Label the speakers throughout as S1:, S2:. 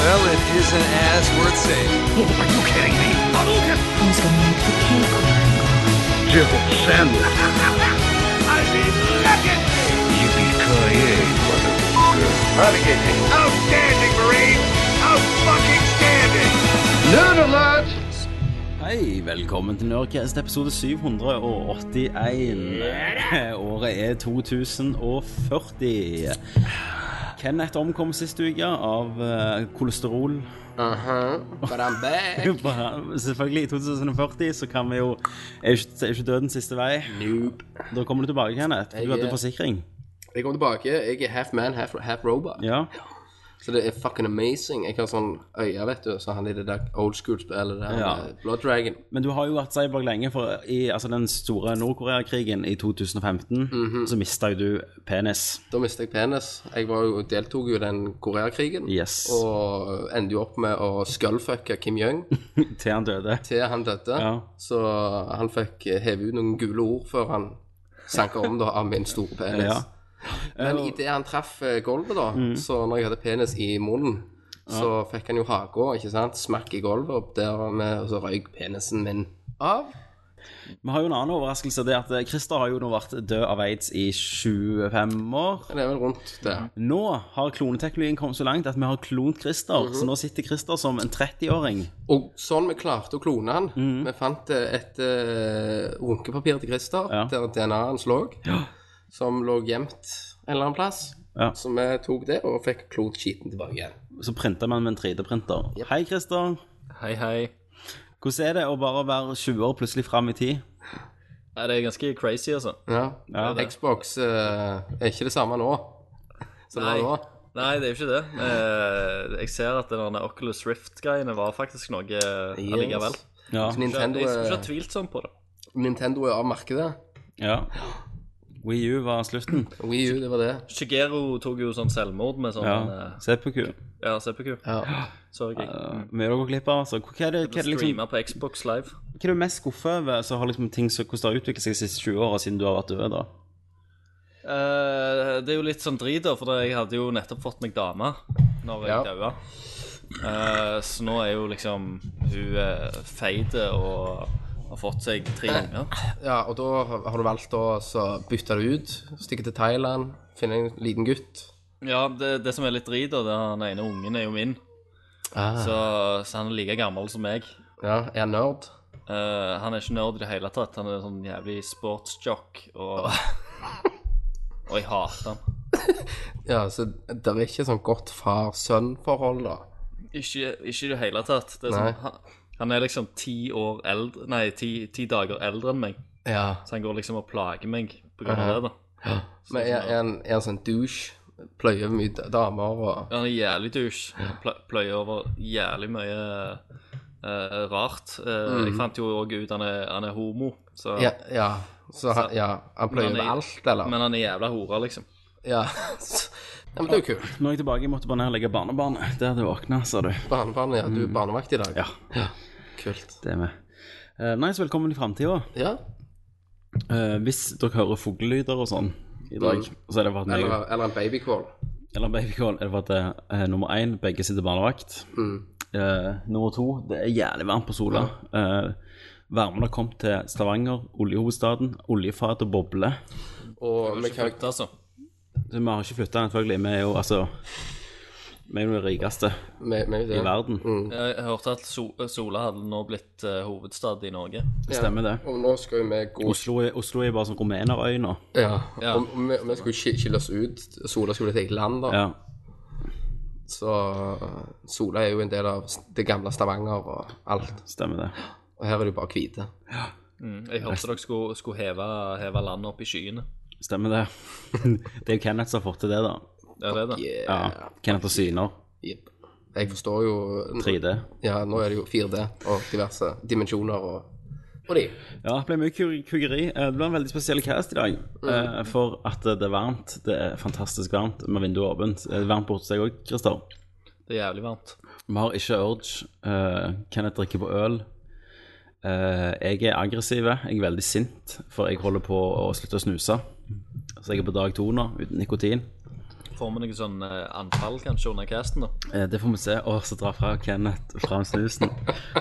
S1: Well, it isn't as worth saying.
S2: Oh, are you kidding me? Hadouken!
S3: Who's gonna make the cake work?
S2: Jibble sandwich. I mean, legendary! Yippee-ki-yay, motherfucker. Renegade. Outstanding, Marine! Out-fucking-standing! Nerd alert!
S4: Hei, velkommen til Nerdcast episode 781. Året er 2040. Kenneth omkom sist uke av eh, kolesterol.
S1: But I'm back.
S4: Selvfølgelig, i 2040 så kan vi jo Er jo ikke, er jo ikke døden siste vei.
S1: Nope.
S4: Da kommer du tilbake, Kenneth. Du hadde
S1: Jeg-
S4: forsikring.
S1: Jeg kommer tilbake. Jeg er half man, half, half robot.
S4: Ja.
S1: Så det er fucking amazing. Jeg har sånn øye, vet du. Så han i det der old school-spillet der.
S4: Ja.
S1: eh, Blood Dragon.
S4: Men du har jo hatt cyborg lenge, for i altså, den store Nord-Korea-krigen i 2015
S1: Mhm.
S4: så mista jo du penis.
S1: Da mistet jeg penis. Jeg var jo, deltok jo i den koreakrigen.
S4: Yes.
S1: Og endte jo opp med å skullfucke Kim Jong
S4: Til han døde.
S1: til han døde.
S4: Ja.
S1: Så han fikk eh, heve ut noen gule ord før han sanka om da av min store penis.
S4: Ja. Mm.
S1: Men idet han traff eh, gulvet, da, så når jeg hadde penis i munnen, så fikk han jo haka, ikke sant, smakk i gulvet, og der med, og så røyk penisen min av.
S4: Vi har jo en annen overraskelse. Det er at eh, Christer har jo nå vært død av aids i 25 år.
S1: Det er vel rundt der.
S4: Nå har kloneteknologien kommet så langt at vi har klont Christer. Så nå sitter Christer som en 30-åring.
S1: Og sånn vi klarte å klone han
S4: Mm.
S1: Vi fant eh, et eh, runkepapir til Christer,
S4: Ja.
S1: der DNA-en lå, som lå gjemt en eller annen plass.
S4: Ja.
S1: Så vi tok det og fikk klont skiten tilbake igjen.
S4: Så printer man med en 3D-printer. Hei, Christer.
S5: Hei, hei.
S4: Hvordan er det å bare være 20 år plutselig fram i tid?
S5: Nei, det er ganske crazy, altså.
S1: Ja.
S4: Ja.
S1: Xbox eh, er ikke det samme nå som det
S5: Nei.
S1: var nå.
S5: Nei, det er jo ikke det. Eh, jeg ser at den der Oculus Rift-greiene var faktisk noe eh, allikevel.
S4: Ja.
S1: Så Nintendo,
S5: Jeg skulle ikke ha
S1: er,
S5: tvilt sånn på det.
S1: Nintendo er av markedet.
S4: ja. Wii U var slutten.
S1: Wii U, det var det.
S5: Shigeru tok jo sånn selvmord med sånn
S4: Ja.
S5: eh,
S4: ZPQ.
S5: ja CPQ.
S1: Ja.
S5: Så jeg ikke.
S4: Uh, Mye dere går glipp av. altså. Hva er det, hva er det, liksom,
S5: Streama på Xbox Live.
S4: hva er du mest skuffet over så har liksom ting som, hvordan det har utviklet seg de siste 20 åra siden du har vært død? da?
S5: Eh, det er jo litt sånn drit, da, for jeg hadde jo nettopp fått meg dame når jeg
S1: Ja.
S5: daua. Eh, så nå er jo liksom hun uh, feit og har fått seg tre unger.
S1: Ja, og da har har du valgt å så bytte det ut, stikke til Thailand, finne en liten gutt.
S5: Ja, det, det som er litt drit, da, det er den ene ungen er jo min.
S1: Ah.
S5: Så, så han er like gammel som meg.
S1: Ja, er han nerd?
S5: Eh, han er ikke nerd i det hele tatt. Han er sånn jævlig sportsjock, og
S1: Ah.
S5: Og jeg hater han.
S1: Ja, så det er ikke sånn godt far-sønn-forhold, da.
S5: Ikke, ikke i det hele tatt. Det er
S1: Nei.
S5: sånn, han, han er liksom ti år eldre Nei, ti, ti dager eldre enn meg.
S1: Ja.
S5: Så han går liksom og plager meg på grunn av det, da.
S1: Men er, er, han, er han sånn douche? Pløyer mye d- damer og
S5: Han er jævlig douche. Han pl- Pløyer over jævlig mye eh, rart. Eh, Jeg fant jo òg ut han er, han er homo, så
S1: Mm. Ja. ja. Så han, ja, han pløyer
S5: Men han
S1: over
S5: er-
S1: alt, eller?
S5: Men han er jævla hore, liksom.
S1: Ja. ja. Men det er jo kult.
S4: Nå er jeg tilbake. Jeg måtte bare ned og legge barnebarnet. Der det våkna, sa du.
S1: Barnebarnet, ja. Du er barnevakt i dag.
S4: Mm. Ja.
S1: Kult.
S4: Det er vi. Eh, Nei, så velkommen i framtida.
S1: Ja.
S4: hvis dere hører fuglelyder og sånn i dag, så er det for at vi,
S1: Eller, eller en babykål.
S4: Eller babycall, er det for at eh, nummer én, begge sitter barnevakt.
S1: Mm.
S4: Eh, nummer to, det er jævlig varmt på sola. Eh, varmen har kommet til Stavanger, oljehovedstaden, oljefat og bobler.
S1: Og vi kan
S5: Flytt, altså.
S4: Så Vi har ikke flytta, selvfølgelig. Vi er jo altså Vi er jo de rikeste
S1: vi- vi-
S4: i verden.
S5: Jeg hørte at so Sola hadde nå blitt eh, hovedstad i Norge.
S4: Det stemmer, det.
S1: Og nå skal jo vi gå
S4: Oslo er, Oslo er bare sånn rumenerøy nå.
S1: Ja,
S5: Ja.
S1: og og vi, vi skulle skil- skille oss ut. Sola skulle til eget land, da.
S4: Ja.
S1: Så øh, Sola er jo en del av s- det gamle Stavanger og alt.
S4: Stemmer det.
S1: Og her er det jo bare hvite.
S5: Jeg hørte dere skulle, skulle heve, heve landet opp i skyene.
S4: Stemmer det. det er jo Kenneth som har fått til det, da.
S5: Det er det, da.
S1: Yeah.
S4: Ja. Kenneth og Syner.
S1: Jep. Jeg forstår jo
S4: 3D.
S1: Ja, nå er det jo 4D og diverse dimensjoner og, og de.
S4: Ja, det ble mye ku- kuggeri. Eh, Det ble en veldig spesiell cast i dag. eh, For at det er varmt. Det er fantastisk varmt med vinduet åpent. Eh, Det er varmt borte hos deg òg, Christer.
S5: Det er jævlig varmt.
S4: Vi har ikke urge. eh, Kenneth drikker på øl. Eh, Jeg er aggressiv. Jeg er veldig sint, for jeg holder på å slutte å snuse. Så jeg er på dag to nå, uten nikotin.
S5: får vi noen sånn eh, anfall kanskje under casten, da.
S4: Eh, Det får vi se. Og så drar fra Kenneth fram snusen.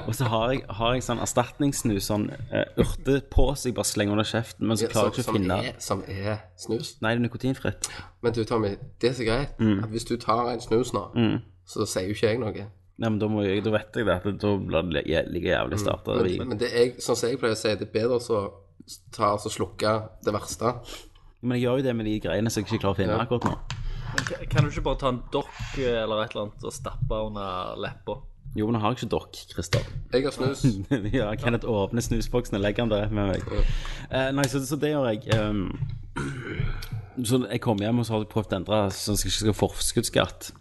S4: Og så har jeg, har jeg sånn erstatningssnus, sånn eh, urtepose jeg bare slenger under kjeften, men så klarer jeg ikke å
S1: som,
S4: finne
S1: er, som er snus.
S4: Nei, det er nikotinfritt.
S1: Men du, Tommy, det er så greit at hvis du tar en snus nå, så sier jo ikke jeg noe.
S4: Nei, men da, må jeg, da vet jeg det. at Da blir det li- ligger jævlig starta.
S1: Mm. Men, men det er, sånn som jeg pleier å si, det er bedre å så ta og så slukke det verste.
S4: Men jeg gjør jo det med de greiene som jeg ikke klarer å finne akkurat nå.
S5: Men k- Kan du ikke bare ta en dokk eh, eller et eller annet og stappe under leppa?
S4: Jo, men nå har jeg ikke dokk, Christer.
S1: Jeg har snus.
S4: ja, Kenneth åpner snusboksen og legger den der med meg. Eh, nei, så, så det gjør jeg. ehm. så jeg kom hjem og så har jeg prøvd å endre sånn at jeg ikke skal ha forskuddsskatt.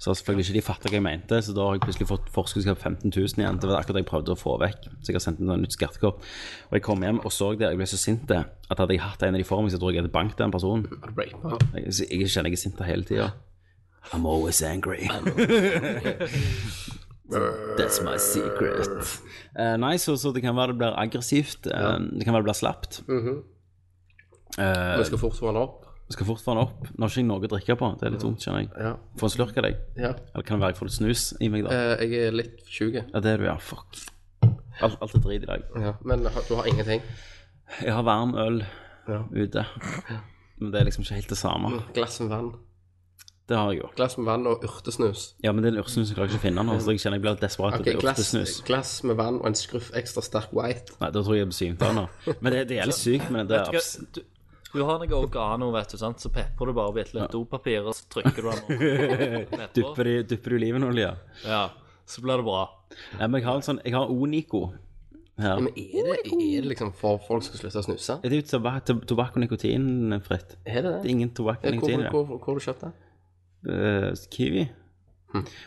S4: Så har selvfølgelig ikke de fatta hva jeg mente, så da har jeg plutselig fått forskuddsskatt 15 000 igjen. Det var akkurat det jeg prøvde å få vekk, så jeg har sendt inn et nytt skattekort. Og jeg kom hjem og så det, jeg ble så sint det, at hadde jeg hatt en av de for meg, så tror jeg jeg hadde banket den personen.
S1: Raper.
S4: Jeg, så jeg kjenner jeg er sint hele tida. I'm always angry. That's my secret. Eh, nei, så, så det kan være det blir aggressivt. eh, det kan være det blir slapt.
S1: Mhm.
S4: Eh,
S1: Vi skal fort få den opp.
S4: Skal fort få den opp. Nå har ikke jeg noe å drikke på. Det er litt tungt, kjenner jeg.
S1: Ja.
S4: Få en slurk av deg.
S1: ja.
S4: Eller kan det være jeg får litt snus i meg, da?
S1: Eh, Jeg er litt tjue.
S4: Ja, det er du, ja. Fuck. Alt, alt er drit i dag.
S1: Ja. Men ha- du har ingenting.
S4: Jeg har varm øl
S1: Ja.
S4: ute. Men det er liksom ikke helt det samme.
S1: Glass med vann.
S4: Det har jeg jo.
S1: Glass med vann og urtesnus.
S4: Ja, men den ursnusen klarer jeg ikke å finne nå, så jeg kjenner jeg blir litt desperat
S1: Ok,
S4: etter
S1: glass,
S4: urtesnus.
S1: glass med vann og en skruff ekstra sterk white.
S4: Nei, da tror jeg jeg blir symt av nå. Men det, det er litt sykt, men det er
S5: Hva-
S4: abs-
S5: Du, du har noe oregano, vet du, sant? så pepper du bare bitte litt dopapir, og så trykker du den opp. Pepper.
S4: Dupper i, dupper i olivenolje.
S5: Ja, så blir det bra.
S4: Ja, men jeg har en sånn Jeg har Onico her.
S1: Men er det, er det liksom for folk skal slutte å snuse?
S4: Er det jo tobakk, to- tobakk og nikotinfritt?
S1: Er det
S4: Det er
S1: det?
S4: ingen tobakk og
S1: Eh, Hvor,
S4: nikotin i det.
S1: hvor, hvor, hvor har du kjøpt det?
S4: Eh, kiwi.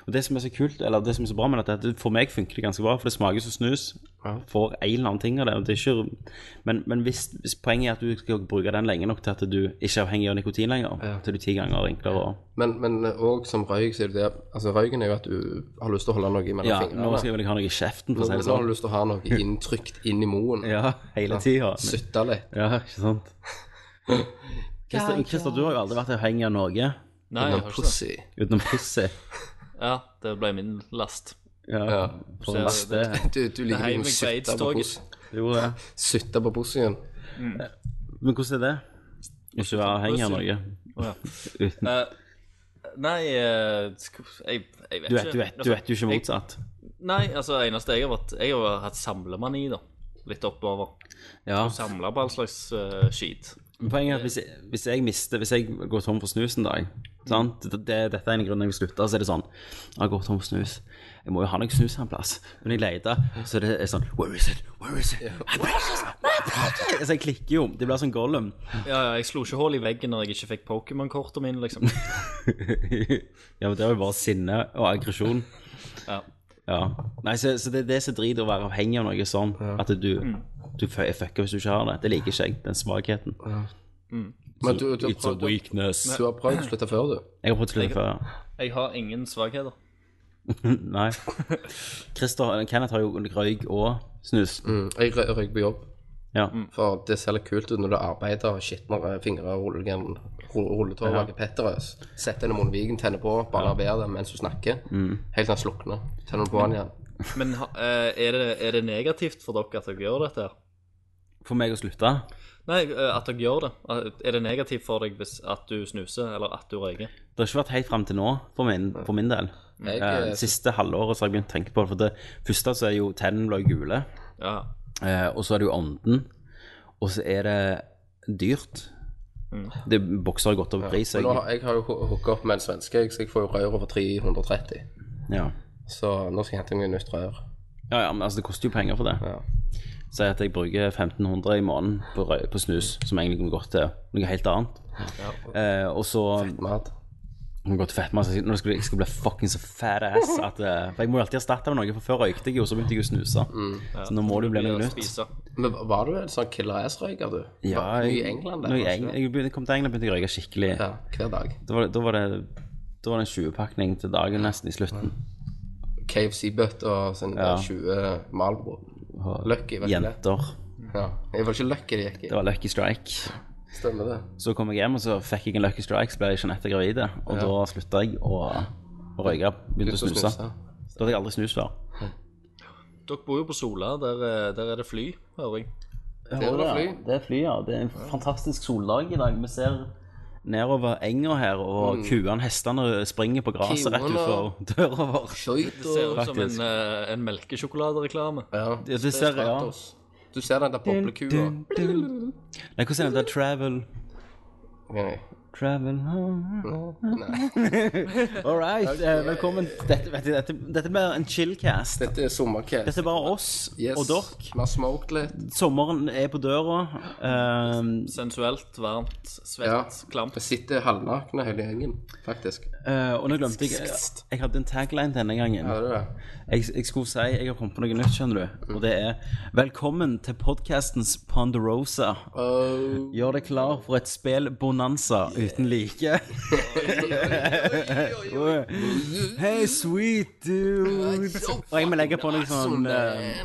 S4: Og det som er så kult, eller det som er så bra med dette, er at det- for meg funker det ganske bra, for det smaker som snus.
S1: Ja.
S4: Får en eller annen ting av det. Og det er ikke, men men hvis, hvis poenget er at du skal bruke den lenge nok til at du ikke er avhengig av nikotin lenger, til du ti ganger enklere å
S1: Men, men òg som røyk, så er det det Altså, røyken er jo at du har lyst til å holde noe mellom
S4: Ja,
S1: fingrene.
S4: nå skal jeg vel ikke ha noe i kjeften, for
S1: Nå-
S4: å si det
S1: nå har
S4: sånn.
S1: du lyst til å ha noe inntrykt inn i moen.
S4: Ja, hele tida.
S1: Sutte litt.
S4: Ja, ikke sant? Christer, Christer, du har jo aldri vært avhengig av noe
S5: Nei, jeg
S1: Noe
S5: har ikke det.
S1: pussy.
S4: utenom pussy.
S5: Ja, det ble min last.
S4: Ja, for
S5: Så
S4: en last det
S1: Du, du liker
S5: Nei,
S1: jo
S5: men
S1: å sutte på
S5: Beitstoget.
S1: pos-
S4: Jo, ja.
S1: sutte på pussyen.
S4: Men hvordan er det? Ikke være avhengig av noe.
S5: Å, ja.
S4: Uten.
S5: Eh, nei, eh, sk- jeg, jeg vet
S4: Du
S5: ikke.
S4: vet,
S5: altså,
S4: du, vet, du vet jo ikke motsatt.
S5: Nei, altså, eneste jeg har vært Jeg har hatt samlemani, da. Litt oppover.
S4: Ja.
S5: Samla på all slags eh, skit.
S4: Men Poenget er at hvis jeg, hvis jeg mister Hvis jeg går tom for snus en dag sant? Det, det, Dette er en grunn jeg vil slutte. Så er det sånn Jeg går tom for snus. Jeg må jo ha noe snus en plass. Men jeg leter, så det er sånn Where is it? Where is it? My precious, my precious. Så jeg klikker jo. Det blir sånn Gollum.
S5: Ja, ja, jeg slo ikke hull i veggen når jeg ikke fikk Pokémon-kortene mine, liksom.
S4: ja, men det var jo bare sinne og aggresjon.
S5: Ja.
S4: Ja. Nei, så, så det er det som driter å være avhengig av noe sånn at du,
S1: Mm.
S4: du fø- jeg fucker hvis du ikke har det. Det liker ikke jeg, den svakheten.
S1: Men du, du, har
S4: It's a
S1: prøvd,
S4: weakness.
S1: du har prøvd å slutte før, du.
S4: Jeg har prøvd å slutte før, ja.
S5: Jeg har ingen svakheter.
S4: Nei. Christer, eh, Kenneth har jo røyk og snus.
S1: Mm, Jeg røy- røyker på jobb,
S4: Ja.
S1: for det ser litt kult ut når du arbeider og skitner fingre og rullegen- ru- rulletår og lager petterøs. Sett deg under munnviken, tenner på, barberber det mens du snakker.
S4: Mm.
S1: Helt til den slukner. Tenner du på den igjen.
S5: Men ha- eh, er, det, er det negativt for dere at dere gjør dette? her?
S4: For meg å slutte?
S5: Nei, eh, at dere gjør det. Eh, Er det negativt for deg hvis at du snuser, eller at du røyker?
S4: Det har ikke vært helt fram til nå, for min, for min del.
S1: Jeg,
S4: Eh,
S1: eh,
S4: siste halvåret så har jeg begynt å tenke på det. For det første så er jo tennene ble gule.
S5: Ja.
S4: Eh, og så er det jo ånden. Og så er det dyrt. Det Bokser har gått over pris.
S1: Men nå,
S4: Jeg,
S1: har- jeg har jo ho- hooka opp med en svenske, jeg, så jeg får jo rør over 330.
S4: ja.
S1: Så nå skal jeg hente meg nytt rør.
S4: ja, ja, men altså det koster jo penger for det.
S1: Ja.
S4: Si at jeg bruker 1500 i måneden på, røy- på snus, som egentlig kunne gått til noe helt annet. Eh, og så
S1: Mat.
S4: kunne gått til fettmasse. Nå skal jeg skal bli fuckings så fat ass at eh, For jeg må jo alltid erstatte med noe, for før røykte jeg jo, så begynte jeg å snuse.
S1: Mm.
S4: Så nå må det jo bli
S5: Blir
S4: noe
S5: å
S4: nytt.
S5: spise.
S1: Men var du en sånn killer ass-røyker, du? Var du I England, der,
S4: når jeg,
S1: kanskje?
S4: Eng- jeg begynte- kom til England begynte jeg å røyke skikkelig.
S1: Ja, hver dag.
S4: Da, var det, da var det da var det en 20-pakning til dagen nesten i slutten.
S1: KFC-bøtt og sånn
S4: Ja.
S1: 20 Malbro. Lucky, vet du det?
S4: Jenter.
S1: Ja. Jeg var ikke lucky det gikk i.
S4: Det var Lucky Strike.
S1: Stemmer det.
S4: Så kom jeg hjem, og så fikk jeg en Lucky Strikes, ble Jeanette gravid, og da slutta jeg å å røyke. Begynte å
S1: Begynte å
S4: snuse.
S1: snuse.
S4: Da hadde jeg aldri snust før.
S5: Dere bor jo på Sola. Der, eh, der er det fly, hører jeg.
S1: Det var da fly.
S4: Det er fly, ja. Det er en fantastisk soldag i dag. Vi ser nedover enga her, og kuene, hestene, springer på gresset rett
S1: Mm. Kuene.
S4: utenfor døra vår.
S1: Skøyt
S5: Det ser ut som en,
S4: Faktisk.
S5: eh, en melkesjokoladereklame.
S1: Ja.
S4: Ja, det ser jeg, ja.
S1: Stratos. Du ser den der boblekua.
S4: Dun, dun, dun. Nei, hvordan er det der travel
S1: Ok.
S4: Travel
S1: Mm.
S4: All right. eh, velkommen. Dette, vet du, dette, dette blir en chillcast.
S1: Dette er sommerkveld.
S4: Dette er bare oss
S1: Yes.
S4: og dere.
S1: Vi har smoked litt.
S4: Sommeren er på døra. ehm,
S5: Sensuelt, varmt, svett,
S1: Ja.
S5: klamt.
S1: Vi sitter halvnakne hele gjengen, faktisk.
S4: eh, og nå glemte jeg Jeg hadde en tagline denne gangen.
S1: Ja, det er det.
S4: Jeg, jeg skulle si jeg har kommet på noe nytt, skjønner du. Og det er Velkommen til podkastens Ponderosa.
S1: Oh,
S4: Gjør deg klar for et spill bonanza uten like. Hei, sweet dude. Og jeg må legge på noe sånn eh,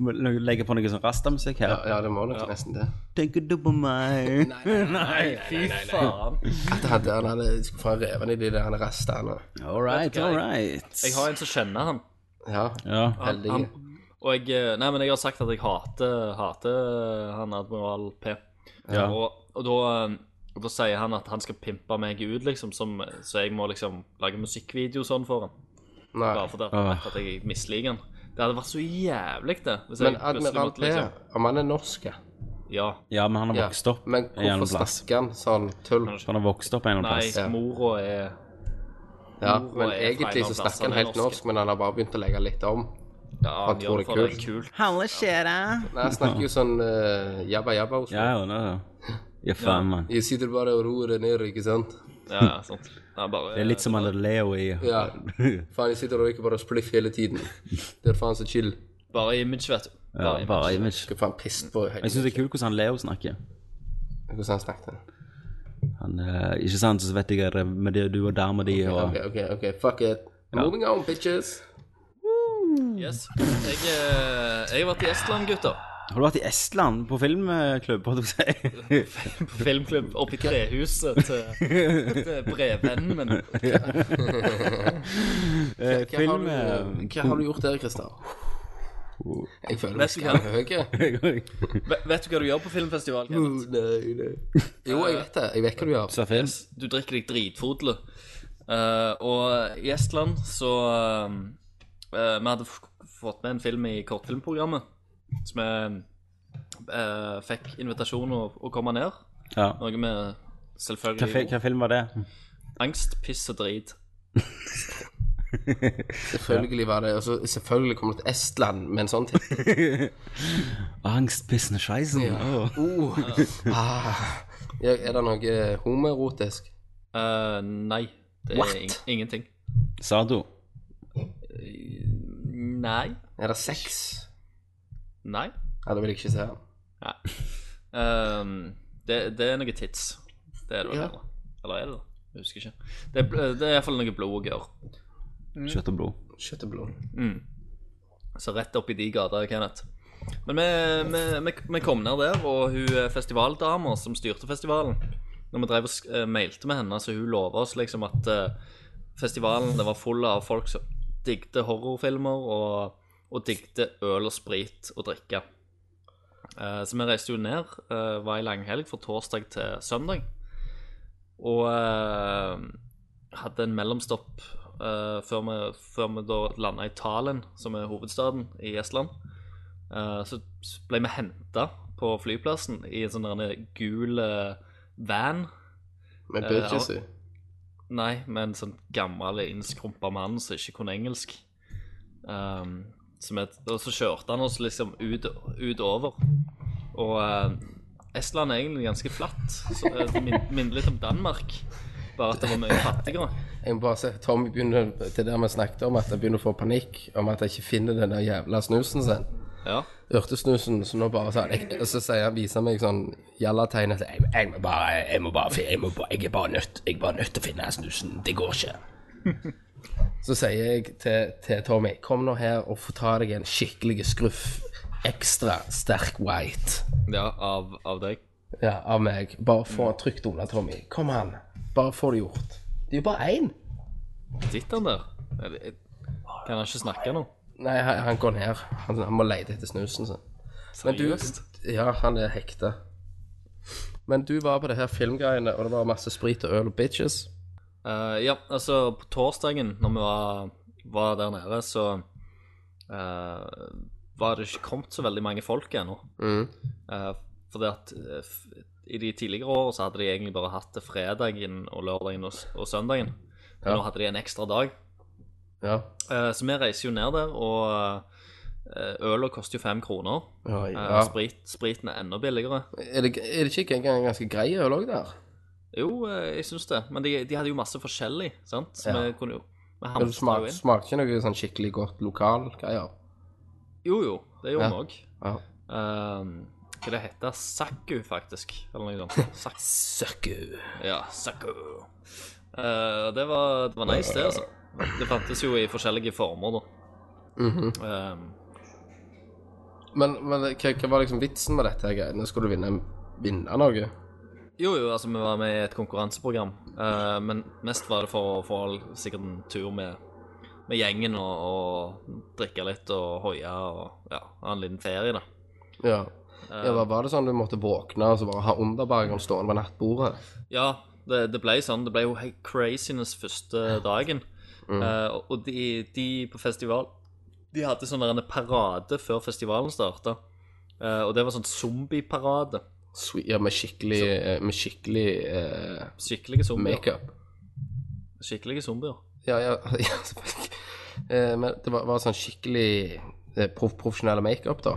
S4: må Legge på noe sånn rastamusikk her.
S1: ja, det må nok nesten det.
S4: Tenker du på meg?
S1: Nei, fy faen. At han, han hadde skulle få revene i de der restene.
S4: All right, all right.
S5: Jeg har en som kjenner han.
S1: Ja,
S4: Ja.
S1: heldige.
S5: han og jeg eh, Nei, men jeg har sagt at jeg hater, hater eh, han admiral P.
S4: Ja.
S5: Og, og da eh, og da sier han at han skal pimpe meg ut, liksom, som, så jeg må liksom lage musikkvideo og sånn for han.
S1: Nei.
S5: Bare fordi at han vet at jeg misliker han. Det hadde vært så jævlig, det. Hvis
S1: Men
S5: jeg plutselig
S1: Admiral
S5: måtte
S1: P,
S5: liksom-
S1: om han er norsk, ja.
S5: Ja.
S4: ja, men han har
S1: Ja.
S4: vokst opp
S1: Men
S4: en eller
S1: hvorfor
S4: annen plass.
S1: snakker han sånn tull?
S4: Han har vokst opp en eller annen
S5: Nei,
S4: plass.
S1: Ja.
S5: mora er
S1: Ja,
S5: Nord-
S1: men
S5: og er fra en
S1: egentlig
S5: annen
S1: så
S5: plass,
S1: snakker han
S5: han er
S1: helt
S5: norsk.
S1: norsk, men han har bare begynt å legge litt om.
S5: Ja,
S1: Han
S5: han
S1: tror det
S5: gjør det
S1: er
S5: for det er
S1: kult.
S5: kult.
S4: Halle, skjer'a.
S1: Nei, han snakker jo sånn uh, jabba jabba hos
S4: Ja,
S1: meg.
S4: ja, det er det. Ja, faen, mann.
S1: Jeg sitter bare og ror det ned, ikke sant?
S5: Ja, ja, sant. Det er bare
S4: Det er litt som han der Leo i
S1: Ja. Faen, jeg sitter og røyker bare spliff hele tiden. Det er faen så chill.
S5: Bare image, vet du.
S4: ja,
S5: Bare image.
S4: Bare image.
S1: Skal faen pisse på
S4: Jeg
S1: hele
S4: syns det er kult hvordan han Leo snakker.
S1: Hvordan han snakket.
S4: Han, eh, ikke sant, så vet jeg det med det du og dama di og
S1: Ok, ok, ok, fuck it. Moving on, bitches.
S5: Yes. Jeg, eh, jeg har vært i Estland, gutter.
S4: Har du vært i Estland på filmklubb, holdt jeg på å si?
S5: På filmklubb oppe i trehuset til, til brevvennen min.
S1: Hva, hva, har,
S4: film,
S1: du, eh, hva har du gjort der, Christer? Jeg føler meg
S5: Vet du hva?
S1: skamhøy.
S5: Ve- Vet du hva du gjør på filmfestival? Kenneth?
S1: Nei, nei. Jo, jeg vet det. Jeg vet hva du gjør.
S4: Så film?
S5: Du drikker deg dritfodle. Eh, og i Estland så eh, Vi hadde f fått med en film i kortfilmprogrammet. Så vi eh, fikk invitasjon å, å komme ned.
S4: Ja.
S5: Noe vi
S4: Hva, fi-
S5: selvfølgelig
S4: hva film var det?
S5: Angst, piss og drit.
S1: Selvfølgelig var det altså, Selvfølgelig kommer det til Estland med en sånn ting.
S4: Angst, pissen og scheisen. Åh.
S1: Oh. Ah. Ja, Er det noe homoerotisk?
S5: Eh, nei, det
S1: What?
S5: er ing ingenting.
S4: Sado.
S5: Nei.
S1: Er det sex?
S5: Nei.
S1: Ja, det vil jeg ikke se.
S5: Nei. Ehm, det, det er noe tits. Det er det vel
S1: Ja.
S5: heller. Eller er det det? Jeg husker ikke. Det er, bl- det er iallfall noe blod og gørr.
S4: Kjøtt og blod.
S1: Kjøtt og blod.
S5: Mm. Så rett oppi de gater, Kenneth. Men vi, vi, vi, vi kom ned der, og hun eh, festivaldama som styrte festivalen Når vi drev og sk- eh, mailte med henne, så hun lova oss liksom at eh, festivalen det var full av folk som digte horrorfilmer og, og digte øl og sprit og drikke. Eh, så vi reiste jo ned, eh, var i langhelg fra torsdag til søndag. Og eh, hadde en mellomstopp eh, før, vi, før vi da landa i Tallinn, som er hovedstaden i Estland. Eh, så ble vi henta på flyplassen i en sånn der gul eh, van.
S1: Med
S5: Eh,
S1: bitches
S5: ja.
S1: i.
S5: Nei, med en sånn gammel, innskrumpa mann som ikke kunne engelsk. Ehm, som et, og så kjørte han oss liksom ut, utover. Og eh, Estland er egentlig ganske flatt. Så, eh, det min- minner litt om Danmark, bare at det var mye fattigere.
S1: Jeg må bare se, Tommy begynner til det vi snakket om, at han begynner å få panikk om at han ikke finner den der jævla snusen sin.
S5: Ja
S1: Urtesnusen, så nå bare sånn jeg, Og så sier han, viser han meg sånn jallategn at jeg, jeg må bare Jeg må bare fi- jeg, må bare, jeg er bare nødt Jeg er bare nødt til å finne snusen. Det går ikke. Så sier jeg til, til Tommy Kom nå her og få ta deg en skikkelig skruff. Ekstra sterk white.
S5: Ja, av, av deg.
S1: ja, av meg. Bare få han trygt unna, Tommy. Kom an. Bare få det gjort. Det er jo bare én.
S5: Sitter han der? Er det- er- Kan han ikke snakke nå?
S1: Nei, han, han går ned. Han, han må lete etter snusen sin. Men du Ja, han er hekta. Men du var på det her filmgreiene, og det var masse sprit og øl og bitches.
S5: Eh, ja, altså på torsdagen når vi var, var der nede, så eh, var det ikke kommet så veldig mange folk ennå.
S1: Mhm.
S5: Eh, fordi at eh, f- i de tidligere årene så hadde de egentlig bare hatt det fredagen og lørdagen og, s- og søndagen. Men
S1: Ja.
S5: nå hadde de en ekstra dag.
S1: Ja.
S5: Eh, så vi reiser jo ned der, og uh, øla koster jo fem kroner.
S1: Oi,
S5: Eh,
S1: ja.
S5: sprit, spriten er enda billigere.
S1: Er, det, er det ikke engang ganske grei øl òg der?
S5: Jo, eh, jeg syns det. Men de, de hadde jo masse forskjellig, sant? Så
S1: Ja.
S5: vi kunne jo vi
S1: Det
S5: hamstret jo
S1: smak,
S5: inn.
S1: smaker ikke noe sånn skikkelig godt lokalgreier.
S5: Jo, jo, det gjorde
S1: Ja.
S5: vi òg.
S1: Ja.
S5: Ehm, Hva det heter Sakku, faktisk. Eller noe sånt. Sak
S1: Søkku.
S5: ja, Sakku. Eh, det, var, det var nice, det, altså. Det fantes jo i forskjellige former, da.
S1: Mhm.
S5: Ehm,
S1: Men, men hva, hva var liksom vitsen med dette? her greiene? Skulle du vinne, vinne noe?
S5: jo, jo, altså, vi var med i et konkurranseprogram. eh, men mest var det for å få sikkert en tur med, med gjengen og, og drikke litt og hoie og ja, ha en liten ferie, da.
S1: Ja. ja var, var det sånn du måtte våkne og så bare ha underbergeren stående på nattbordet?
S5: Ja, det, det ble sånn. Det ble jo helt craziness første dagen.
S1: Mm.
S5: Eh, og- og de, de på festival De hadde sånn der en parade før festivalen starta. og det var sånn zombieparade.
S1: Sweet, ja, med skikkelig, eh, med skikkelig eh,
S5: Skikkelige zombier.
S1: makeup.
S5: Skikkelige zombier.
S1: Ja, ja, ja selvfølgelig. Eh, men det var, var sånn skikkelig eh, proff, profesjonell makeup, da.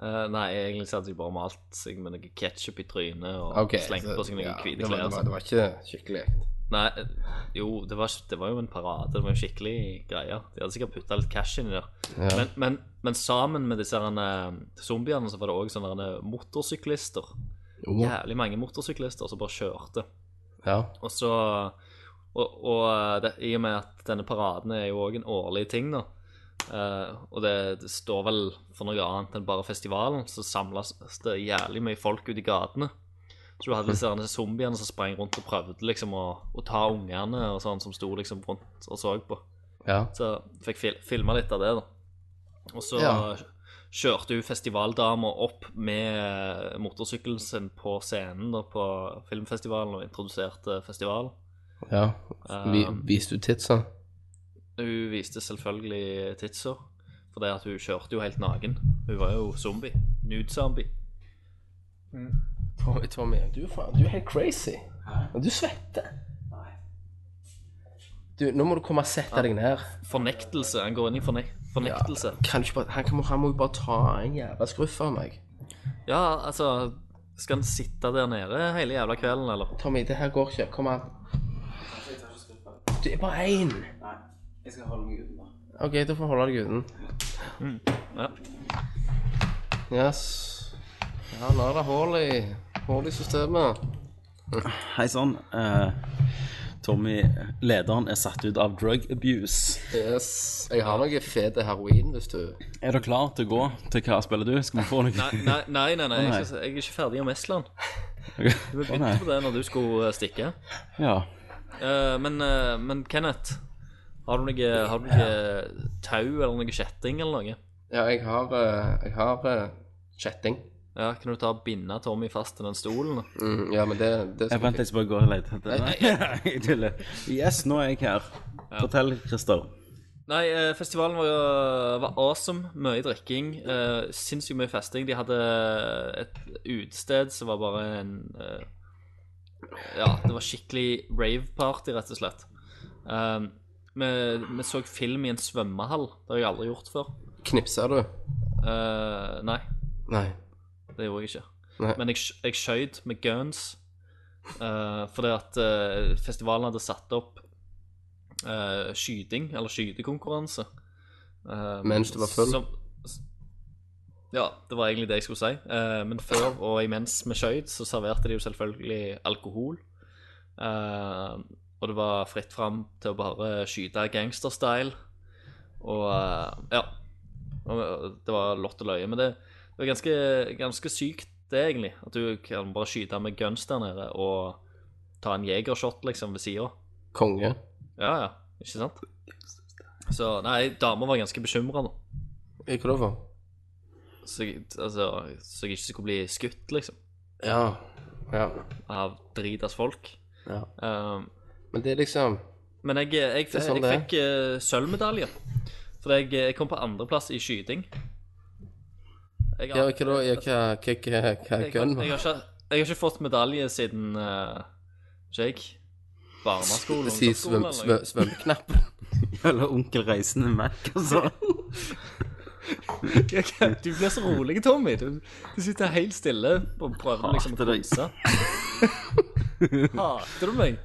S5: Eh, nei, egentlig så hadde de bare malt seg med noe ketsjup i trynet og
S1: Ok,
S5: slengt
S1: så-
S5: på seg noen
S1: ja,
S5: hvite
S1: det var-
S5: klær.
S1: Det, var-
S5: og sånn.
S1: det var ikke skikkelig ekte.
S5: Nei, eh, jo, det var, det var jo en parade. Det var jo skikkelig greier. De hadde sikkert putta litt cash inni der.
S1: Ja.
S5: Men, men, men sammen med disse herne, zombiene så var det òg sånne herne motorsyklister.
S1: Jo.
S5: Jævlig mange motorsyklister som bare kjørte.
S1: Ja.
S5: Og så Og, og eh, det, i og med at denne paraden er jo òg en årlig ting, da. eh, og det, det står vel for noe annet enn bare festivalen, så samles det jævlig mye folk ute i gatene. Så du hadde disse herne zombiene som sprang rundt og prøvde liksom å, å ta ungene og sånn, som sto liksom rundt og så på.
S1: ja.
S5: Så fikk fil filma litt av det, da. Og så
S1: Ja.
S5: kjørte hun festivaldama opp med motorsykkelen sin på scenen da, på filmfestivalen og introduserte festivalen.
S1: ja. Vi,
S5: Um,
S1: viste du titsa?
S5: Hun viste selvfølgelig titser, for det at hun kjørte jo helt naken. Hun var jo zombie. Nude-zombie.
S1: Tommy, Tommy du, er faen, du er helt crazy. Du svetter. Du, nå må du komme og sette deg ned.
S5: Fornektelse. Han går inn i fornek fornektelse.
S1: Kan du ikke bare, han, kan, han må jo bare ta en jævla skruff av meg.
S5: Ja. altså Skal han sitte der nede hele jævla kvelden, eller?
S1: Tommy, det her går ikke. Kom an. Det er bare én. OK, du får holde deg uten.
S5: Ja.
S1: Yes. Ja, nå er det hull i Hull i systemet.
S4: Hei sann. eh, Tommy, eh, lederen, er satt ut av drug abuse.
S1: Yes. Jeg har noe fete heroin, hvis du
S4: Er dere klar til å gå til hva spiller du? Skal vi få noe?
S5: Nei, nei, nei, nei, nei.
S4: Å, nei.
S5: Jeg, skal, jeg er ikke ferdig om Estland.
S4: Å,
S5: Vi begynte
S4: nei.
S5: på det når du skulle eh, stikke.
S4: Ja.
S5: Eh, men, eh, men Kenneth, har du noe, har du noe tau eller noe kjetting eller noe?
S1: Ja, jeg har eh, Jeg har eh, kjetting.
S5: Ja, Kan du ta og binde Tommy fast til den stolen?
S1: Mm, ja, men det, det
S4: Jeg vent, jeg skal bare gå og lete etter Nei, jeg tuller. Yes, nå er jeg her. Fortell, Christer.
S5: Nei, eh, festivalen var, var awesome. Mye drikking. eh, Sinnssykt mye festing. De hadde et utested som var bare en eh, Ja, det var skikkelig rave-party, rett og slett. Eh, vi, vi så film i en svømmehall. Det har jeg aldri gjort før.
S1: Knipser du?
S5: Eh, nei.
S1: Nei.
S5: Det gjorde jeg ikke.
S1: Nei.
S5: Men jeg, sk- jeg skjøt med guns. eh, fordi at eh, festivalen hadde satt opp eh, skyting, eller skytekonkurranse. Eh,
S1: Mens du var full?
S5: som- s- ja, det var egentlig det jeg skulle si. Eh, men før og imens vi skjøt, så serverte de jo selvfølgelig alkohol. Eh, og det var fritt fram til å bare skyte gangsterstyle. Og eh, ja. Og Det var lott og løye. Men det, det var ganske, ganske sykt det, egentlig. At du kan bare skyte med guns der nede og ta en jegershot, liksom, ved sida.
S1: Konge.
S5: Ja, ja. Ikke sant? Så nei, dama var ganske bekymra, da.
S1: Ikke lov for.
S5: Så, jeg- altså, så jeg ikke skulle bli skutt, liksom,
S1: Ja. Ja.
S5: av dritas folk.
S1: ja.
S5: Um,
S1: Men det er liksom
S5: Men jeg, jeg,
S1: er sånn
S5: jeg
S1: det er.
S5: fikk eh, sølvmedalje. For jeg, jeg kom på andreplass i skyting. Jeg,
S1: Ja, hva da? Ja, hva hva- hva- hva
S5: jeg,
S1: gun
S5: jeg,
S1: var?
S5: har ikke, jeg har ikke fått medalje siden uh, Jake. Barneskolen.
S1: Si svøm,
S5: ungdomsskolen, eller
S1: svøm,
S5: noe.
S1: svømmeknapp.
S4: Eller Onkel Reisende Mac, altså.
S5: Du blir så rolig, Tommy. Du, du sitter helt stille og prøver liksom å
S4: Hater deg.
S5: kose. Hater du meg?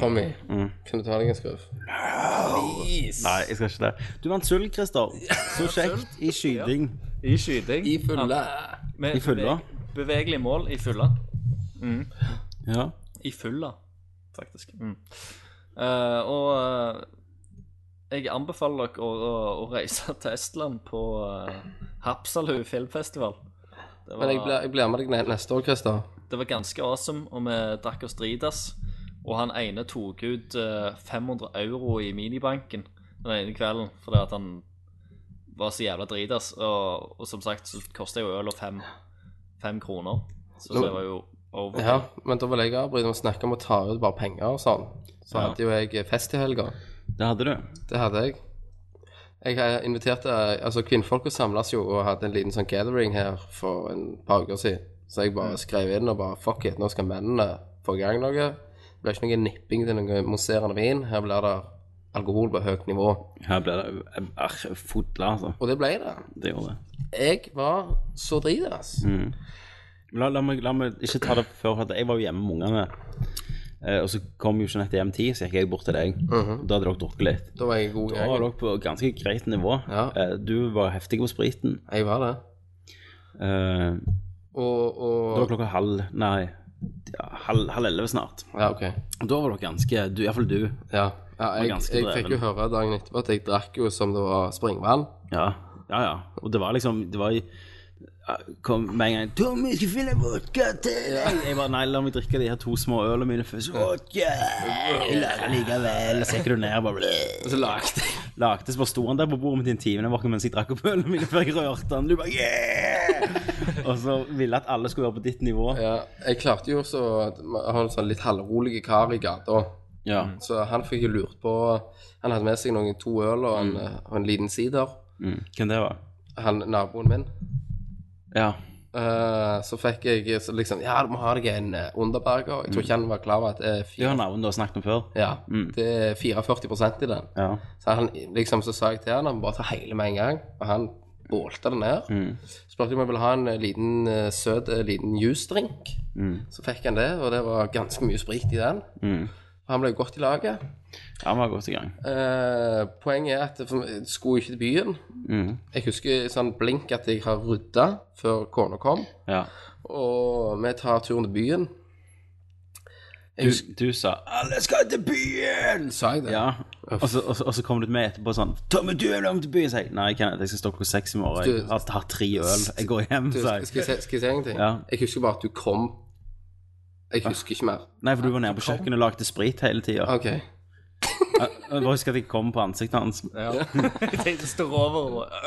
S1: Tommy, kan du ta deg en skruff?
S4: Nei, jeg skal ikke det. Du vant sølv, Christer. Så kjekt i skyting.
S5: I skyting.
S1: I fulle
S5: Med
S4: I fylla.
S5: beveg- Bevegelig mål i fylla.
S4: Ja.
S5: I fylla, faktisk. Mm. Eh, og eh, jeg anbefaler dere å, å, å reise til Estland på uh, Hapsalu filmfestival. Det var,
S1: Men jeg blir, jeg blir med deg ne- neste år, Christer.
S5: det var ganske awesome, og vi drakk oss dritas. Og han ene tok ut eh, 500 euro i minibanken den ene kvelden fordi at han var så jævla dritas. Og, og som sagt så kosta jo øl og fem, fem kroner, så det var jo over.
S1: Ja, men da vil jeg avbryte og snakke om å ta ut bare penger og sånn. Så
S5: Ja.
S1: hadde jo jeg fest i helga.
S4: Det hadde du.
S1: Det hadde jeg. Jeg har invitert eh, Altså, kvinnfolka samles jo og hadde en liten sånn gathering her for en par uker siden. Så jeg bare skrev inn og bare Fuck it, nå skal mennene få i gang noe. Det blir ikke noe nipping til noe mousserende vin. Her blir det alkohol på høyt nivå.
S4: Her ble det arr, fodla, altså.
S1: Og det ble det.
S4: Det gjorde det.
S1: Jeg var så dritas.
S4: Men La, la, meg, la meg ikke ta det før, for at jeg var jo hjemme med ungene. Eh, og så kom jo Jeanette hjem ti, så gikk jeg bort til deg. Da hadde dere drukket litt.
S1: Da var Mhm. jeg i god
S4: Da
S1: gang.
S4: var dere på ganske greit nivå.
S1: Ja.
S4: Eh, du var heftig på spriten.
S1: Jeg var det.
S4: Eh,
S1: Og,
S4: det var
S1: og
S4: klokka halv Nei, ja, halv, halv elleve snart.
S1: Ja, OK.
S4: Og da var dere ganske du, Iallfall du.
S1: Ja. ja jeg,
S4: ganske
S1: jeg
S4: dreven.
S1: fikk jo høre dagen etterpå at jeg drakk jo som det var springvann.
S4: Ja, ja. ja. Og det var liksom Det var i ja, Kom med en gang 'Tommy, jeg skal finne vodka til deg!' Jeg bare 'Nei, la meg drikke de her to små ølene mine først.' 'Vodka!' Jeg lager likevel. Og så gikk du ned og bare bleh.
S1: Og så lagde jeg
S4: Lagde, så bare sto han der på bordet mitt i en time jeg var ikke mens jeg drakk opp ølene mine før jeg rørte han. Du bare 'yeah!' Og så ville jeg at alle skulle være på ditt nivå.
S1: Ja, jeg klarte jo også å ha en sånn litt halvrolig kar i gata.
S4: Ja.
S1: Så han fikk jo lurt på Han hadde med seg noen to øl og en, og en liten sider.
S4: Mm. Hvem det var?
S1: Han naboen min.
S4: Ja.
S1: Eh, så fikk jeg så liksom Ja, du må ha deg en eh, Underberger. Jeg tror ikke han Mm. var klar over at det er
S4: Det
S1: fire,
S4: var navnet du har snakket om før.
S1: ja, det er 44 i den.
S4: Ja.
S1: Så han, liksom så sa jeg til han, han bare ta hele med en gang, og han bålte det ned.
S4: Mm.
S1: Spurte om jeg ville ha en eh, liten eh, søt eh, liten juice-drink.
S4: Mm.
S1: Så fikk han det, og det var ganske mye sprit i den. Han ble jo godt i laget.
S4: Han var godt i gang.
S1: Eh, poenget er at det- for meg- jeg skulle ikke til byen.
S4: Mm.
S1: Jeg husker sånn blink at jeg har rydda før kona kom,
S4: Ja.
S1: og vi tar turen til byen.
S4: Du, du sa 'Alle skal til byen!'
S1: Sa jeg det?
S4: Ja, og så, og, så, og så kom du til meg etterpå sånn 'Tommy, du er langt til byen!' Jeg sa nei, jeg, kan, jeg skal stå klokka seks i morgen. Jeg
S1: Du-
S4: har hatt tre øl. Jeg går hjem,
S1: Du,
S4: sa
S1: skal,
S4: jeg.
S1: skal, jeg si, skal jeg si en ting?
S4: Ja. Ah.
S1: Jeg husker bare at du kom. Jeg husker ikke mer.
S4: Nei, for du var nede på kjøkkenet og lagde sprit hele tida.
S1: OK.
S4: Bare husk at jeg kom på ansiktet hans.
S5: Det står over og bare,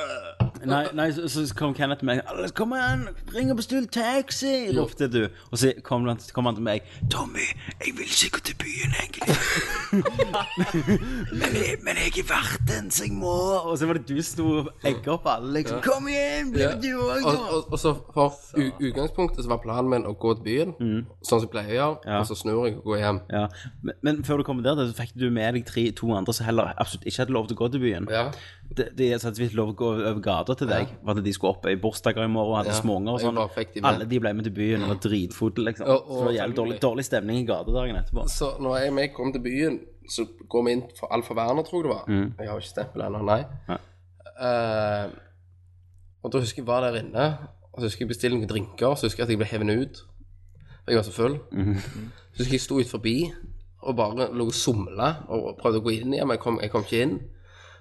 S5: øh.
S4: Nei, nei så, så kom Kenneth til meg. «Alle, 'Kom an, ring og bestill taxi!' ropte du. Og så kom han, kom han til meg. 'Tommy, jeg vil ikke gå til byen, egentlig.' men, jeg, 'Men jeg er verten, så jeg må.' Og så var det du som sto og egga opp alle, liksom. 'Kom igjen, bli med du òg,
S1: Og, og, og så for u utgangspunktet så var planen min å gå til byen, sånn som jeg pleier å gjøre, og så snur jeg og går hjem.
S4: Ja. Men, men før du kommer der, så fikk du med deg tre, to andre som heller absolutt ikke hadde lov til å gå til byen.
S1: Ja.
S4: De, de hadde så vidt sånn lov til å gå over gata til deg. Var det de skulle opp i bursdager i morgen, hadde
S1: Ja.
S4: småunger og
S1: Jeg
S4: sånn.
S1: bare fikk de med.
S4: Alle de ble med til byen og var dritfulle, liksom.
S1: Og- og-
S4: så det var jævlig dårlig, dårlig stemning i gatedagen etterpå.
S1: Så når jeg, jeg kom til byen, så går vi inn for Alfa Werner, tror jeg det var. Jeg har jo ikke stempel ennå, nei.
S4: Nei.
S1: Eh, og da husker jeg var der inne, og så husker jeg bestilte noen drinker, så husker jeg at jeg ble hevet ut. For jeg var så full. Så husker jeg sto ut forbi og bare lå og somla og prøvde å gå inn igjen, men jeg kom, jeg kom ikke inn.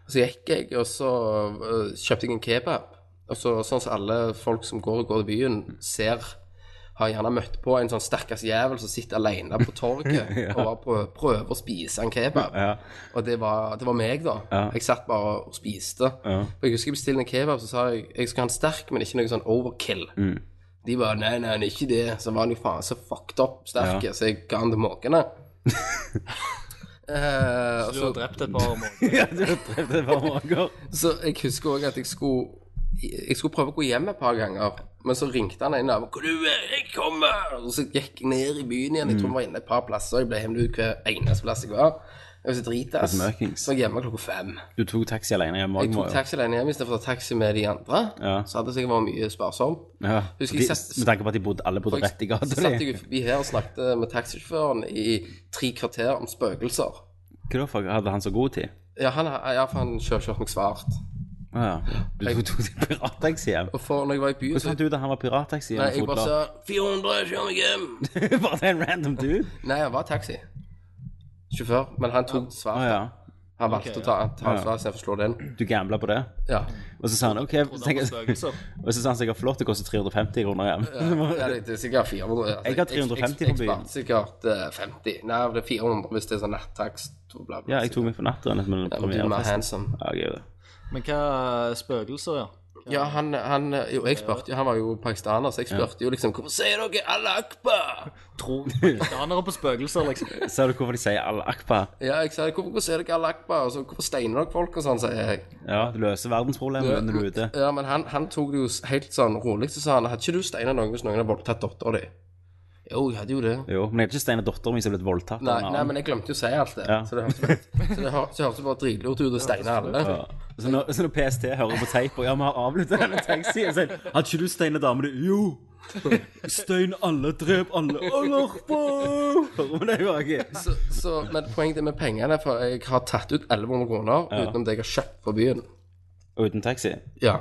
S1: Og så gikk jeg, og så eh, øh, kjøpte jeg en kebab. altså, Sånn som alle folk som går og går i byen, ser Har gjerne møtt på en sånn stakkars jævel som sitter alene på torget og bare prø- prøver å spise en kebab.
S4: Ja.
S1: Og det var, det var meg, da.
S4: Ja.
S1: Jeg satt bare og spiste.
S4: Ja.
S1: Og jeg husker jeg bestilte en kebab, så sa jeg jeg skal ha en sterk, men ikke noe sånn overkill.
S4: Mm.
S1: De bare nei, nei, det er ikke det. Så var han jo faen så fucked up sterk,
S4: Ja.
S1: så jeg ga han til måkene. Eh, og
S5: Du
S1: så-
S5: har drept et par måneder.
S4: ja, du drev det hver morgen.
S1: så jeg husker også at jeg skulle Jeg skulle prøve å gå hjem et par ganger, men så ringte han en av 'Hvor du er? Jeg kommer!' Og så gikk jeg ned i byen igjen. Jeg tror
S4: Mm.
S1: vi var inne et par plasser. Jeg ble hentet ut hver eneste plass jeg var. Jeg var så dritass.
S4: Det er mørkings.
S1: Så var jeg hjemme klokka fem.
S4: Du tok taxi alene hjem
S1: Jeg
S4: òg,
S1: tok taxi alene hjem istedenfor å ta taxi med de andre.
S4: Ja.
S1: Så hadde det sikkert vært mye sparsomt.
S4: Ja.
S1: Husker
S4: Fordi,
S1: jeg satt-
S4: med tanke på at de bodde, alle bodde rett i
S1: Så
S4: gata.
S1: satt jeg
S4: de.
S1: jo forbi her og snakket med taxisjåføren i tre kvarter om spøkelser.
S4: Hva da, fuck? Hadde han så god tid?
S1: Ja, han, ja, for han kjørte meg svart.
S4: Å Ja. Du tok, tok deg pirattaxi hjem?
S1: Og for når jeg var i byen,
S4: Hvordan
S1: så
S4: fant du ut at han var pirattaxi?
S1: Nei, jeg bare sa 400, kjør meg hjem!
S4: Var det en random dude?
S1: Nei, han var taxi. Sjåfør. Men han tok
S4: Å
S1: svart.
S4: ja.
S1: Han valgte å ta, ta
S4: Ja.
S1: svart istedenfor å slå det inn.
S4: Du gambla på det?
S1: Ja.
S4: Og så sa han OK,
S5: Og da
S4: tenk,
S5: var spøkelser.
S4: og så sa han sikkert flott, det koster 350 kroner hjem.
S1: ja det, det er sikkert 400. Altså,
S4: Jeg har 350
S1: jeg-
S4: på byen.
S1: Jeg sparte sikkert eh, 50. Nei, det er 400 hvis det er sånn nettax. og bla, bla,
S4: Ja, jeg tok meg på natteren etter min
S1: Ja, men du er mer
S4: premierefest.
S1: handsome.
S4: Ja, jeg gjør det.
S5: Men hva eh, spøkelser, ja?
S1: Ja, han, han Jo, jeg spurte jo Han var jo pakistaner, så jeg spurte jo liksom Hvorfor sier dere Allah akbar?
S5: Tror pakistanere på spøkelser, liksom.
S4: Ser du hvorfor de sier al-akba?
S1: Ja, jeg sa hvorfor, hvorfor sier dere Allah akbar? Og så, hvorfor steiner dere folk og sånn, sier jeg.
S4: Ja, det løser verdensproblemet når du er ute.
S1: Ja, men han, han tok det jo s- helt sånn rolig, så sa han Hadde ikke du steina noen hvis noen hadde voldtatt dattera di? Jo, jeg hadde jo det.
S4: Jo, men jeg hadde ikke steina datteren min som ble voldtatt av
S1: Nei,
S4: en
S1: nei,
S4: annen.
S1: men jeg glemte jo å si alt det.
S4: Ja.
S1: Så det hørtes bare, så det hør, så hørtes bare dritlort ut å steine alle.
S4: Ja. Så når, så når PST hører på teip og ja, vi har avlyttet denne taxien, så sier de, Hadde ikke du steina damen din? Jo! Stein alle, drep alle. Alarpa! Hører vi det, Joakim?
S1: Så, så, men poenget er med pengene, for jeg har tatt ut 1100 kroner utenom det jeg har kjøpt på byen.
S4: Og uten taxi?
S1: Ja.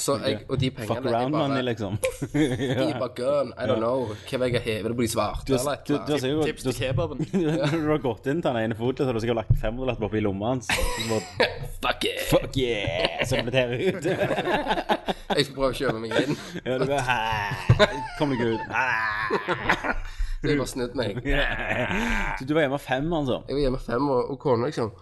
S1: Så jeg, og de
S4: Fuck
S1: pengene jeg
S4: around, money,
S1: bare,
S4: liksom.
S1: de bare gun, I don't know. Hva vil jeg heve det på de svarte?
S4: Du,
S1: eller
S4: har-
S1: et
S4: du,
S1: eller
S4: du
S1: annet?
S4: har sikkert
S5: Tips til
S4: du-
S5: kebaben.
S4: Når du har gått inn til den ene foten, så har du sikkert lagt en 500-lapp oppi lomma hans. Så bare,
S1: Fuck it!
S4: Fuck yeah! Så er det blitt her ute.
S1: Jeg skal prøve å kjøpe meg inn.
S4: Ja, du bare «Hæ?» Kom deg ut.
S1: Så jeg bare snudd meg.
S4: Så du var hjemme fem, altså?
S1: Jeg var hjemme fem, og, og kona liksom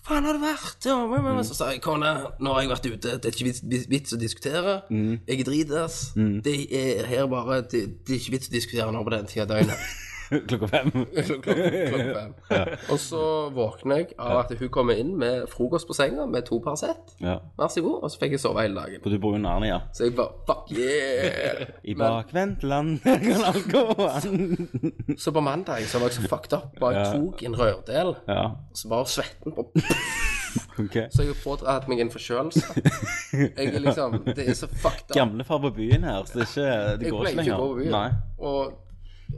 S1: Hva faen har det vært? Ja, men, men,
S4: Mm.
S1: Så sa jeg, kona, nå har jeg vært ute, det er ikke vits, vits- vits å diskutere.
S4: Mm.
S1: Jeg er dritass. Det er her bare det, det er ikke vits å diskutere nå på den tida av døgnet.
S4: Klokka fem?
S1: Klok- klok- klokka fem. Og så våkner jeg av at hun kommer inn med frokost på senga med to Paracet.
S4: Ja.
S1: Vær så god. Og så fikk jeg sove hele dagen.
S4: For du bor jo i Narnia.
S1: Så jeg bare fuck yeah.
S4: I bakvendtland kan alt gå an.
S1: Så på mandag så var jeg så fucked up. Bare jeg tok en rørdel,
S4: Ja,
S1: så bare svetten på
S4: ok.
S1: Så jeg har pådratt meg en forkjølelse. Jeg er liksom Det er så fucked up.
S4: Gamlefar på byen her, så det, er ikke, det
S1: Jeg
S4: går
S1: pleier
S4: ikke
S1: ikke å gå over
S4: lenger.
S1: byen.
S4: Nei.
S1: Og,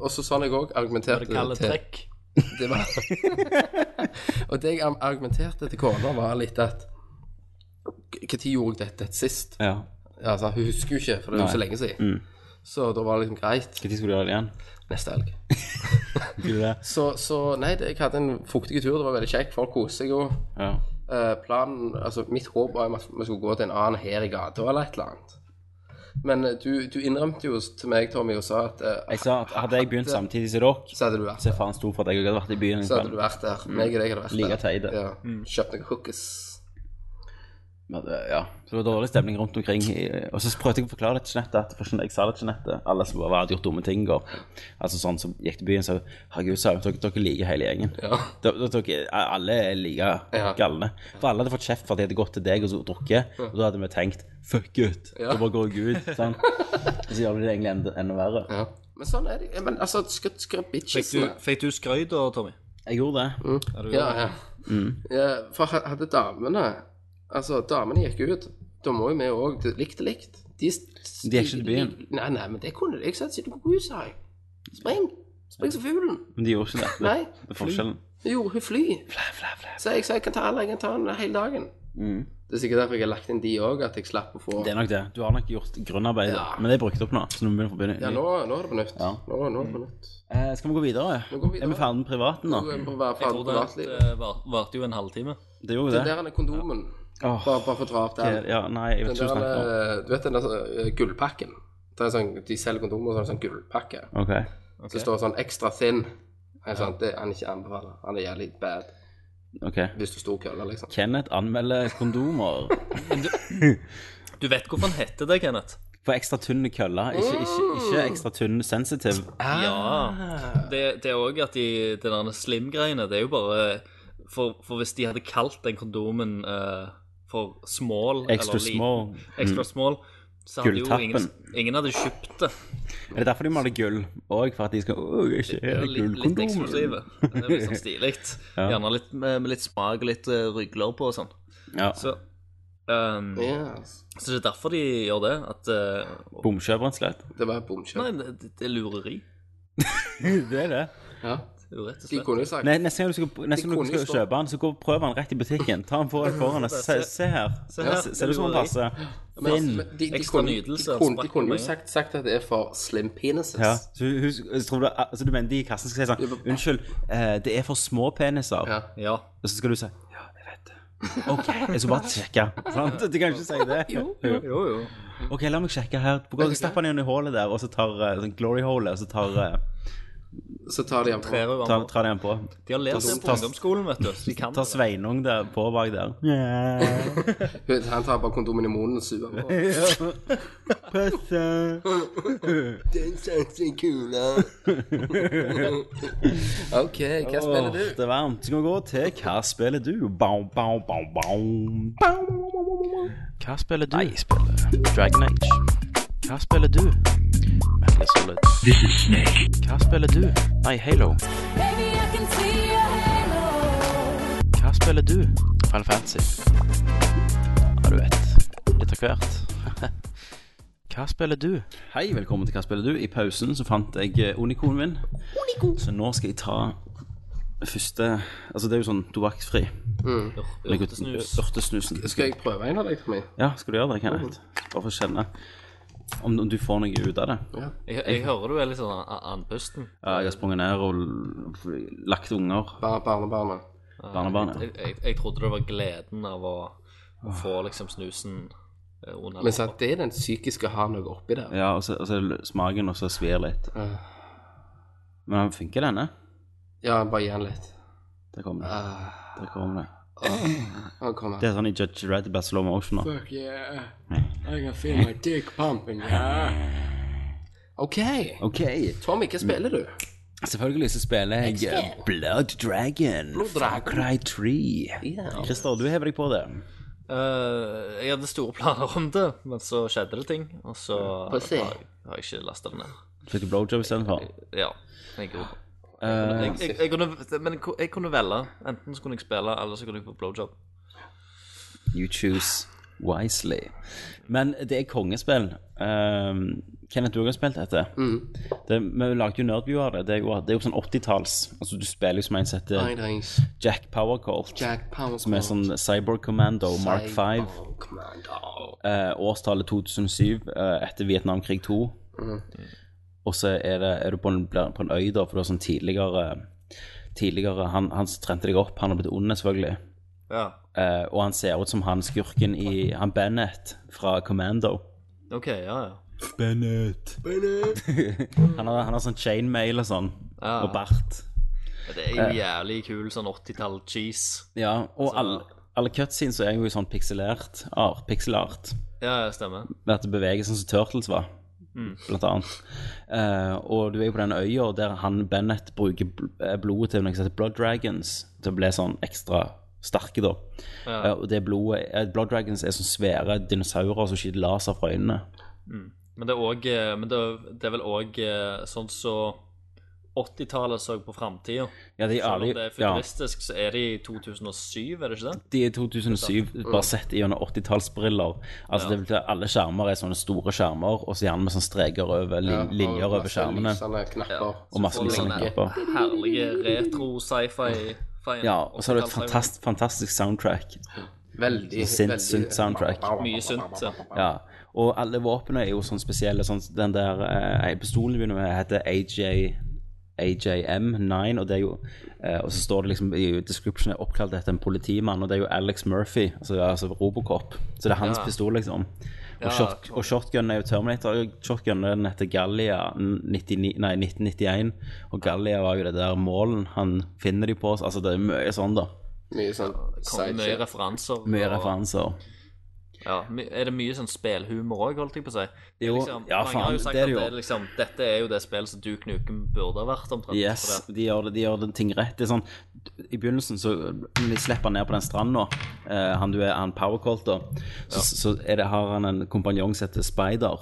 S1: og så sånn jeg òg argumenterte
S5: Det kalles
S1: til-
S5: trekk.
S1: det var, Og det jeg argumenterte til kona, var litt at Når gjorde jeg dette sist?
S4: Ja.
S1: Altså, hun husker jo ikke, for det er jo så lenge siden. Så da var det liksom greit.
S4: Når skulle du gjøre det igjen?
S1: Neste helg.
S4: Skulle du det?
S1: Så, så nei, det, jeg hadde en fuktig tur. Det var veldig kjekt. Folk koser seg jo.
S4: Ja.
S1: Eh, planen, altså Mitt håp var jo at vi skulle gå til en annen her i gata eller et eller annet. Men eh, du, du innrømte jo til meg, Tommy, og sa at eh, "Ah,
S4: Jeg sa at hadde jeg begynt samtidig som dere,
S1: Så hadde du vært
S4: så er
S1: der.
S4: faen stor for at jeg også hadde vært i byen. en
S1: Så hadde
S4: kveld.
S1: du vært der. Meg og deg hadde vært
S4: Mm. Like
S1: der.
S4: teide.
S1: Ja.
S5: Mm.
S1: Kjøpt noen hookers.
S4: Men, eh, ja. Så det var dårlig stemning rundt omkring. i- Og så prøvde jeg å forklare det til Jeanette. At, for jeg sa det til Jeanette. Alle som bare hadde gjort dumme ting. Og, altså sånn som gikk til byen, så herregud, sa hun, dere, dere liker hele gjengen.
S1: Ja.
S4: Dere, dere, alle er like
S1: Ja.
S4: galne. For alle hadde fått kjeft for at de hadde gått til deg og så drukket. Og da hadde vi tenkt fuck it.
S1: Ja.
S4: Da bare går jeg ut. Sånn. Så gjør vi det egentlig enda, enda verre.
S1: Ja. Men sånn er det. Ja, Men altså, skutt skrutt
S5: Fikk
S1: bitches.
S5: du, fikk du skrøy da, Tommy?
S4: Jeg gjorde det.
S1: Mm. Ja, ja.
S4: Mm.
S1: ja. For ha- hadde damene Altså, damene gikk ut. Da må jo vi òg Likt er likt. De, s-
S4: De gikk ikke til byen.
S1: de- Nei, nei, men det kunne de. Jeg satt siden på huset, sa jeg. Spring. Spring som fuglen.
S4: Men de gjorde ikke det.
S1: Nei.
S4: Det er forskjellen.
S1: Jo, hun fly. Så jeg sa jeg kan ta alle, jeg kan ta den hele dagen. Det er sikkert derfor jeg har lagt inn de òg, at jeg slapp å få
S4: Mm. Det er nok det. Du har nok gjort grunnarbeid,
S1: Ja.
S4: men det er brukt opp nå. Så nå må vi begynne å begynne.
S1: Ja, nå, nå er det på nytt.
S4: Ja.
S1: Nå, nå er det på nytt.
S4: Eh, skal vi gå videre?
S1: Vi går videre.
S4: Er vi ferdig med privaten nå?
S1: Du er på hver
S5: Jeg
S1: faen
S5: tror det
S1: privatliv.
S5: eh, var- varte jo en halvtime.
S4: Det gjorde
S1: Det
S4: det.
S1: der er kondomen.
S4: Åh,
S1: Bare, bare for å dra opp den.
S4: ja, nei, jeg vet
S1: Den
S4: ikke hva du snakker om.
S1: der, eh, du vet den der eh, gullpakken? Det er sånn, de selger kondomer og sånn, sånn gullpakke.
S4: Ok.
S1: Så det står sånn ekstra thin. En sånn, det han ikke anbefaler. Han er jævlig bad
S4: ok.
S1: hvis du står køller, liksom.
S4: Kenneth anmelder kondomer
S5: Du vet hvorfor han heter det, Kenneth?
S4: på ekstra tynn kølle. Ikke, ikke, ikke
S5: Mm.
S4: ekstra tynn sensitiv.
S5: Ja. Det, det er òg at de, det der slim-greiene, det er jo bare for, for hvis de hadde kalt den kondomen eh, for small
S4: Extra
S5: eller liten-
S4: small. Mm.
S5: Extra small så hadde jo ingen,
S4: Gulltappen.
S5: ingen hadde kjøpt det.
S4: Er det derfor de maler gull? Og for at de skal Åh, jeg ikke
S5: Det er
S4: er
S5: jo litt, litt eksklusive.
S4: gullkondomer.
S5: Det er liksom stilig. Gjerne litt med, med litt smak og litt eh, rygler på og sånn.
S4: Ja.
S5: Så, ehm,
S1: Yes.
S5: så det er derfor de gjør det. At eh,
S4: Bomkjøp, rett og slett.
S1: Det var et bomkjøp.
S5: Nei, det, det er lureri.
S4: Det er det.
S1: Ja.
S5: Det er jo Rett og
S1: De
S5: slett.
S1: kunne jo sagt
S4: Nei, neste gang du skal, neste gang
S1: kunne
S4: du skal
S1: stå-
S4: kjøpe den, så gå og prøv den rett i butikken. Ta den på deg foran deg. Se, se her.
S5: Se her.
S4: Se- Ser du sånn som den passer?
S1: Men- altså,
S4: Thin. altså,
S1: men de, de
S5: Ekstra
S1: kunne,
S5: nydelse,
S1: De kunne, de
S5: sparker
S1: kunne jo
S5: meg.
S1: sagt, sagt at det er for slim penises.
S4: Ja. Så hun- hun- så tror du, altså, du mener de i kassen skal si sånn Unnskyld, eh, det er for små peniser.
S1: Ja.
S5: Ja.
S4: Og så skal du si Ja, jeg vet det. OK, jeg skal bare sjekke. Sant? Du kan jo ikke si det.
S5: Jo, jo.
S4: OK, la meg sjekke her. Stapp den inn i hullet der, og så tar eh, sånn glory hole, og så tar, eh,
S1: Så tar de ham på.
S5: Trer jo
S4: tar,
S5: hverandre.
S4: tar de den på.
S5: De har lært det på
S4: Ta-
S5: ungdomsskolen, vet du. Så de kan
S4: Tar
S5: det.
S4: Sveinung der på bak der.
S1: Hun- Han tar bare kondomen i munnen og suger på.
S4: Pøsse.
S1: Den satser kula. OK, hva spiller
S4: Åh,
S1: du?
S4: Det er varmt. Skal vi gå til Hva spiller du? Bau, bau, bau, bau. Bau, bau, bau, bau, bau.
S6: Hva spiller du? Jeg spiller Dragon Age. Hva spiller du? Metal Gear Solid. This is Snake. Hva spiller du? Nei, Halo.
S7: Baby, I can see your halo.
S6: Hva spiller du? Final Fantasy. Ja, du vet. Litt av hvert. Hva spiller du?
S4: Hei, velkommen til Hva spiller du? I pausen så fant jeg eh, unikonen min. Så nå skal jeg ta første Altså, det er jo sånn tobakksfri.
S5: Urtesnus.
S4: Ørtesnusen.
S1: Skal jeg prøve en av deg, Tommy?
S4: Ja, skal du gjøre det, Kenneth? Bare for å kjenne om om du får noe ut av det.
S5: Jeg, jeg hører du er litt sånn a- andpusten.
S4: Ja, jeg har sprunget ned og l- lagt unger.
S1: Bar barnebarnet.
S4: Barnebarn. ja.
S5: Jeg, jeg, jeg trodde det var gleden av å å få liksom snusen eh, under
S1: Men sant, det er den psykiske har noe oppi der.
S4: Ja, og så, og så er det smaken, og så svir litt.
S1: Ja.
S4: Men den funker, denne.
S1: Ja, bare gi han litt.
S4: Der kom det.
S1: Ah,
S4: Der kom det.
S1: han kommer.
S4: Det er sånn i Judge Red, bare slow motion. nå.
S1: Fuck yeah. I can feel my dick pumping, yeah. OK.
S4: OK.
S1: Tommy, hva spiller du?
S4: Mm. Selvfølgelig så spiller jeg eh, Blood Dragon.
S1: Blood
S4: Far
S1: Dragon.
S4: Cry 3.
S1: Yeah.
S4: Christer, du hever deg på det.
S5: Eh, Jeg hadde store planer om det, men så skjedde det ting, og så
S1: Få se.
S5: har jeg, har jeg ikke lasta det ned.
S4: Fikk du blowjob istedenfor?
S5: Ja. Jeg gjorde det.
S4: Uh,
S5: jeg, jeg, jeg kunne, men jeg, ku- jeg kunne velge. Enten så kunne jeg spille, eller så kunne jeg få blowjob.
S4: you choose wisely. Men det er kongespill. Um, Kenneth, du har spilt dette.
S1: Mm.
S4: Det, vi lagde jo nerdview av det. Det er jo, det er jo sånn 80-talls. Altså, du spiller jo som en som heter
S1: Tidings.
S4: Jack Powercolt.
S1: Jack Power.
S4: Som er sånn Cyborg Commando Mark 5.
S1: Oh, commando.
S4: Eh, årstallet 2007 eh, etter Vietnamkrig 2.
S1: Mm.
S4: Og så er, det, er du på en, blir på en øy, da, for du har sånn tidligere Tidligere, Han, han som trente deg opp, han har blitt ond, selvfølgelig.
S5: Ja.
S4: Eh, og han ser ut som han skurken i Han Bennett fra Commando.
S5: OK, ja, ja.
S4: Bennett. han, har, han har sånn chainmail og sånn.
S5: Ja.
S4: Og bart.
S5: Det er
S4: Eh.
S5: jo jævlig kul sånn 80-tall-cheese.
S4: Ja, og alle, alle cutscenes er jo i sånn pikselert art. Pikselart.
S5: Ja, ja, stemmer.
S4: med at det beveger seg som Turtles var, blant annet. Eh, og du er jo på den øya der han Bennett bruker bl eh, blodet til noe som heter Blood Dragons, til å bli sånn ekstra sterke, da. Eh, og det blodet eh, Blood Dragons er sånn svære dinosaurer som skyter laser fra øynene.
S5: Men det er, også, eh, men det, er- det er vel òg sånn så 80-tallet så på framtida.
S4: Ja, de,
S5: Selv om
S4: alle-
S5: det er
S4: ja,
S5: futuristisk, så er det i 2007, er det ikke det?
S4: de er 2007, bare sett gjennom 80-tallsbriller. Altså, det vil si at alle skjermer er sånne store skjermer, og så gjerne med sånne streker over, lin linjer over skjermene.
S1: Sånne knapper.
S4: Og masse
S5: får du
S4: liksom
S5: sånne
S4: knapper.
S5: Herlige retro sci-fi.
S4: Ja, og så er det et fantast, fantastisk soundtrack.
S1: Veldig,
S4: Sint,
S1: veldig
S4: sunt Sånn soundtrack.
S5: Mye sunt. ja.
S4: Ja, og alle våpnene er jo sånn spesielle. Sånn, den der eh, pistolen vi begynner med, heter AJ AJM9, og det er jo eh, Og så står det liksom i descriptionen oppkalt etter en politimann, og det er jo Alex Murphy, altså, altså Robocop. Så det er hans
S5: Ja.
S4: pistol, liksom. Og,
S5: Ja.
S4: shot, og shotgun er jo Terminator. Shotgun er den heter Gallia 99, nei, 1991, og Gallia var jo det der målen han finner de på. Altså det er mye sånn, da.
S1: Mye sånn
S5: Kom, mye
S1: sideshit.
S5: referanser.
S4: Mye
S5: og-
S4: referanser.
S5: Ja, my- er det mye sånn spelhumor òg, holdt jeg på å si? Det er
S4: Jo,
S5: liksom,
S4: ja,
S5: mange
S4: faen,
S5: har jo sagt
S4: det er det jo.
S5: at det er liksom, dette er jo det spillet som Duke Nukem burde ha vært, omtrent.
S4: Yes,
S5: for det.
S4: de gjør, det, de gjør det ting rett. Det er sånn, I begynnelsen så når de slipper han ned på den stranda, eh, han du er han powercolt, da, så, så er det, har han en kompanjong som heter Spider.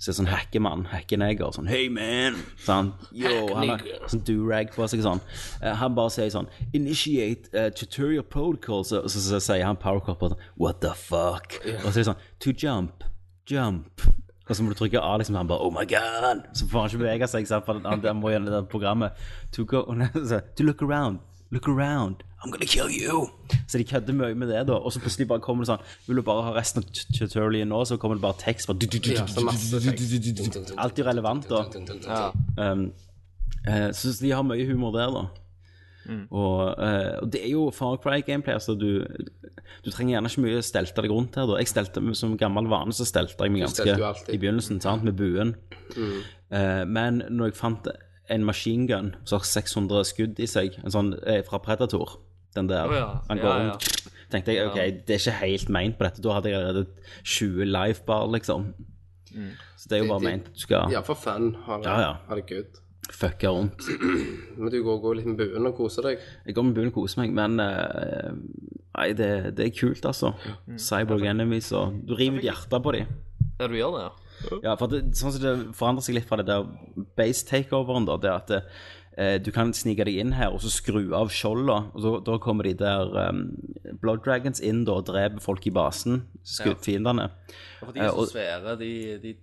S4: Så er det sånn hackemann, hackeneger, sånn Hey man! Sånn, Yo, han har sånn durag på seg sånn. Eh, han bare sier sånn Initiate eh, tutorial protocol, så, så, så, sier han powercop og sånn What the fuck? Og så er det sånn To jump, jump. Og så må du trykke A, liksom, og han bare Oh my god! Så får han ikke bevege seg, ikke sant, for han, han må gjennom det der programmet. To, go, så, to look around, look around, I'm gonna kill you! Så de kødder mye med det, da. Og så plutselig bare kommer det sånn Vil du bare ha resten av tut- tutorialen nå, så kommer det bare tekst. Bare, du, du, du,
S1: Ja, så
S4: du, du,
S1: masse tekst.
S4: alt er relevant, da. Um, eh, så de har mye humor der, da.
S5: Mm.
S4: Og, eh, og det er jo Far Cry-gameplay. Altså du, du trenger gjerne ikke mye å stelte deg rundt her. Da. Jeg stelte, meg- Som gammel vane så stelte jeg meg
S1: stelter jo alltid. Mm.
S4: ganske i begynnelsen sant, med buen. Eh, men når jeg fant en maskingun som har 600 skudd i seg, en sånn eh, fra Predator den der,
S5: Å ja,
S4: han går
S5: ja, ja.
S4: rundt tenkte jeg ok, det er ikke helt meint på dette. Da hadde jeg allerede 20 livebar, liksom.
S5: Mm.
S4: Så det er jo bare
S1: Det- det-
S4: meint du skal
S1: Ja, for fan. Ha det,
S4: Ja, ja.
S1: ha det good.
S4: fucke rundt.
S1: Men du går, går litt med buen og koser deg.
S4: Jeg går med buen og koser meg, men eh, Nei, det, det er kult, altså. Cyborg enemies og Du river ut hjertet på dem.
S5: Ja, du gjør det, ja.
S4: Ja, for det, sånn som det forandrer seg litt fra det der base takeoveren, da, det er at eh, du kan snike deg inn her og så skru av skjoldet, og så- da kommer de der eh, Blood Dragons inn da, og dreper folk i basen, sku,
S5: Ja.
S4: fiendene.
S5: For de er
S4: Eh, og-
S5: så svære, de, de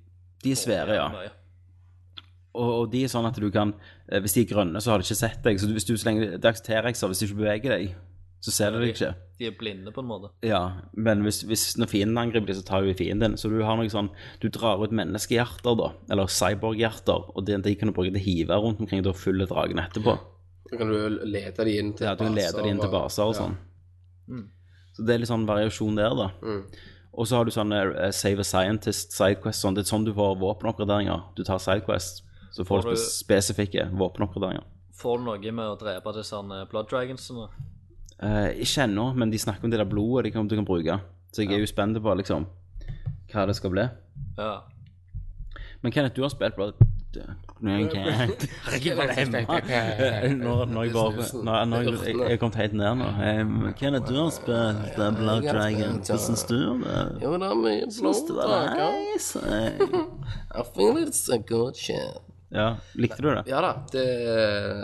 S4: De er svære, ja.
S5: Mye.
S4: Og, og de er sånn at du kan eh, Hvis de er grønne, så har de ikke sett deg. Så du, hvis du, så lenge, det aksepterer jeg, så hvis du ikke beveger deg, så ser de deg ikke.
S5: De er blinde, på en måte.
S4: Ja, men hvis, hvis når fienden angriper deg, så tar jo fienden din. Så du har noe sånn Du drar ut menneskehjerter, da. Eller cyborghjerter. Og de, de kan du bruke til å hive rundt omkring da fulle dragen etterpå.
S1: Så kan du lede de inn til
S4: Ja, du kan lede de inn til
S1: og-
S4: baser og
S1: ja.
S4: sånn. Så det er litt sånn variasjon der, da.
S1: mm.
S4: Og så har du sånne eh, Save a Scientist, Sidequest sånn. Det er sånn du får våpenoppgraderinger. Du tar Sidequest, så får
S5: Har
S4: du
S5: du-
S4: spesifikke våpenoppgraderinger.
S5: Får du noe med å drepe disse sånne Blood Dragonsene?
S4: Eh, ikke ennå, men de snakker om det der blodet de kan, du kan bruke. Så jeg er jo spent på liksom hva det skal bli.
S5: Ja.
S4: Men Kenneth, du har spilt Blood Nei, ok. Herregud, hva er det hjemme? Nå når jeg bare
S1: sånn-
S4: Nå- nå- jeg- Jeg jeg er kommet helt ned nå. Em, Kenneth, du har spilt eh, Blood Dragon. Hva syns du om det?
S1: Jo, det er mye
S4: Syns du det var
S1: bloddrager.
S4: nice?
S1: I feel it's a good shit.
S4: Ja, likte du det?
S1: Ja da, det,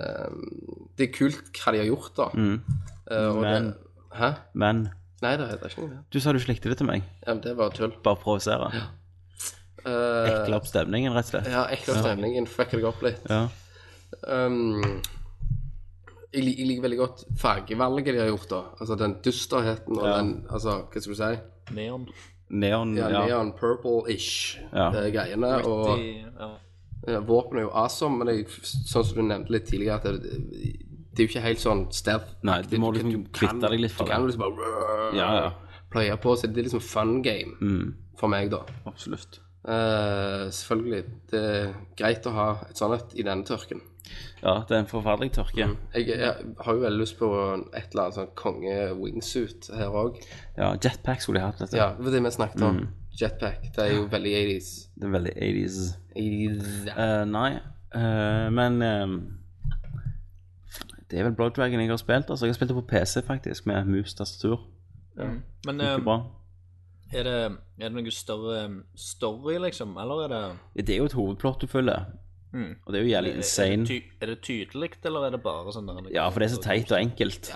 S1: det er kult hva de har gjort, da. Eh, og
S4: Men-
S1: det, Hæ?
S4: Men
S1: Nei, det er ikke noe mer.
S4: du sa du ikke likte det til meg.
S1: Ja, men det var tull.
S4: Bare provosere.
S1: Eh,
S4: Ekle opp stemningen, rett og slett.
S1: ja, ekkel stemningen. Fucka deg opp litt.
S4: Ja.
S1: Um, jeg, lik- jeg liker veldig godt fargevalget de har gjort, da. Altså den dysterheten og den Altså, hva skal du si?
S5: Neon.
S4: Neon,
S1: Ja,
S4: ja.
S1: Neon purple-ish
S4: Ja.
S1: eh, greiene. Og
S5: De, ja.
S1: ja, Eh, våpenet er jo awesome, men det, er jo sånn som du nevnte litt tidligere, at det, det er jo ikke helt sånn stev.
S4: Nei, du må liksom kvitte deg litt fra
S1: Du kan
S4: det.
S1: liksom bare
S4: Ja, Mm. ja.
S1: playe på, så det er liksom fun game for meg, da.
S4: Absolutt.
S1: Eh, selvfølgelig. Det er greit å ha et sånt et i denne tørken.
S4: Ja, det er en forferdelig tørke.
S1: Jeg, jeg har jo veldig lyst på et eller annet sånn konge-wingsuit her òg.
S4: Ja, jetpack skulle jeg hatt, dette.
S1: Ja, det var det vi snakket om.
S4: Mm.
S1: Jetpack. Det er jo veldig 80s.
S4: Det er veldig 80s.
S1: 80s.
S4: Eh, nei, eh, men eh, det er vel Blood Dragon jeg har spilt. Altså, jeg har spilt det på PC, faktisk, med mus tastatur.
S5: Men
S4: Ikke
S5: eh,
S4: bra.
S5: er, det, er det noe større eh, story, liksom? Eller er det
S4: Det er jo et hovedplott du følger,
S5: Mm.
S4: og det er jo jævlig
S5: Er det,
S4: insane.
S5: ty er det tydelig, eller er det bare sånn der
S4: Ja, for det er så teit og enkelt.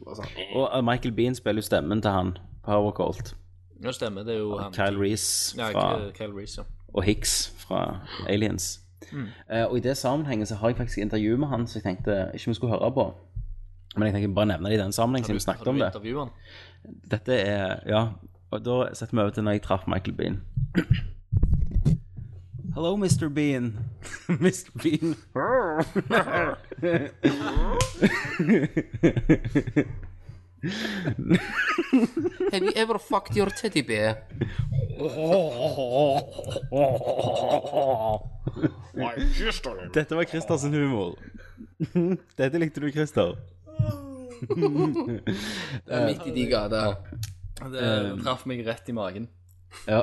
S1: Bare sånn.
S4: Og eh, Michael Bean spiller jo stemmen til han, Power Cold.
S5: Ja, stemmer, det er jo han.
S4: Kyle Reese
S5: Ja,
S4: fra,
S5: Kyle- Kyle Reese, ja.
S4: og Hicks fra Aliens.
S5: Mm.
S4: Eh, og i det sammenhengen så har jeg faktisk intervju med han som jeg tenkte ikke vi skulle høre på. Men jeg tenker bare nevne det i den sammenheng, siden vi snakket om det.
S5: Har du intervjuet han?
S4: Dette er Ja, og da setter vi over til når jeg traff Michael Bean. Hello, Mr. Bean. Mr. Bean.
S1: Have you ever fucked your teddy bear?
S4: Dette var Christers humor. Dette likte du, Christer.
S1: Det er Eh, midt i de gater.
S5: Det
S4: Um,
S5: traff meg rett i magen.
S4: Ja.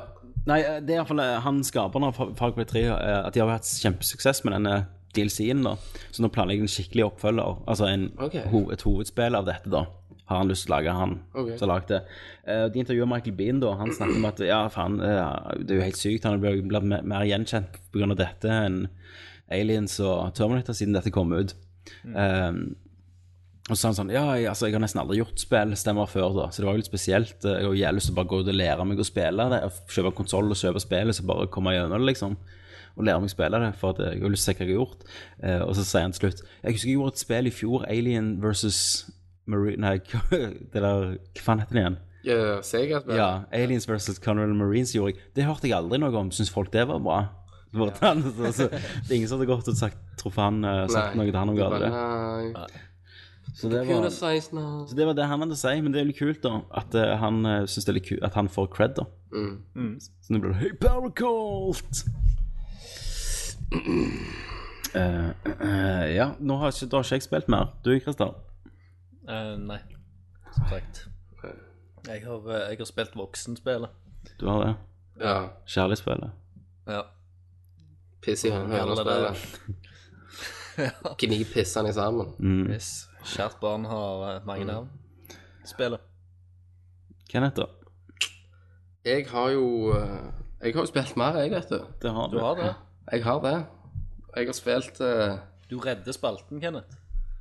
S4: Nei, eh, det er iallfall han skaperen av Far- Far Cry 3, eh, at de har hatt kjempesuksess med denne DLC-en, da. Så nå planlegger de en skikkelig oppfølger, altså en,
S1: Ok.
S4: ho et hovedspill av dette, da. Har han lyst til å lage, han
S1: Ok.
S4: som har lagd det. Eh, de intervjuet Michael Bean, da. Han snakket om at ja, faen, eh, det er jo helt sykt. Han blir blir mer- mer gjenkjent pga. dette enn Aliens og Terminator siden dette kom ut. Eh, og så sa han sånn, ja, jeg, altså, jeg har nesten aldri gjort spillstemmer før da, så det var jo litt spesielt. Eh, Jeg har jo jævlig lyst til å bare gå ut og lære meg å spille det, og kjøpe konsoll og kjøpe spillet, så bare komme gjennom det liksom, og lære meg å spille det, for at jeg har lyst til å se hva jeg har gjort. Eh, og så sier han til slutt, jeg husker jeg gjorde et spill i fjor, Alien versus Marine, nei, det der, hva faen heter det igjen?
S1: Ja, Sega-spill.
S4: Ja, Aliens versus Conrad Marines gjorde jeg. Det hørte jeg aldri noe om. Syns folk det var bra? Så bare ta den, så- så- Det er ingen som hadde gått og sagt, truffet han, eh, sagt noe til han om
S1: Det
S4: gale
S1: var-
S4: det.
S1: Nei.
S4: Så det
S1: Computer
S4: var...
S1: science now.
S4: Så det var det han hadde å si, men det er litt kult da at eh, han uh, synes det er litt kult at han får cred da.
S5: Hmm.
S4: Så nå blir det Hey Power Cult! Eh, eh, ja, nå har ikke, da har ikke jeg spilt mer. Du, Kristian?
S5: Eh, nei, som sagt. Jeg har, eh, jeg har spilt voksenspillet.
S4: Du har det.
S1: Ja.
S4: Kjærlighetsspillet.
S5: Ja.
S1: Piss i
S5: Eller
S1: hønespillet. Gni pissene sammen.
S4: Mm.
S5: Yes. Kjært barn har eh, mange
S1: Mm.
S5: navn. Spillet.
S4: Kenneth, da?
S1: Jeg har jo eh, Jeg har jo spilt mer, jeg, vet du.
S4: Det har
S5: Du har det.
S1: Jeg har det. Jeg har spilt eh,
S5: Du redder spalten, Kenneth.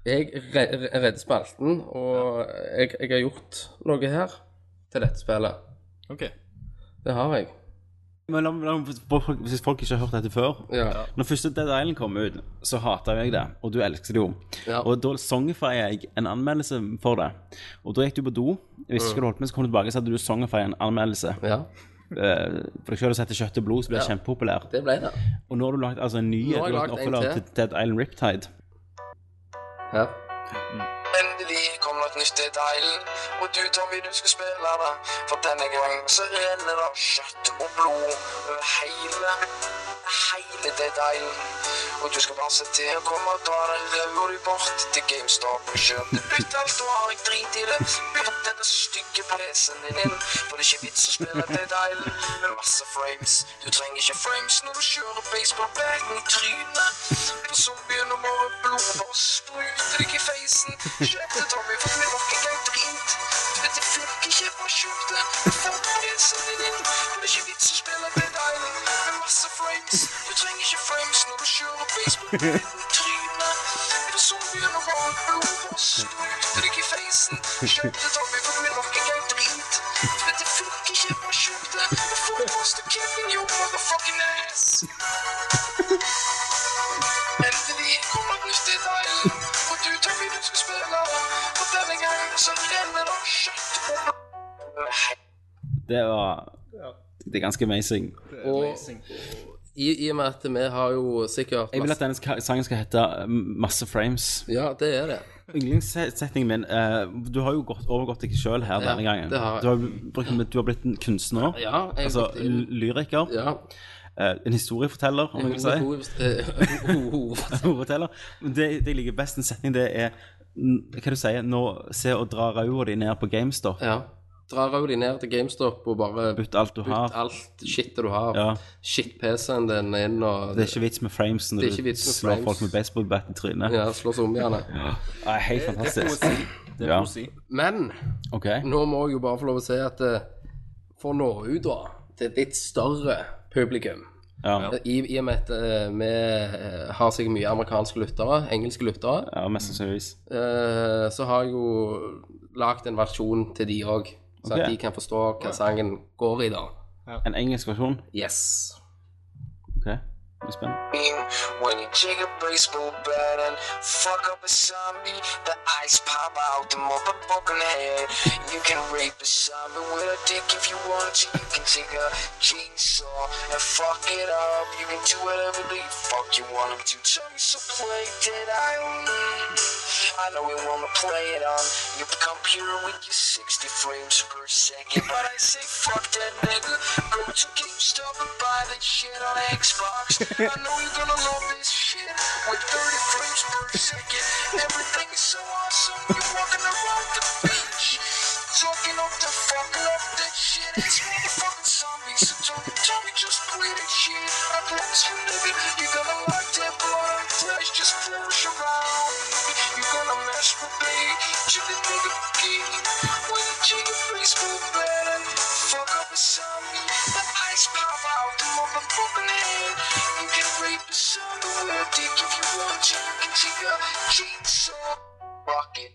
S1: Jeg re- re- redder spalten, og jeg, jeg har gjort noe her til dette spillet.
S5: OK.
S1: Det har jeg.
S4: Men la, la, hvis folk ikke har hørt dette før
S1: Ja.
S4: Når første Dead Island kom ut, så hata jeg det, og du elsket det jo.
S1: Ja.
S4: Og da songify jeg en anmeldelse for det. Og da gikk du på do,
S5: Mm.
S4: hvis ikke du holdt med, så kom du tilbake, så hadde du songify en anmeldelse.
S1: ja.
S4: Eh, For deg selv å sette kjøtt og blod, så ble det kjempepopulær.
S1: Det ble det.
S4: Og nå har du lagt altså, en ny
S1: Nå har jeg
S4: du har lagt en
S1: lagt en
S4: oppfølger
S1: til.
S4: til Dead Island Riptide.
S1: Her.
S8: Endelig kom det et nytt til deilen, og du, Tommy, du skal spille det. For denne gang så renner det kjøtt og blod over hele, hele det deilen. Og du skal bare se til å komme og dra den røver du bort til GameStop og kjøpe ut alt, og har jeg drit i det. Bytt denne stygge PC-en din inn, for det er ikke vits å spille det deilen med masse frames. Du trenger ikke frames når du kjører baseballbaten i trynet på zombien og bare blodet bare spruter deg i feisen. Kjøpte Tommy for min nok en gang drit. Du vet jeg fikk ikke hva jeg kjøpte. Du får prisen din inn. Men det er ikke vits å spille Dead Island med masse frames. Du trenger ikke frames når du kjører baseballbaten i trynet på zombien og bare blodet bare spruter deg i feisen. Kjøpte Tommy for min nok en gang drit. Du vet jeg fikk ikke hva jeg kjøpte. Du får post to kill in your motherfucking ass. Endelig kommer et nytt til deg, og du tar min ønske spiller. For denne gang så renner det kjøtt over
S4: Det var Det er ganske amazing.
S1: Og i, i og med at vi har jo sikkert
S4: Jeg vil at denne ska- sangen skal hete eh, Masse frames.
S1: Ja, det er det.
S4: Yndlingssetningen min eh, Du har jo gått, overgått deg sjøl her denne gangen.
S1: det har jeg.
S4: Du, har, brukt- du har blitt en kunstner.
S1: Ja, jeg-
S4: altså l- lyriker.
S1: Ja.
S4: eh, en historieforteller, om jeg vil si. Hovedforteller. Men det, det jeg liker best, en setning, det er mm, Hva du sier Nå se og dra ræva di ned på GameStop.
S1: ja. Drar jo de ned til GameStop og bare
S4: Bytt alt du har.
S1: bytt alt shitet du har.
S4: Ja.
S1: Shit-PC-en din inn og
S4: Det er ikke vits med frames når
S1: Det er ikke
S4: du
S1: vits med
S4: slår
S1: frames.
S4: folk med baseballbat i trynet.
S1: ja, slår zombiene.
S4: Det er helt fantastisk.
S5: Det
S4: Ja.
S5: må du si.
S1: Men
S4: Ok.
S1: nå må jeg jo bare få lov å si at eh, for å nå ut da til et litt større publikum
S4: Ja.
S1: I, I og med at eh, vi eh, har sikkert mye amerikanske lyttere, engelske lyttere,
S4: ja, mest sannsynligvis.
S1: eh, så har jeg jo lagd en versjon til de òg, så
S4: Ok.
S1: at de kan forstå hva sangen går i, da.
S4: En engelsk versjon.
S1: Yes.
S4: Ok. Jeg er spent.
S8: When you jig a baseball bat and fuck up a zombie, the eyes pop out the motherfucking head. You can rape a zombie with a dick if you want to. You can take a chainsaw and fuck it up. You can do whatever the fuck you want to. Tell me some play that I I know we wanna play it on your computer with your 60 frames per second. But I say fuck that nigga. Go to GameStop and buy that shit on Xbox. I know you're gonna love this shit with 30 frames per second. Everything is so awesome. You're walking around the beach. Talking up the fucking up that shit. It's motherfucking zombies. So don't tell me just play that shit. I promise you, nigga, you're gonna like that blood and flesh. Just flourish around. You're gonna mess with me. To the nigga key. When you take a baseball bat and fuck up a zombie. The eyes pop out the motherfucking head. You can rape a zombie with a dick if you want to. You can take a chainsaw. Fuck it.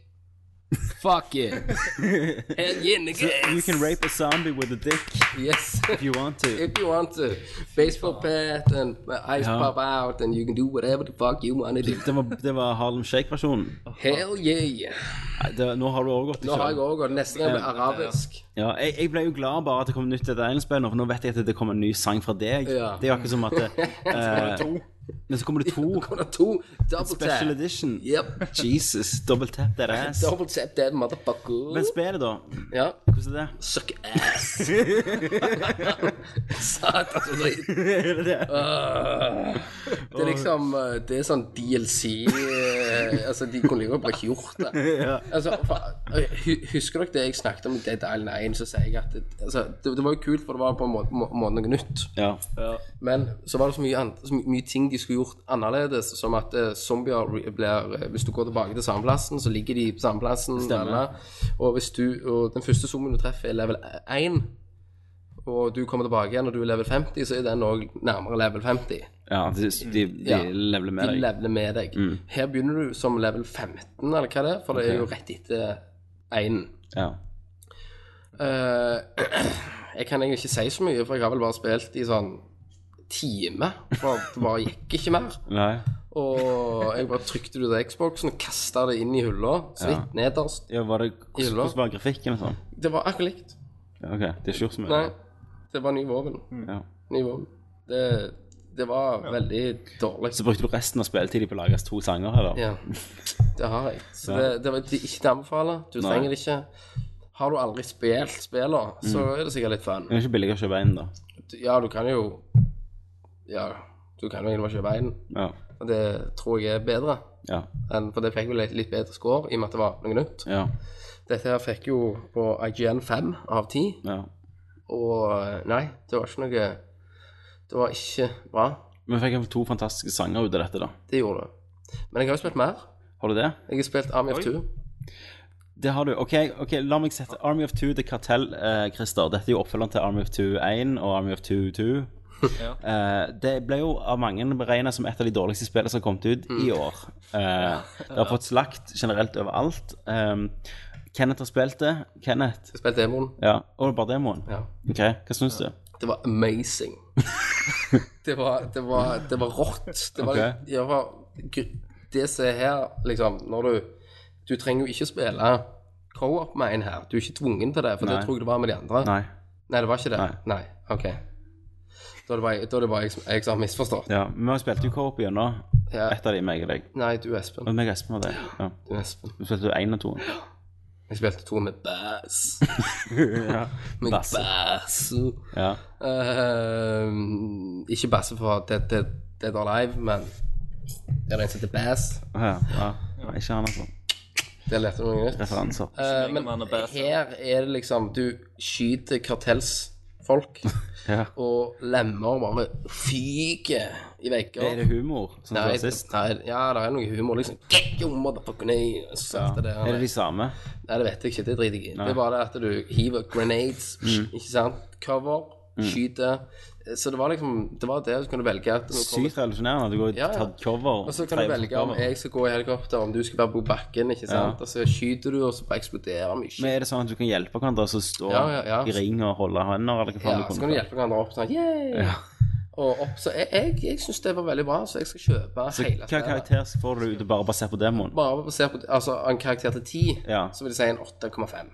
S1: Fuck yeah. Hell yeah, nigga.
S4: You can rape a zombie with a dick
S1: Yes.
S4: if you want to.
S1: If you want to. Baseball path and eyes
S4: Ja.
S1: pop out and you can do whatever the fuck you wanna do.
S4: Det var, det var Harlem Shake-versjonen.
S1: Hell yeah.
S4: Nei, det- Nå har du også gått i
S1: Nå har jeg
S4: kjøl.
S1: òg gått nesten jeg ble arabisk.
S4: Ja, jeg, jeg ble jo glad bare at det kom nytt til Island-spill nå, for nå vet jeg at det kommer en ny sang fra deg.
S1: Ja.
S4: Det er jo akkurat som at det, eh, Men så kommer det to.
S1: Kommer det to double
S4: Special
S1: tap?
S4: edition.
S1: Yep.
S4: Jesus. Double tap that ass.
S1: Double tap that motherfucker.
S4: Men spillet, da?
S1: Ja.
S4: Hvordan er det?
S1: Suck ass. Satan, så dritt. Øh. Det er liksom eh, Det er sånn DLC eh, Altså, de kunne like godt bare ikke gjort det. Altså, fa- eh, hu- Husker dere det jeg snakket om i Dead Island 1, så sier jeg at det, altså, det, det var jo kult, for det var på en måte, må, må noe nytt.
S4: Ja.
S1: Men så var det så mye, an- så my- mye ting de skulle gjort annerledes, som at eh, zombier re- blir eh, Hvis du går tilbake til samme plassen, så ligger de på samme plassen.
S4: Stemmer.
S1: alle. Og, hvis du, og den første zombien du treffer, er level 1, og du kommer tilbake igjen og du er level 50, så er den òg nærmere level 50.
S4: ja de, de, de
S1: Ja.
S4: leveler med
S1: De
S4: deg. Mm.
S1: leveler med deg. Her begynner du som level 15, eller hva det er, for det er jo rett etter 1.
S4: Ja.
S1: Eh, jeg kan egentlig ikke si så mye, for jeg har vel bare spilt i sånn time. For det bare gikk ikke mer.
S4: Nei.
S1: Og jeg bare trykte det ut av Xboxen og kasta det inn i hylla. Så vidt nederst.
S4: Ja, var det, hvordan,
S1: Ille.
S4: hvordan var grafikken og sånn?
S1: Det var akkurat likt.
S4: Ja, ok, det er ikke gjort så mye.
S1: Nei, det var ny våpen.
S4: Ja.
S1: Ny våpen. Det, det var veldig dårlig.
S4: Så brukte du resten av spilletiden på å lage to sanger, eller?
S1: Ja, det har jeg. Så det, det var ikke til å anbefale. Du
S4: Nei.
S1: trenger det ikke. Har du aldri spilt spillene,
S4: Mm.
S1: så er det sikkert litt fun.
S4: Det er ikke billig å kjøpe inn, da.
S1: Ja, du kan jo Ja, du kan jo egentlig bare kjøpe en.
S4: Ja.
S1: Og det tror jeg er bedre.
S4: Ja.
S1: enn- For det fikk vel et litt bedre score i og med at det var noe nytt.
S4: Ja.
S1: Dette her fikk jo på IGN 5 av 10,
S4: ja.
S1: og eh, nei, det var ikke noe Det var ikke bra.
S4: Men fikk jeg to fantastiske sanger ut av dette, da.
S1: Det gjorde det. Men jeg har jo spilt mer.
S4: Har du det?
S1: Jeg har spilt Army of Two.
S4: Det har du. OK, ok, la meg sette Army of Two til kartell, eh, Christer. Dette er jo oppfølgeren til Army of Two 1 og Army of Two 2. Eh, det ble jo av mange beregna som et av de dårligste spillene som har kommet ut
S1: Mm.
S4: i år. Eh, det har fått slakt generelt overalt. Um, Kenneth har spilt det. Kenneth.
S1: Jeg har spilt demoen.
S4: Ja. Og bare demoen.
S1: Ja.
S4: OK, hva syns du?
S1: Det var amazing. det, var, det, var, det var rått. Det var,
S4: Ok.
S1: det var gr- Det som er her, liksom, når du Du trenger jo ikke spille co-op med en her. Du er ikke tvungen til det, for
S4: Nei.
S1: det tror jeg det var med de andre.
S4: Nei.
S1: Nei, det var ikke det.
S4: Nei.
S1: Nei, OK. Da er det bare, da er det bare jeg, som- jeg som har misforstått.
S4: Ja, men vi har spilt jo co-op gjennom
S1: Ja.
S4: ett av de, meg og deg.
S1: Nei, du Espen.
S4: Og meg og Espen var det. Ja.
S1: Du Espen.
S4: Vi spilte jo én og to.
S1: Jeg spilte to med bass.
S4: ja.
S1: Med
S4: Basse.
S1: bass.
S4: ja.
S1: Ehm, ikke basse for Dead, Dead, Dead or Alive, men det er den som heter Bass.
S4: Ja, ja. ja. Ikke han, altså.
S1: Det lærte du noe nytt.
S4: Referanser.
S1: Eh,
S5: Ikke
S1: men
S5: lenger med bass.
S1: her er det liksom Du skyter kartellsfolk,
S4: Ja.
S1: og lemmer bare fyker i
S4: Er
S1: vegger.
S4: det humor, som du
S1: Nei,
S4: var sist?
S1: nei, ja, det er noe humor, liksom. Get your motherfucking ass,
S4: Ja.
S1: alt det der.
S4: Er det de samme?
S1: Nei, det vet jeg ikke. Det driter jeg i.
S4: Nei. Mm.
S1: Det er bare det at du hiver grenades, ikke sant. Cover, skyter. Så det var liksom Det var det. Så kan du velge at nå kommer-
S4: Sykt revolusjonerende. Du går og
S1: Ja, ja.
S4: tar cover.
S1: Og så kan du velge om jeg skal gå i helikopter, om du skal være på bakken, ikke sant. Og så skyter du, og så bare eksploderer mye.
S4: Men er det sånn at du kan hjelpe hverandre, altså stå
S1: Ja, ja, ja.
S4: i ring og holde hender, eller hva faen
S1: Ja,
S4: du
S1: så kan du hjelpe hverandre opp sånn. Yeah! og opp. Så jeg, jeg, jeg syns det var veldig bra, så jeg skal kjøpe
S4: Så
S1: hele
S4: hva karakter får du ut bare basert på demoen?
S1: Bare basert på altså, en karakter til 10,
S4: Ja.
S1: så vil jeg si en 8,5.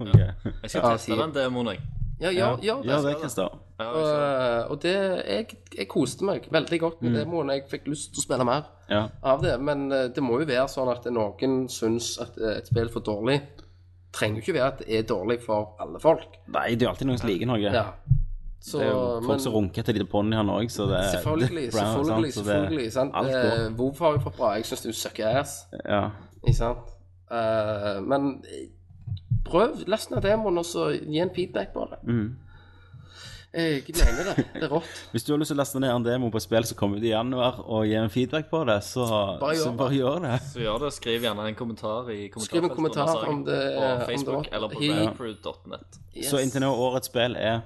S4: Ok.
S5: Jeg skal
S1: Ja,
S5: teste
S1: sier-
S5: den demoen, jeg.
S1: Ja, ja, ja,
S4: Ja, det
S1: skal
S4: kan stå.
S5: Ja, jeg skal-
S1: eh, Og, og det jeg, jeg koste meg veldig godt med
S4: Mm.
S1: demoen. Jeg fikk lyst til å spille mer
S4: Ja.
S1: av det. Men eh, det må jo være sånn at noen syns at eh, et spill er for dårlig. Trenger jo ikke være at det er dårlig for alle folk.
S4: Nei, det er jo alltid noen som liker noe.
S1: Ja. Så,
S4: det er jo folk
S1: men-
S4: som runker til de ponniene òg, så det er
S1: Selvfølgelig,
S4: det- brown,
S1: selvfølgelig.
S4: sant, så det-
S1: selvfølgelig sant?
S4: Alt går.
S1: Eh, Vov har jo fått bra. Jeg syns du sucker ass.
S4: Ja.
S1: Ikke sant? Eh, men eh, prøv. Last ned demoen, og så gi en feedback på det.
S4: Mm.
S1: Jeg mener det. Det er rått.
S4: Hvis du har lyst til å laste ned en demo på spill som kommer ut i januar, og gi en feedback på det, så
S1: Bare gjør
S4: så
S1: det.
S4: bare gjør det.
S5: Så gjør det. Skriv gjerne en kommentar i kommentarfeltet.
S1: Skriv en kommentar
S5: under saken
S1: om det- om
S5: På
S1: det
S5: Facebook
S1: var-
S5: eller på
S1: Ja.
S5: radcrew.net.
S1: Yes.
S4: Så inntil nå årets spill er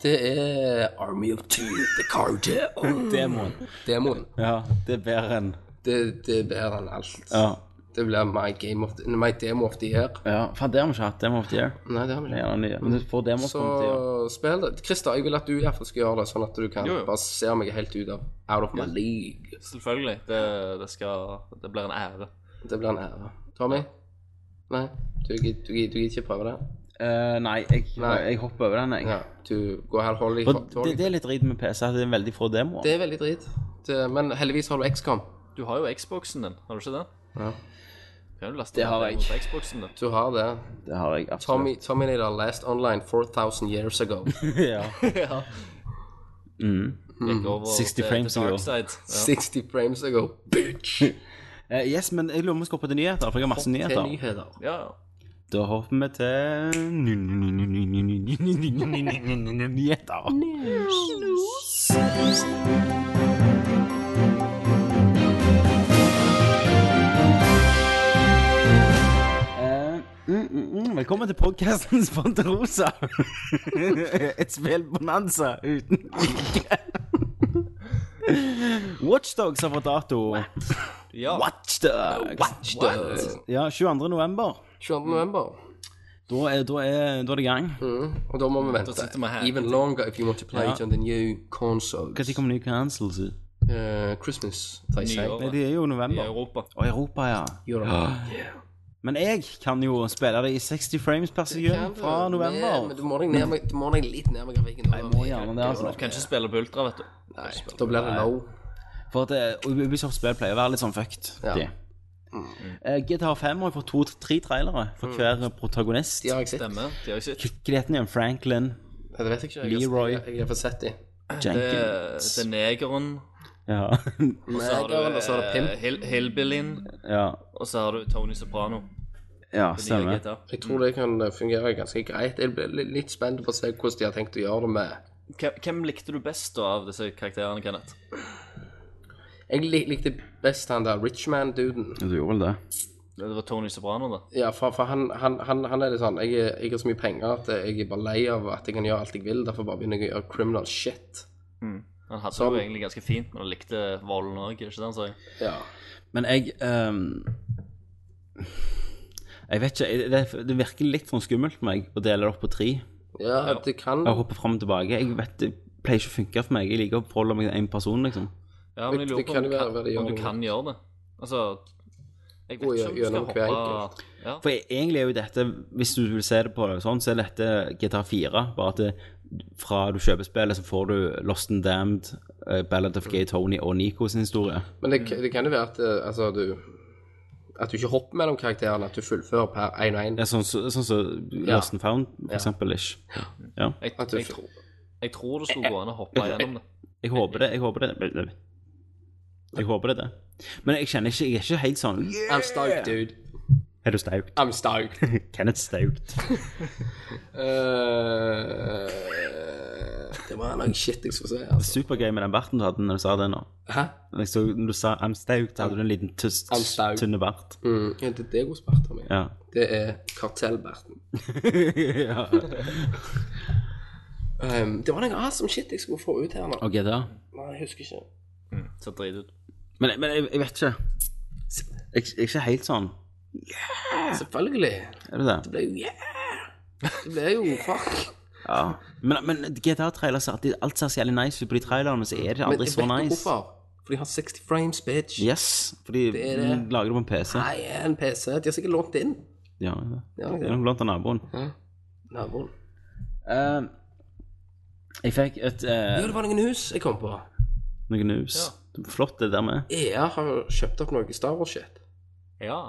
S1: Det er Army of Two, The Carter.
S4: demoen.
S1: Demoen.
S4: Ja, det er bedre enn
S1: Det, det bærer han alt.
S4: Ja.
S1: Det blir my, game of the, my demo of the year.
S4: ja. Faen, det har vi ikke hatt. Demo of the year.
S1: Nei, det har vi
S4: Det er
S1: ikke.
S4: gjerne nye. Men du får demo
S1: Så
S4: til ja.
S1: spill det. Christer, jeg vil at du i hvert fall skal gjøre det, sånn at du kan
S5: Jo, jo.
S1: basere meg helt ut av out of my league.
S5: Selvfølgelig. Det, det, skal, det blir en ære.
S1: Det blir en ære. Tommy? Nei, du gidder du, gidder- du gidder ikke prøve det?
S4: Eh, nei, jeg,
S1: Nei.
S4: jeg hopper over den, jeg.
S1: Ja, du går her hold i
S4: For det,
S1: tårlig.
S4: det er litt drit med PC, at det er veldig få demoer.
S1: Det er veldig drit. Det, men heldigvis har du XCOM.
S5: Du har jo Xboxen din, har du ikke det?
S1: Ja.
S5: Kan du laste
S4: Det har
S5: ned
S4: jeg.
S5: demo på Xboxen din?
S1: Du har det.
S4: Det har jeg absolutt.
S1: Tommy, Tommy Nader last online 4000 years ago.
S4: ja.
S5: ja.
S4: Mm.
S5: Gikk over
S4: 60
S5: til- til
S4: frames i går.
S5: Darkside. Ja.
S1: 60 frames ago.
S4: Eh, yes, men jeg lurer om vi skal hoppe til nyheter, for jeg har masse
S1: Til
S4: nyheter.
S1: nyheter.
S5: Ja, ja.
S4: Da hopper vi til Nyheter. Eh, mm, mm, mm, Velkommen til podkasten Spanterosa. Et spillbonanza uten like. Watchdogs har fått dato.
S5: ja.
S4: Watchdogs. Ja, 22. november.
S1: 22. november.
S4: Da er, da er, da er det i gang.
S1: Mm. Og da må vi vente.
S5: sitter vi her.
S1: Even longer if you want to play
S4: Ja.
S1: it on the new consoles.
S4: Når kommer ny cancels ut?
S1: Eh, Christmas, they say.
S5: Nyår.
S4: Nei, det er jo
S5: I
S4: november.
S5: Europa.
S4: Og Europa, ja.
S1: Europe.
S4: Men jeg kan jo spille det i 60 frames per sekund fra
S1: Men, men
S4: november.
S1: du må deg ned med- du må deg litt ned med grafikken. da.
S4: Jeg må gjerne det,
S5: Du
S4: altså.
S5: kan ikke spille på Ultra, vet du.
S1: Nei, da blir det low.
S4: For at det- og Ubisoft spill pleier å være litt sånn fucked.
S1: Ja. Mm.
S4: de. Eh, GTA 5 har jo fått to-tre trailere for hver protagonist.
S1: De har jeg sett.
S5: Stemmer. De har jo sitt.
S4: Hva heter den igjen? Franklin
S1: Det vet jeg ikke. Jeg,
S4: Leroy.
S1: Jeg, jeg har fått sett de.
S5: Det,
S4: Jenkins
S5: det er negeren.
S4: Ja.
S5: Og så har du,
S1: Negeren, og så er det
S5: eh,
S1: Pimp.
S5: Hill, Hillbillyen.
S4: ja.
S5: Og så har du Tony Soprano.
S4: Ja,
S5: Den nye
S4: stemmer.
S5: GTA.
S1: Jeg tror det kan eh, fungere ganske greit. Jeg blir li- litt spent på å se hvordan de har tenkt å gjøre det med
S5: Hvem- Hvem likte du best da av disse karakterene, Kenneth?
S1: Jeg lik, likte best han der Richman-duden.
S4: Du gjorde vel det?
S5: Det var Tony Soprano, da.
S1: Ja, for, for han, han, han, han er litt sånn jeg, er- jeg har så mye penger at jeg er bare lei av at jeg kan gjøre alt jeg vil. Derfor bare begynner jeg å gjøre criminal shit.
S5: Han hadde
S1: Som-
S5: det jo egentlig ganske fint, men han likte volden òg, ikke sant? Så jeg.
S1: Ja.
S4: Men jeg ehm, Jeg vet ikke. jeg- Det, det virker litt sånn skummelt for meg å dele det opp på tre.
S1: ja, det kan
S4: Jeg hopper fram og tilbake. Jeg vet det pleier ikke å funke for meg. Jeg liker å forholde meg til én person, liksom.
S5: Ja, men jeg
S1: Det-
S5: lurer
S1: det
S5: på
S1: kan
S5: om, du
S1: jo være
S5: kan,
S1: hva de gjør
S5: om du
S1: nå.
S5: kan gjøre det. Altså Jeg vet
S1: Gå
S5: ikke om du skal
S1: gjennom hver
S5: hoppe ja.
S4: For egentlig er jo dette, hvis du vil se det på det sånn, så er dette GTA 4. Bare at det, fra du kjøper spillet, så får du Lost and Damned, eh, Ballad of Gay Tony og Nico sin historie.
S1: Men det, det kan jo være at, eh, altså, du, at du ikke hopper mellom karakterene, at du fullfører per én og én.
S4: Ja, Sånn som sånn, som Lost and Found, for
S1: Ja.
S4: eksempel. Ish. Ja.
S5: Jeg,
S1: At du
S5: jeg,
S1: får-
S5: jeg tror det skulle gå an å hoppe gjennom det.
S4: Jeg håper det. Jeg håper det. Jeg håper det er det. Men jeg kjenner ikke Jeg er ikke helt sånn
S1: I'm stoked, dude.
S4: Er du staut?
S1: I'm stoked.
S4: Kenneth Staut.
S1: Eh, det var noe shit jeg skulle si. Altså.
S4: Supergøy med den barten du hadde når du sa det nå.
S1: Hæ?
S4: Jeg så, når du sa I'm staut, hadde du en liten tyst,
S1: I'm staut.
S4: tynne bart.
S1: Mm, ja, det er det hun spurte om. Ja.
S4: Ja.
S1: Det er kartellberten.
S4: ja.
S1: Ehm, det var noe awesome shit jeg skulle få ut her nå.
S4: Ok, da.
S1: Nei, jeg husker ikke.
S5: Så drit ut.
S4: Men, men jeg, jeg vet ikke. Jeg, jeg er ikke helt sånn.
S1: Selvfølgelig.
S4: Er du det?
S1: Det ble jo yeah! Det ble jo fuck.
S4: Ja. Men, men GTA-trailer så alltid, alt ser så jævlig nice ut på de trailerne, men så er det
S1: Men
S4: aldri
S1: jeg
S4: så
S1: vet ikke
S4: nice.
S1: hvorfor. For de har 60 frames, bitch.
S4: Yes, fordi
S1: Det er det.
S4: de lager det på en PC.
S1: Nei, en PC. De har sikkert lånt inn.
S4: Ja,
S1: Ja,
S4: det
S1: ok.
S4: er nok blant annet naboen.
S1: Naboen.
S4: Eh, jeg fikk et
S1: Ja,
S4: eh,
S1: det var noen hus jeg kom på.
S4: noe news. Flott det der med.
S1: EA har kjøpt opp noe Star Wars-shit.
S5: Ja.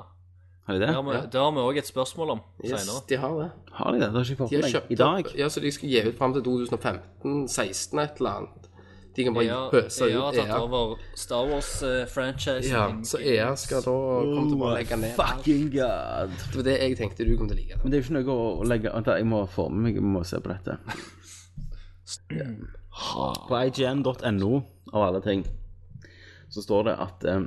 S4: Har de
S5: Det
S4: det?
S5: har vi,
S1: Ja.
S5: det har vi også et spørsmål om
S1: Yes,
S5: senere.
S1: de har det.
S4: Har de det? Det har ikke jeg fått
S1: De har
S4: med meg
S1: kjøpt
S4: i dag.
S1: opp Ja, så de skal gi ut fram til 2015-16 et eller annet. De kan bare
S4: E
S5: Ja,
S1: pøse
S5: jeg har
S1: ut
S5: tatt
S1: EA.
S5: over Star eh, Wars-franchisen.
S1: Ja, så EA skal da komme
S4: Oh
S1: til å bare legge ned alt.
S4: Fucking god.
S1: Det var det jeg tenkte du kom til å like.
S4: Men det er jo ikke noe å legge Vent, da, jeg må få med meg Jeg må se på dette. På ign.no, av alle ting, så står det at eh,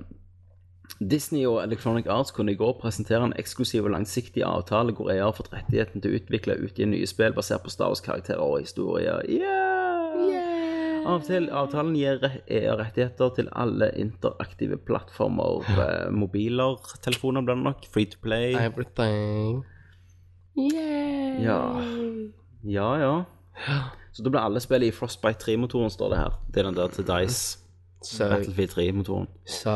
S4: Disney og Electronic Arts kunne i går presentere en eksklusiv og langsiktig avtale hvor EA har fått rettigheten til å utvikle og utgi nye spill basert på Star Wars-karakterer og historier. Yeah! Avtal, avtalen gir re- EA rettigheter til alle interaktive plattformer. eh, Mobiler, telefoner blir det nok, free to play.
S1: Everything.
S4: Ja. ja, ja. Så da blir alle spill i Frostbite 3-motoren, står det her. Det er den der til Dice.
S1: So,
S4: Battlefield 3-motoren.
S1: so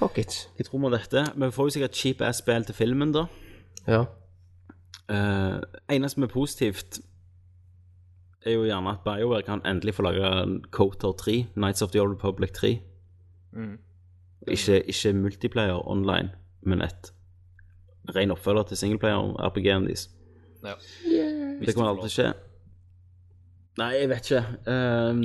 S1: Fuck it.
S4: Jeg tror vi har dette. Men vi får jo sikkert cheap ass spill til filmen, da.
S1: Ja.
S4: Eh, eneste som er positivt, er jo gjerne at BioWare kan endelig få lage en Coter 3, Nights of the Old Republic 3.
S5: Mm.
S4: Ikke, ikke multiplayer online, men et ren oppfølger til singleplayer-RPG-en deres.
S5: Ja.
S4: Det kommer aldri til å skje. Nei, jeg vet ikke. Ehm,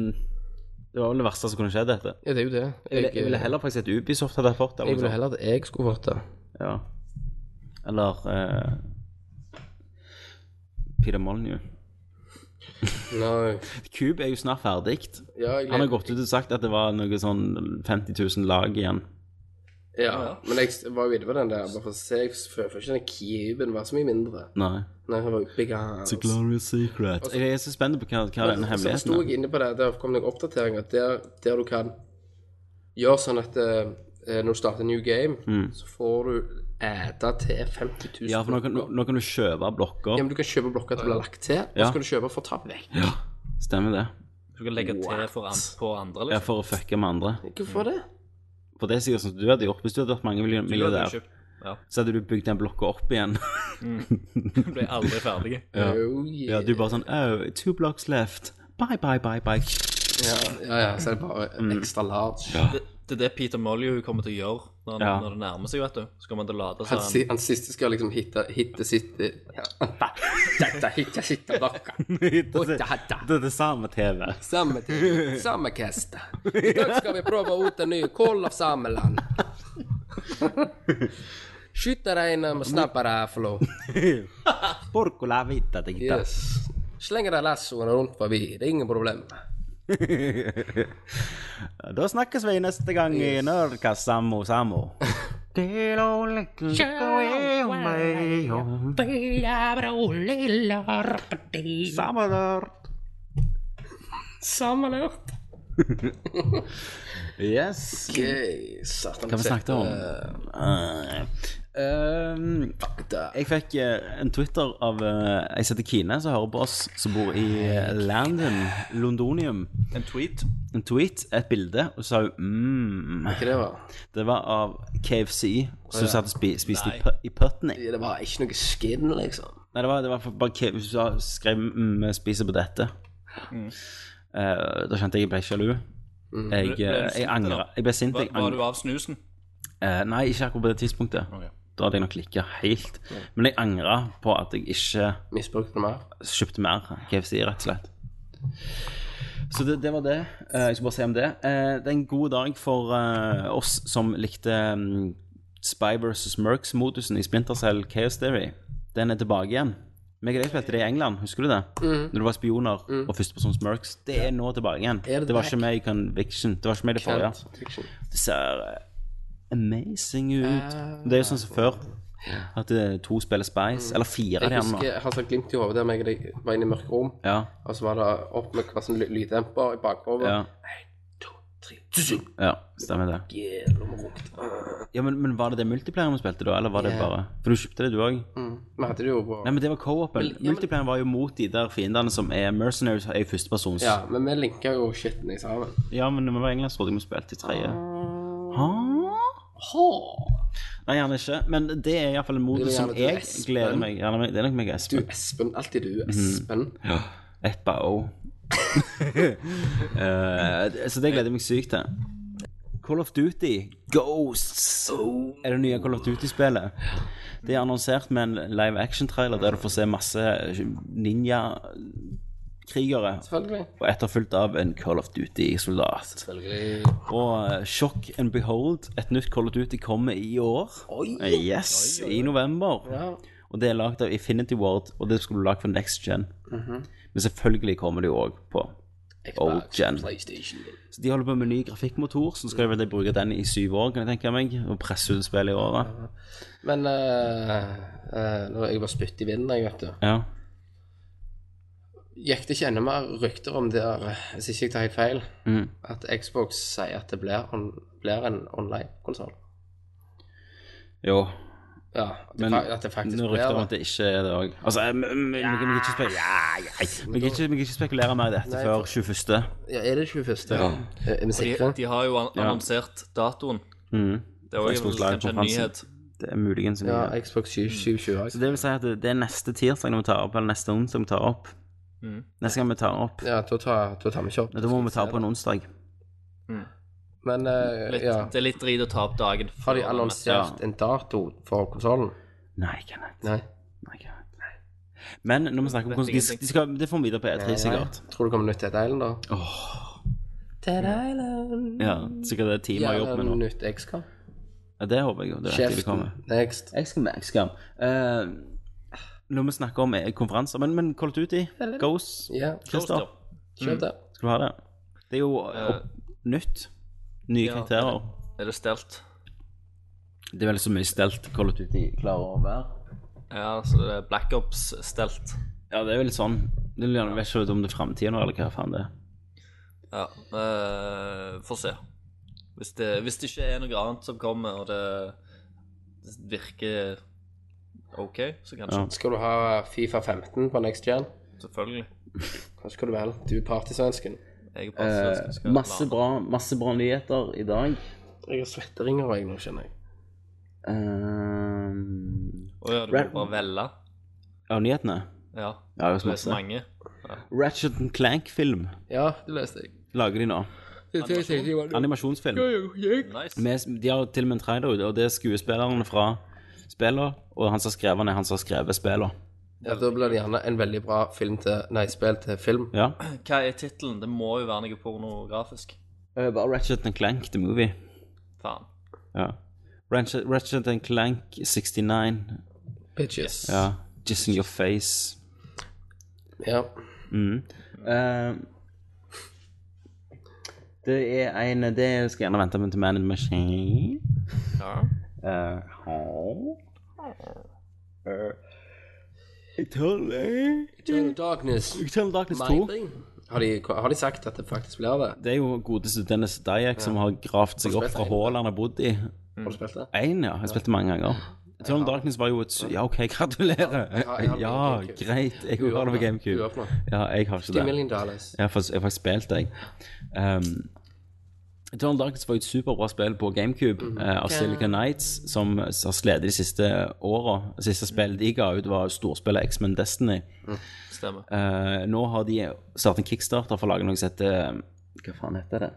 S4: det var vel det verste som kunne skjedd, dette.
S1: ja, det er jo det.
S4: Jeg ville, jeg ville heller faktisk at Ubisoft hadde fått det.
S1: eh, jeg
S4: eller
S1: ville
S4: noe
S1: heller at jeg skulle fått det.
S4: sånt. Ja. Eller eh, Peter Molyneux.
S1: Nei.
S4: Cube er jo snart ferdig.
S1: Ja, jeg
S4: Han har gått ut og sagt at det var noe sånn 50 000 lag igjen.
S1: Ja, men jeg var jo inne på den der, bare for å se. Jeg føler ikke den kuben var så mye mindre.
S4: Nei.
S1: Nei, han var jo big ass.
S4: glorious secret. Altså, Jeg er så spent på hva, hva
S1: Så
S4: den
S1: sto
S4: hemmeligheten er.
S1: jeg inne på det, der kom det en oppdatering at der, der du kan gjøre sånn at eh, når du starter en new game, så får du æta til 50 000.
S4: Mm. Ja, for nå kan, nå, nå kan du kjøpe
S1: Ja,
S4: blokker.
S1: men du kan kjøpe blokker til å bli lagt til, og
S4: Ja.
S1: så kan du kjøpe for å ta vekk.
S4: Stemmer det.
S5: Du kan legge til for an på andre,
S4: Ja,
S5: liksom.
S4: For å fucke med andre.
S1: Hvorfor det?
S4: For det er sikkert sånn som du hadde gjort hvis du hadde vært mange miljø-
S5: Du hadde jo
S4: miljø der.
S5: kjøpt- Ja,
S4: så hadde du bygd den blokka opp igjen.
S5: du ble aldri ferdig.
S4: Ja.
S1: Oh,
S4: Ja,
S1: yeah.
S4: du bare sånn Oh, two blocks left. Bye, bye, bye, bye.
S1: ja, ja, ja, så er det
S4: Mm.
S1: bare ekstra large.
S5: Det, det er det Peter Molyneux kommer til å gjøre når, han,
S4: Ja.
S5: når det nærmer seg, vet du. Så kommer han til å late
S1: Han,
S5: seg
S1: si, han siste skal liksom hitte, hitte sitt ja. Dette hitte sitt blokka.
S4: det,
S1: Dette.
S4: det er det samme TV.
S1: Samme tid, samme kast. I dag skal vi prøve ut en ny Call of Sameland. Skyter en med snapperrifle.
S4: Porco la vita, tenkte jeg.
S1: Yes. Slenger de lassoene rundt forbi. Det er ingen problem.
S4: Da snakkes vi neste gang i Nerdkast Samo Samo. Samme der.
S1: Samme lurt.
S4: Yes.
S1: Okay, satan.
S4: Hva vi snakket om? Eh, ehm, jeg fikk eh, en Twitter av eh, ei som heter Kine, som hører på oss, som bor i eh, London, Londonium.
S5: En tweet.
S4: En tweet, et bilde, og så sa hun mm.
S1: Hva det var?
S4: Det var av KFC, som hun satt og spi, spiste i,
S5: Nei.
S4: pu- i Putney.
S1: Det var ikke noe skin, liksom.
S4: Nei, det var, det var bare K- Hun sa, skrev mm, 'vi spiser på dette'.
S5: Mm.
S4: Eh, da kjente jeg jeg ble sjalu. Jeg,
S5: Ble- ble
S4: eh,
S5: du
S4: jeg
S5: sint,
S4: angra.
S5: eller?
S4: Jeg ble sint.
S5: Var,
S4: Jeg
S5: var du
S4: angra.
S5: av snusen?
S4: Eh, nei, ikke akkurat på det tidspunktet. Da hadde jeg nok klikka helt.
S5: Mm.
S4: Men jeg angra på at jeg ikke
S1: Misbrukte det mer?
S4: kjøpte mer KFC, rett og slett. Så det, det var det. Eh, jeg skal bare si om det. Eh, det er en god dag for eh, oss som likte mm, Spy vs. Mercs-modusen i Splinter Cell Chaos Theory. Den er tilbake igjen. Meg og deg spilte det i England, husker du det?
S1: Mhm.
S4: Når du var spioner og førstepersons Mercs. Det er nå tilbake igjen.
S1: Er det
S4: det var
S1: back?
S4: ikke med i Conviction. Det var ikke med i det forrige.
S1: liksom.
S4: Det ser eh, amazing ut.
S1: Eh.
S4: Det er jo sånn som før. At eh, to spiller Spice, eller fire av
S1: Mm. Jeg
S4: de andre.
S1: husker jeg har sånn glimt i hodet der meg og deg var inne i mørke rom,
S4: Ja.
S1: og så var det opp med hver sin ly- lyddemper i bakhodet.
S4: Ja.
S1: Tre. Tusen.
S4: Ja, stemmer det.
S1: Jævla rungt.
S4: Ja, men, men var det det multiplayeren vi spilte da, eller var det
S1: Ja. Mm.
S4: bare For du kjøpte det, du òg?
S1: Vi hadde det jo på
S4: Nei, men det var co-open. Multiplayeren var jo mot de der fiendene som er mercenaries, er jo førstepersons.
S1: Ja, men vi linka jo shitten i sammen.
S4: Ja, men vi var egentlig trodde vi spilte i tredje. Hæ? Nei, gjerne ikke. Men det er iallfall en modus
S1: Det er
S4: som
S1: gjerne du,
S4: jeg
S1: Espen.
S4: gleder meg gjerne, meg- Det er nok meg og
S1: Du,
S4: Espen.
S1: Espen. Alltid du,
S4: Mhm.
S1: Espen.
S4: Ja. Eppa O. Eh, så det gleder jeg meg sykt til. Call of Duty Ghosts er det nye Call of Duty-spillet. Det er annonsert med en live action-trailer der du får se masse ninjakrigere.
S1: Selvfølgelig.
S4: Og etterfulgt av en Call of Duty-soldat.
S1: Selvfølgelig.
S4: Og eh, Shock and Behold, et nytt Call of Duty, kommer i år. Yes, I november.
S1: Ja.
S4: Og det er lagd av Infinity Ward, og det skulle du lagd for Next Gen. Men selvfølgelig kommer det jo òg på Old Gen.
S1: PlayStation.
S4: Så de holder på med ny grafikkmotor, så skal de vel bruke den i syv år, kan jeg tenke meg. Og presse ut spillet i året.
S1: Men eh, eh, når jeg var spytt i vinden, jeg, vet du
S4: Ja.
S1: Gikk det ikke enda mer rykter om det der, eh, hvis ikke jeg tar helt feil,
S4: Mm.
S1: at Xbox sier at det blir, on, blir en online-konsoll?
S4: Jo.
S1: Ja, at det,
S4: Men
S1: fa- at det faktisk
S4: Nå
S1: blir
S4: rykter om
S1: det.
S4: at det ikke er det òg. Altså, vi kan ikke, spek vi kan ikke, vi kan ikke spekulere mer i dette
S1: Nei,
S4: før
S1: for-
S4: 21.
S1: Ja, er det 21.?
S4: Ja.
S1: Er- Er vi
S5: De,
S1: sikre?
S5: de har jo an
S4: Ja.
S5: annonsert datoen.
S4: Mm.
S5: Det er jo
S4: Xbox
S5: vel kanskje en
S4: Live-konferansen.
S5: nyhet.
S4: Det er muligens en
S1: Ja,
S4: nyhet.
S1: Xbox 720.
S4: Så det vil si at det, det er neste tirsdag når vi tar opp, eller neste onsdag vi tar opp.
S5: Mm.
S4: Neste gang vi tar opp.
S1: Ja, da tar, da tar vi ikke opp.
S4: Da må vi ta opp på en onsdag.
S1: Men eh,
S5: mm. Litt,
S1: ja,
S5: Det er litt drit å ta opp dagen
S1: har de
S5: før, men-
S1: annonsert en dato for konsollen?
S4: Nei, Kenneth.
S1: Nei.
S4: Nei, Kenneth. Men når vi snakker om
S5: Vet
S4: hvordan de,
S5: ingenting.
S4: de skal, Det får vi videre på E3, sikkert.
S1: Tror du det kommer nytt Dead Island, da? Dead Island.
S4: Ja, Sikkert det er teamet har jobbet med nå.
S1: nytt XCOM.
S4: Ja, det håper jeg jo. Det vet jeg det
S1: Kjeften.
S4: kommer.
S1: Next.
S4: Jeg skal Eh, med X-Gam. når vi snakker om eh, konferanser Men, men Call of Duty, Ghost,
S1: Ja,
S4: Christer,
S1: kjøp det.
S4: skal du ha det? Det er jo opp, nytt. Nye
S5: ja,
S4: karakterer.
S5: Er det stelt?
S4: Det er vel så mye stelt Call of Duty klarer å være.
S5: Ja, så det er Black Ops stelt.
S4: Ja, det er vel sånn. Det er gjerne- Jeg vet ikke om det er framtida nå, eller hva faen det er.
S5: Ja, eh, får se. Hvis det, hvis det ikke er noe annet som kommer, og det det virker OK, så kanskje.
S4: Ja.
S1: Skal du ha Fifa 15 på next gen?
S5: Selvfølgelig.
S1: Hva skal du vel? Du er partysvensken.
S5: Jeg er bare svensk, jeg skal
S4: Eh, masse,
S5: lade.
S4: bra, masse bra nyheter i dag.
S1: Jeg har svetteringer, jeg, nå, skjønner jeg.
S4: Eh, Ehm,
S5: Å ja, du må bare velge.
S4: ja, nyhetene.
S5: Ja.
S4: Ja, det
S5: Det
S4: er
S5: er så
S4: masse.
S5: mange.
S4: Ratchet and Clank-film
S1: Ja, det leste jeg.
S4: lager de nå.
S1: Det tenkte jeg var det.
S4: Animasjonsfilm.
S5: Nice.
S4: Med, de har til og med en trailer ute, og det er skuespillerne fra spillene, og han som har skrevet den, er han som har skrevet spillene.
S1: Ja, da blir det gjerne en veldig bra film til Nei, spill til film.
S4: Ja.
S5: Hva er tittelen? Det må jo være noe pornografisk.
S4: Eh, Bare Ratchet and Clank, the movie.
S5: Faen.
S4: Ja. Ratchet, Ratchet and Clank 69.
S1: Bitches.
S4: Ja. Just in your face.
S1: Ja.
S4: Eh, det er en Det skal jeg gjerne vente med til Man in the Machine.
S5: Ja.
S4: Eh, ja. Eh, Eternal
S1: Eternal Darkness.
S4: Eternal Darkness 2.
S1: Meiring. Har de, har de sagt at det faktisk blir det?
S4: Det er jo godeste Dennis Dyack som har gravd seg
S1: Har du
S4: opp
S1: spilt
S4: fra
S1: en?
S4: hullet han har bodd i.
S1: Har du spilt det?
S4: Én, ja. Jeg spilte mange ganger. Eternal Darkness var jo et sy- Ja, OK, gratulerer.
S1: har- jeg har det på
S4: Ja,
S1: GameCube.
S4: greit. Jeg har det på GameCube.
S1: Uåpna.
S4: Ja, jeg har ikke
S1: 10
S4: det.
S1: million dollars.
S4: Jeg har faktisk, jeg har faktisk spilt, jeg. Um, Eternal Darkness var jo et superbra spill på GameCube eh, av Silica Nights, som har slitt de siste åra. Siste spill de ga ut, var storspillet X-Men Destiny.
S5: Stemmer.
S4: Eh, nå har de startet en kickstarter for å lage noe som heter eh, Hva faen heter det?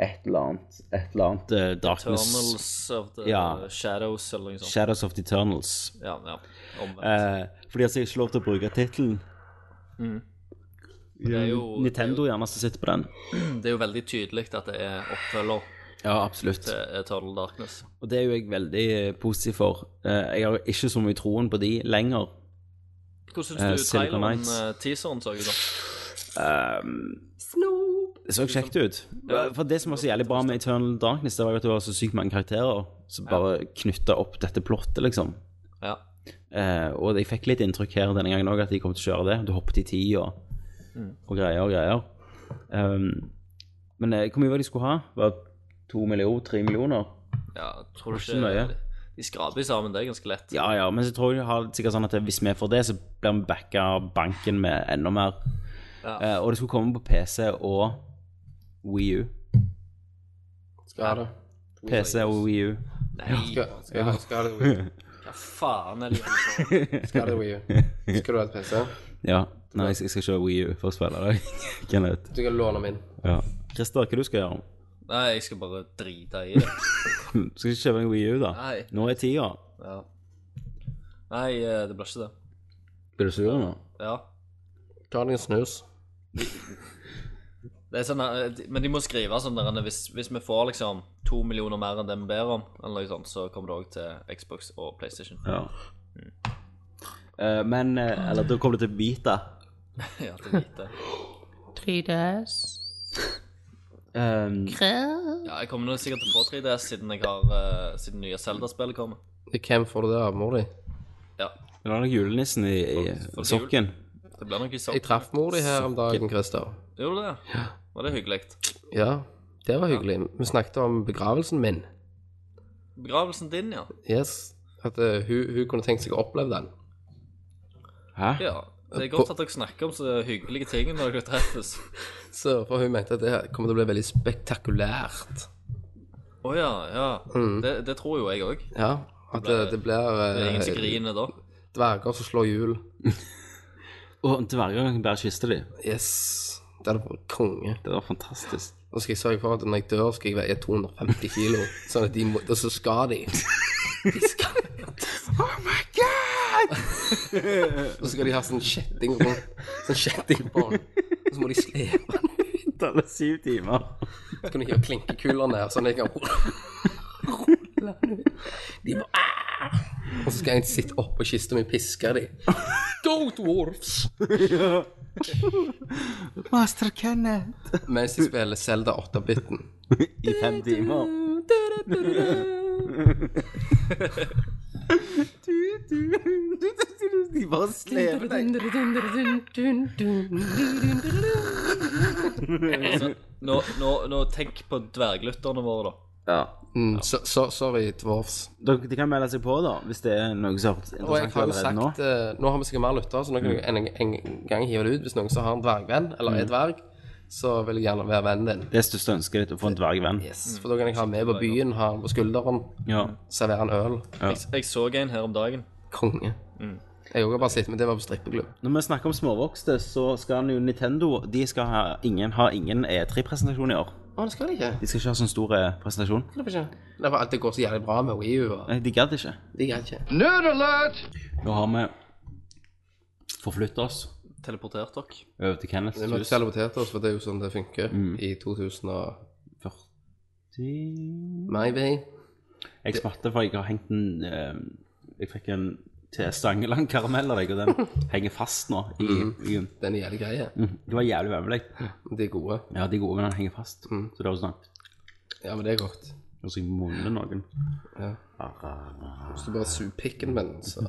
S4: Et eller annet Et eller annet eh, Darkness
S5: Eternals of the
S4: Ja.
S5: Shadows, eller noe sånt.
S4: Shadows of the Eternals.
S5: Ja, ja. Omvendt.
S4: Eh, for de har sikkert ikke lov til å bruke tittelen.
S5: Det er jo-
S4: Nintendo gjerne som sitter på den.
S5: Det er jo veldig tydelig at det er oppfølger
S4: Ja, absolutt.
S5: til Eternal Darkness.
S4: Og det er jo jeg veldig eh, positiv for. Eh, jeg har ikke så mye troen på de lenger.
S5: Hvordan syns
S4: Eh,
S5: du
S4: Silicon
S5: traileren,
S4: Knights.
S5: eh, teaseren, så ut da?
S4: Det så kjekt ut.
S5: Ja.
S4: For det som var så jævlig bra med Eternal Darkness, det var jo at det var så sykt mange karakterer som bare knytta opp dette plottet, liksom.
S5: Ja.
S4: Eh, og jeg fikk litt inntrykk her denne gangen òg, at Mm. de kom til å kjøre det. Du hoppet i tid og, og greier og greier. Um, Men eh, hvor mye var det de skulle ha? Var det to millioner? Tre millioner?
S5: Ja, tror du
S4: Det er ikke
S5: ikke De skraper jo sammen, det er ganske lett.
S4: Ja, ja, men så tror jeg de har sikkert sånn at hvis vi får det, så blir vi backa av banken med enda mer.
S5: Ja.
S4: Eh, og det skulle komme på PC og Wii U.
S1: Skal ha det.
S4: PC og Wii U.
S5: Nei,
S1: Skal, skal, skal ha det Wii U.
S5: hva faen er det de holder på med?
S1: Skal ha det Wii U. Skal du ha et PC?
S4: Ja. Nei, jeg skal kjøre Wii U for å spille det. Kenneth.
S1: Du kan låne min.
S4: Ja. Christer, hva du skal gjøre?
S5: Nei, jeg skal bare drite i det.
S4: Du skal ikke kjøpe en Wii U, da?
S5: Nei.
S4: Nå er tida.
S5: Ja. Nei, eh, det blir ikke det.
S4: Blir du sur nå?
S5: Ja.
S1: Ta deg en snus.
S5: Det er sånn, eh, de- men de må skrive sånn der Anne, hvis, hvis vi får liksom to millioner mer enn det vi ber om, eller noe sånt, så kommer det òg til Xbox og PlayStation.
S4: Ja. Mm. Eh, men eh, Eller da kommer du til Vita.
S5: Ja, det er lite.
S4: Um,
S5: Ja, jeg kommer nå sikkert til å få 3DS siden jeg har eh, Siden nye Zelda-spillet kommer.
S1: Hvem får du det av, mor di?
S5: Ja,
S4: det var nok julenissen i, i sokken.
S5: det blir nok i sånn.
S1: Jeg traff mor di her om dagen, Christer.
S5: Gjorde du det? Var det hyggelig?
S1: Ja, det var hyggelig. Vi snakket om begravelsen min.
S5: Begravelsen din, ja.
S1: Yes. At eh, hun, hun kunne tenkt seg å oppleve den.
S4: Hæ?
S5: Ja. Det er godt at dere snakker om så hyggelige ting når dere treffes.
S1: Så for hun mente at det her kommer til å bli veldig spektakulært.
S5: Å ja, ja.
S4: Mm.
S5: Det, det tror jo jeg òg.
S1: Ja, at det, det blir
S5: Det er ingen som
S1: eh,
S5: griner da.
S1: dverger som slår hjul.
S4: Og dverger kan bare kysse dem.
S1: Yes. Det hadde vært konge.
S4: Det var fantastisk.
S1: Nå skal jeg sørge for at når jeg dør, skal jeg veie 250 kilo. Sånn at de må Og så skal de. De skal Oh my god! Så skal de ha sånn kjetting rundt. Sånn kjettingbånd. Og så må de slepe den.
S4: Det er syv timer.
S1: Så kan de hive klinkekuler ned, sånn at jeg kan rulle den ut. De bare "Ah!" Og så skal jeg sitte oppå kista mi og piske dem. Go dwarfs!
S4: Master Kenneth.
S1: Mens de spiller Zelda 8-biten.
S4: I fem timer. De bare sleper deg.
S5: Så, nå, nå, nå tenk på dverglytterne våre, da.
S4: Ja.
S1: Mm, så, så, sorry, dwarfs.
S4: Dere de kan melde seg på, da, hvis det er noe som er
S1: Og jeg har
S4: interessant
S1: jo
S4: allerede
S1: sagt
S4: nå. Mm.
S1: nå. nå har vi sikkert mer lyttere, så nå kan du en, en gang hive det ut. Hvis noen som har en dvergvenn, eller er dverg, så vil jeg gjerne være vennen din.
S4: Det største ønsket ditt er å få en dvergvenn.
S1: Yes, For da kan jeg ha han med på byen, ha han på skulderen,
S4: Ja.
S1: servere en øl.
S5: Jeg, jeg så en her om dagen.
S1: Konge.
S4: Mm.
S1: Jeg har bare sett, men det var på strippeklubb.
S4: Når vi snakker om småvokste, så skal jo Nintendo De skal ha ingen, ha ingen E3-presentasjon i år.
S1: Å, det skal de ikke.
S4: De skal ikke ha sånn stor eh, presentasjon.
S1: Det er for ikke. Det er for alt det går så jævlig bra med Wii U. og
S4: Nei, de gadd ikke.
S1: De kan ikke.
S4: Mm. Nå har vi forflyttet oss
S5: Teleportert dere.
S4: over til Kenneths
S1: Vi måtte
S4: hus.
S1: selvoterte oss, for det er jo sånn det funker
S4: Mm.
S1: i 2000 og
S4: 40
S1: Maybe.
S4: Jeg smatter for jeg har hengt en eh, Jeg fikk en til Stangeland karamell av deg, og den henger fast nå. I, i,
S1: Den er jævlig greie.
S4: mm, det var jævlig vemmelig.
S1: De er gode.
S4: Ja, de gode, men den henger fast. Så det er jo sånn
S1: Ja, men det er godt.
S4: Og så munner noen.
S1: Hvis du bare suger pikken med den, så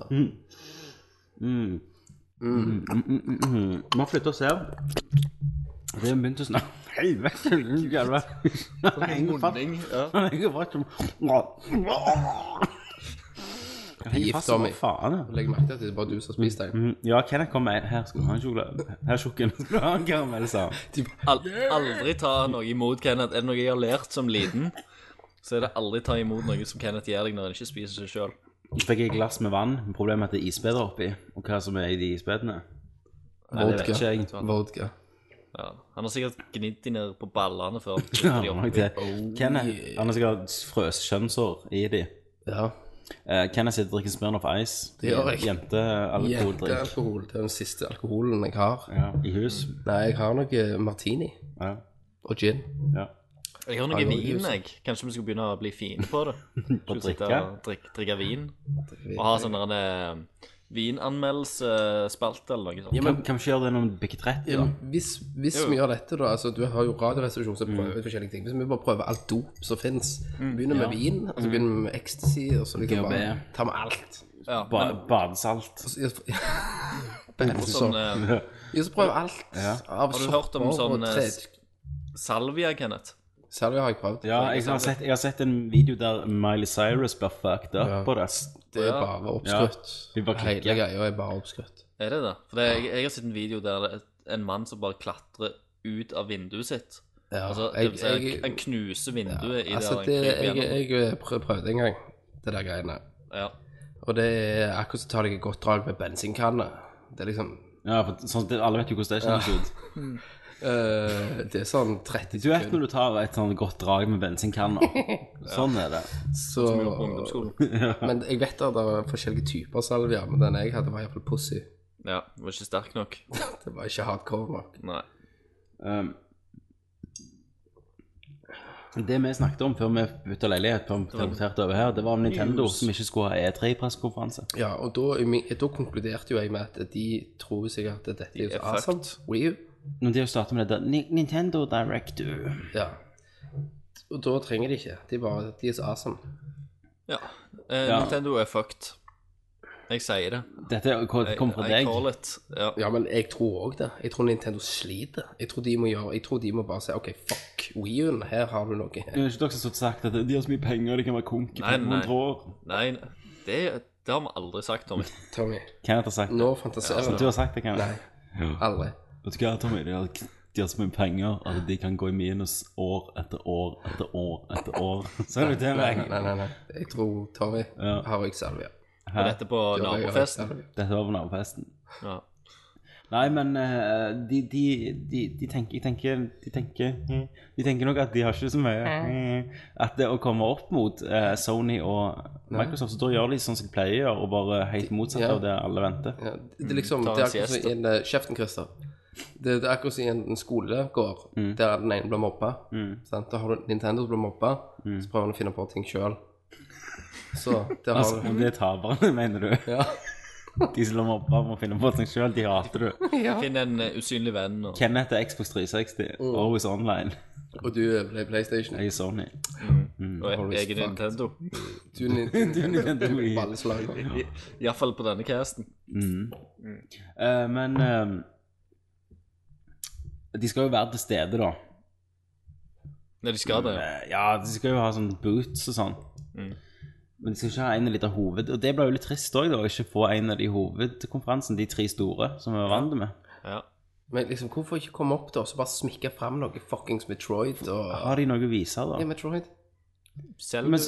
S4: Mm, Vi har flyttet oss her. Og det har begynt å snakke Helvete, den jævla Den henger fast. Den henger fast som Den henger fast som
S1: Tommy.
S4: faen. ja.
S1: Legg merke til at det er bare du som har spist den.
S4: Mm, Ja, Kenneth kom med Her skal du ha en sjokolade. Her, tjukken, skal du ha en karamell, sa han.
S5: Al aldri ta noe imot Kenneth. Er det noe jeg har lært som liten, så er det aldri ta imot noe som Kenneth gir deg når han ikke spiser seg sjøl.
S4: Så fikk jeg et glass med vann. men Problemet er at det er isbeder oppi. Og hva som er i de isbedene? Nei, det vet ikke jeg.
S1: Vodka.
S5: Ja. Han har sikkert gnidd de ned på ballene før. han
S4: Ja,
S5: trykker de
S4: det var
S5: opp.
S4: nok det.
S1: oh,
S4: Kenneth han har sikkert frøs kjønnsår i de.
S1: Ja.
S4: Eh, Kenneth sitter og drikker Smirnoff Ice.
S1: Det gjør jeg.
S4: Jentealkoholdrikk.
S1: Jentealkohol. Det er den siste alkoholen jeg har.
S4: Ja, I hus.
S1: Nei, jeg har noe martini
S4: Ja.
S1: og gin.
S4: ja.
S5: Jeg har noe vin, jeg. Kanskje vi skal begynne å bli fine på det? Skal vi sitte
S4: drikke?
S5: og drikke, drikke vin? Og ha sånn der en eh, vinanmeldelsesspalte eller noe sånt.
S4: Kan, kan vi ikke gjøre det når vi bikker 30?
S1: Ja,
S4: da?
S1: men hvis hvis vi gjør dette, da altså Du har jo radioresepsjon som
S5: Mm.
S1: prøver ut forskjellige ting. Hvis vi bare prøver alt dop som fins Begynner med vin, og
S5: Mm.
S1: så begynner vi med ecstasy, og så liksom
S4: GHB.
S1: bare tar vi alt.
S5: Ja,
S4: Ba
S5: men
S4: badesalt.
S1: Og så-
S5: sånn, eh,
S1: Ja, så prøver vi alt. Av
S5: sånn, Har du hørt
S1: sopper og
S5: om sånn, eh,
S1: tre-
S5: Salvia, Kenneth.
S1: Selvi har jeg prøvd.
S4: Ja, jeg har, sett, jeg har sett en video der Miley Cyrus blir fucked up
S1: Ja.
S4: på det.
S1: Det er
S5: Ja.
S1: bare oppskrytt.
S4: Ja, vi bare klikker.
S1: Hele greia er bare oppskrytt.
S5: Er det det? For det, jeg, jeg har sett en video der det er en mann som bare klatrer ut av vinduet sitt.
S1: Ja,
S5: Altså, det
S1: jeg-
S5: vil si, han-
S1: jeg-
S5: han knuser vinduet i
S1: altså,
S5: der
S1: det,
S5: han kryper
S1: jeg,
S5: gjennom.
S1: jeg prø- prøvde en gang, det der greiene.
S5: Ja.
S1: Og det er akkurat som å ta deg et godt drag med bensinkanne. Det er liksom
S4: Ja, for sånn, det, Alle vet jo hvordan det kjennes ut.
S1: øh, Det er sånn 30
S4: Du vet når du tar et sånn godt drag med bensinkanner. Sånn er det.
S1: så,
S5: Vi gjorde på ungdomsskolen.
S1: Men jeg vet at det er forskjellige typer salvia, men den jeg hadde, var iallfall pussy.
S5: Ja, du var ikke sterk nok.
S1: Det var ikke hardcore nok.
S5: Nei.
S4: Um, det vi snakket om før vi bytta leilighet, på, teleporterte over her, det var om Nintendo som ikke skulle ha E E3-pressekonferanse.
S1: Ja, og da, i min- da konkluderte jo jeg med at de tror sikkert at dette er
S5: er
S1: så awesome. Wii U.
S4: Når de starter med det der Ni- Nintendo Director
S1: Ja. Og da trenger de ikke. De, bare, de er så awesome.
S5: Ja. Eh,
S4: Ja.
S5: Nintendo er fucked. Jeg sier det.
S4: Dette er- hva- det kom fra
S5: I, I
S4: deg.
S5: call it. Ja.
S1: Ja, men jeg tror òg det. Jeg tror Nintendo sliter. Jeg tror de må gjøre Jeg tror de må bare si OK, fuck Wii-en, her har du noe.
S4: Det er jo ikke dere som har sagt at de har så mye penger, de kan være konk i
S5: Nei, nei.
S4: 100 år.
S5: Nei, det, det har vi aldri sagt, Tommy.
S1: Tommy,
S4: Kenneth har sagt det.
S1: nå fantaserer
S4: Du
S1: du.
S4: har sagt det, Kenneth.
S1: Aldri.
S4: Vet du hva, Tommy? De har, de har så mye penger at de kan gå i minus år etter år etter år etter år. Ser du det,
S1: Nei,
S4: meg?
S1: nei, nei. nei. Jeg tror Tommy
S4: Ja.
S1: har jeg salvia.
S5: Og dette på
S1: Ja, jeg har
S5: nabofesten.
S1: salvia.
S4: Dette var på nabofesten.
S5: Ja.
S4: Nei, men eh, de, de, de, de tenker Jeg tenker De tenker, de tenker nok at de har ikke så mye eh, At det å komme opp mot eh, Sony og Microsoft, så da gjør de sånn som de pleier å gjøre, og bare helt motsatt
S1: Ja.
S4: av det alle venter.
S1: Ja, det er liksom
S5: Mm, Ta
S1: Det
S5: en
S1: er akkurat som
S5: siesta.
S1: i en eh, Kjeften, Christer. Det, det er akkurat som i en, en skolegård
S4: Mm.
S1: der den ene blir mobba. Sant? Da har du Nintendo som blir mobba,
S4: Mm.
S1: så prøver han å finne på ting sjøl. Så der har
S4: Altså,
S1: du
S4: det er taperne, mener du?
S1: Ja.
S4: De som må opp og finne på seg sjøl, de hater du.
S5: Finn en eh, usynlig venn. Og...
S4: Kenneth er Xbox 360, always online.
S1: Og du ble PlayStation.
S4: Jeg er Sony.
S5: Mm.
S4: Mm.
S5: Og
S1: Always
S5: jeg er Nintendo.
S1: Du er Nintendo.
S4: Nintendo i- Mm.
S1: Balleslager.
S5: Iallfall på denne casten. Mm.
S4: Eh, men eh, De skal jo være til stede, da.
S5: Nei, de skal det. ja. Mm.
S4: Eh, Ja, de skal jo ha sånn boots og sånn. Men de skal ikke ha en av de der hoved... Og det ble jo litt trist òg, da, å ikke få en av de hovedkonferansen, de tre store, som vi var vant med.
S5: Ja.
S1: Men liksom, hvorfor ikke komme opp da og så bare smikke fram noe fuckings Metroid og
S4: Har de noe å vise,
S1: Ja,
S4: da?
S1: Metroid.
S5: Selv
S4: Men,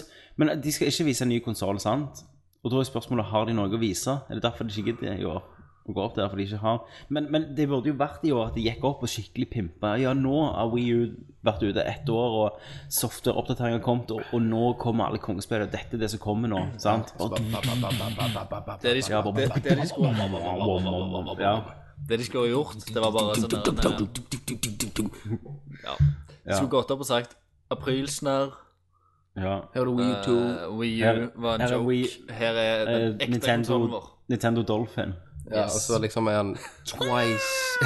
S4: men de skal ikke vise en ny konsoll, sant? Og da er spørsmålet har de noe å vise. Er det derfor de ikke gidder i år å gå opp der? fordi de ikke har... Men, men det burde jo vært i år at de gikk opp og skikkelig pimpa. Ja, nå har Wii U vært ute ett år, og softwareoppdatering har kommet, og, og nå kommer alle kongespill, og dette er det som kommer nå. sant? Og
S5: det de, skulle, det, det, de skulle,
S4: Ja.
S5: det de skulle ha gjort, det var bare sånn der, eh, Ja. De skulle gått opp og sagt aprilsnarr,
S4: ja.
S1: Her har du Wii U 2.
S5: eh, Wii U
S4: Her-
S5: var en
S4: her er
S5: joke.
S4: Wii-
S5: her er
S4: Eh,
S5: den ekte
S4: Nintendo,
S5: kontrollen vår.
S4: Nintendo Dolphin.
S1: Ja, og så liksom er han twice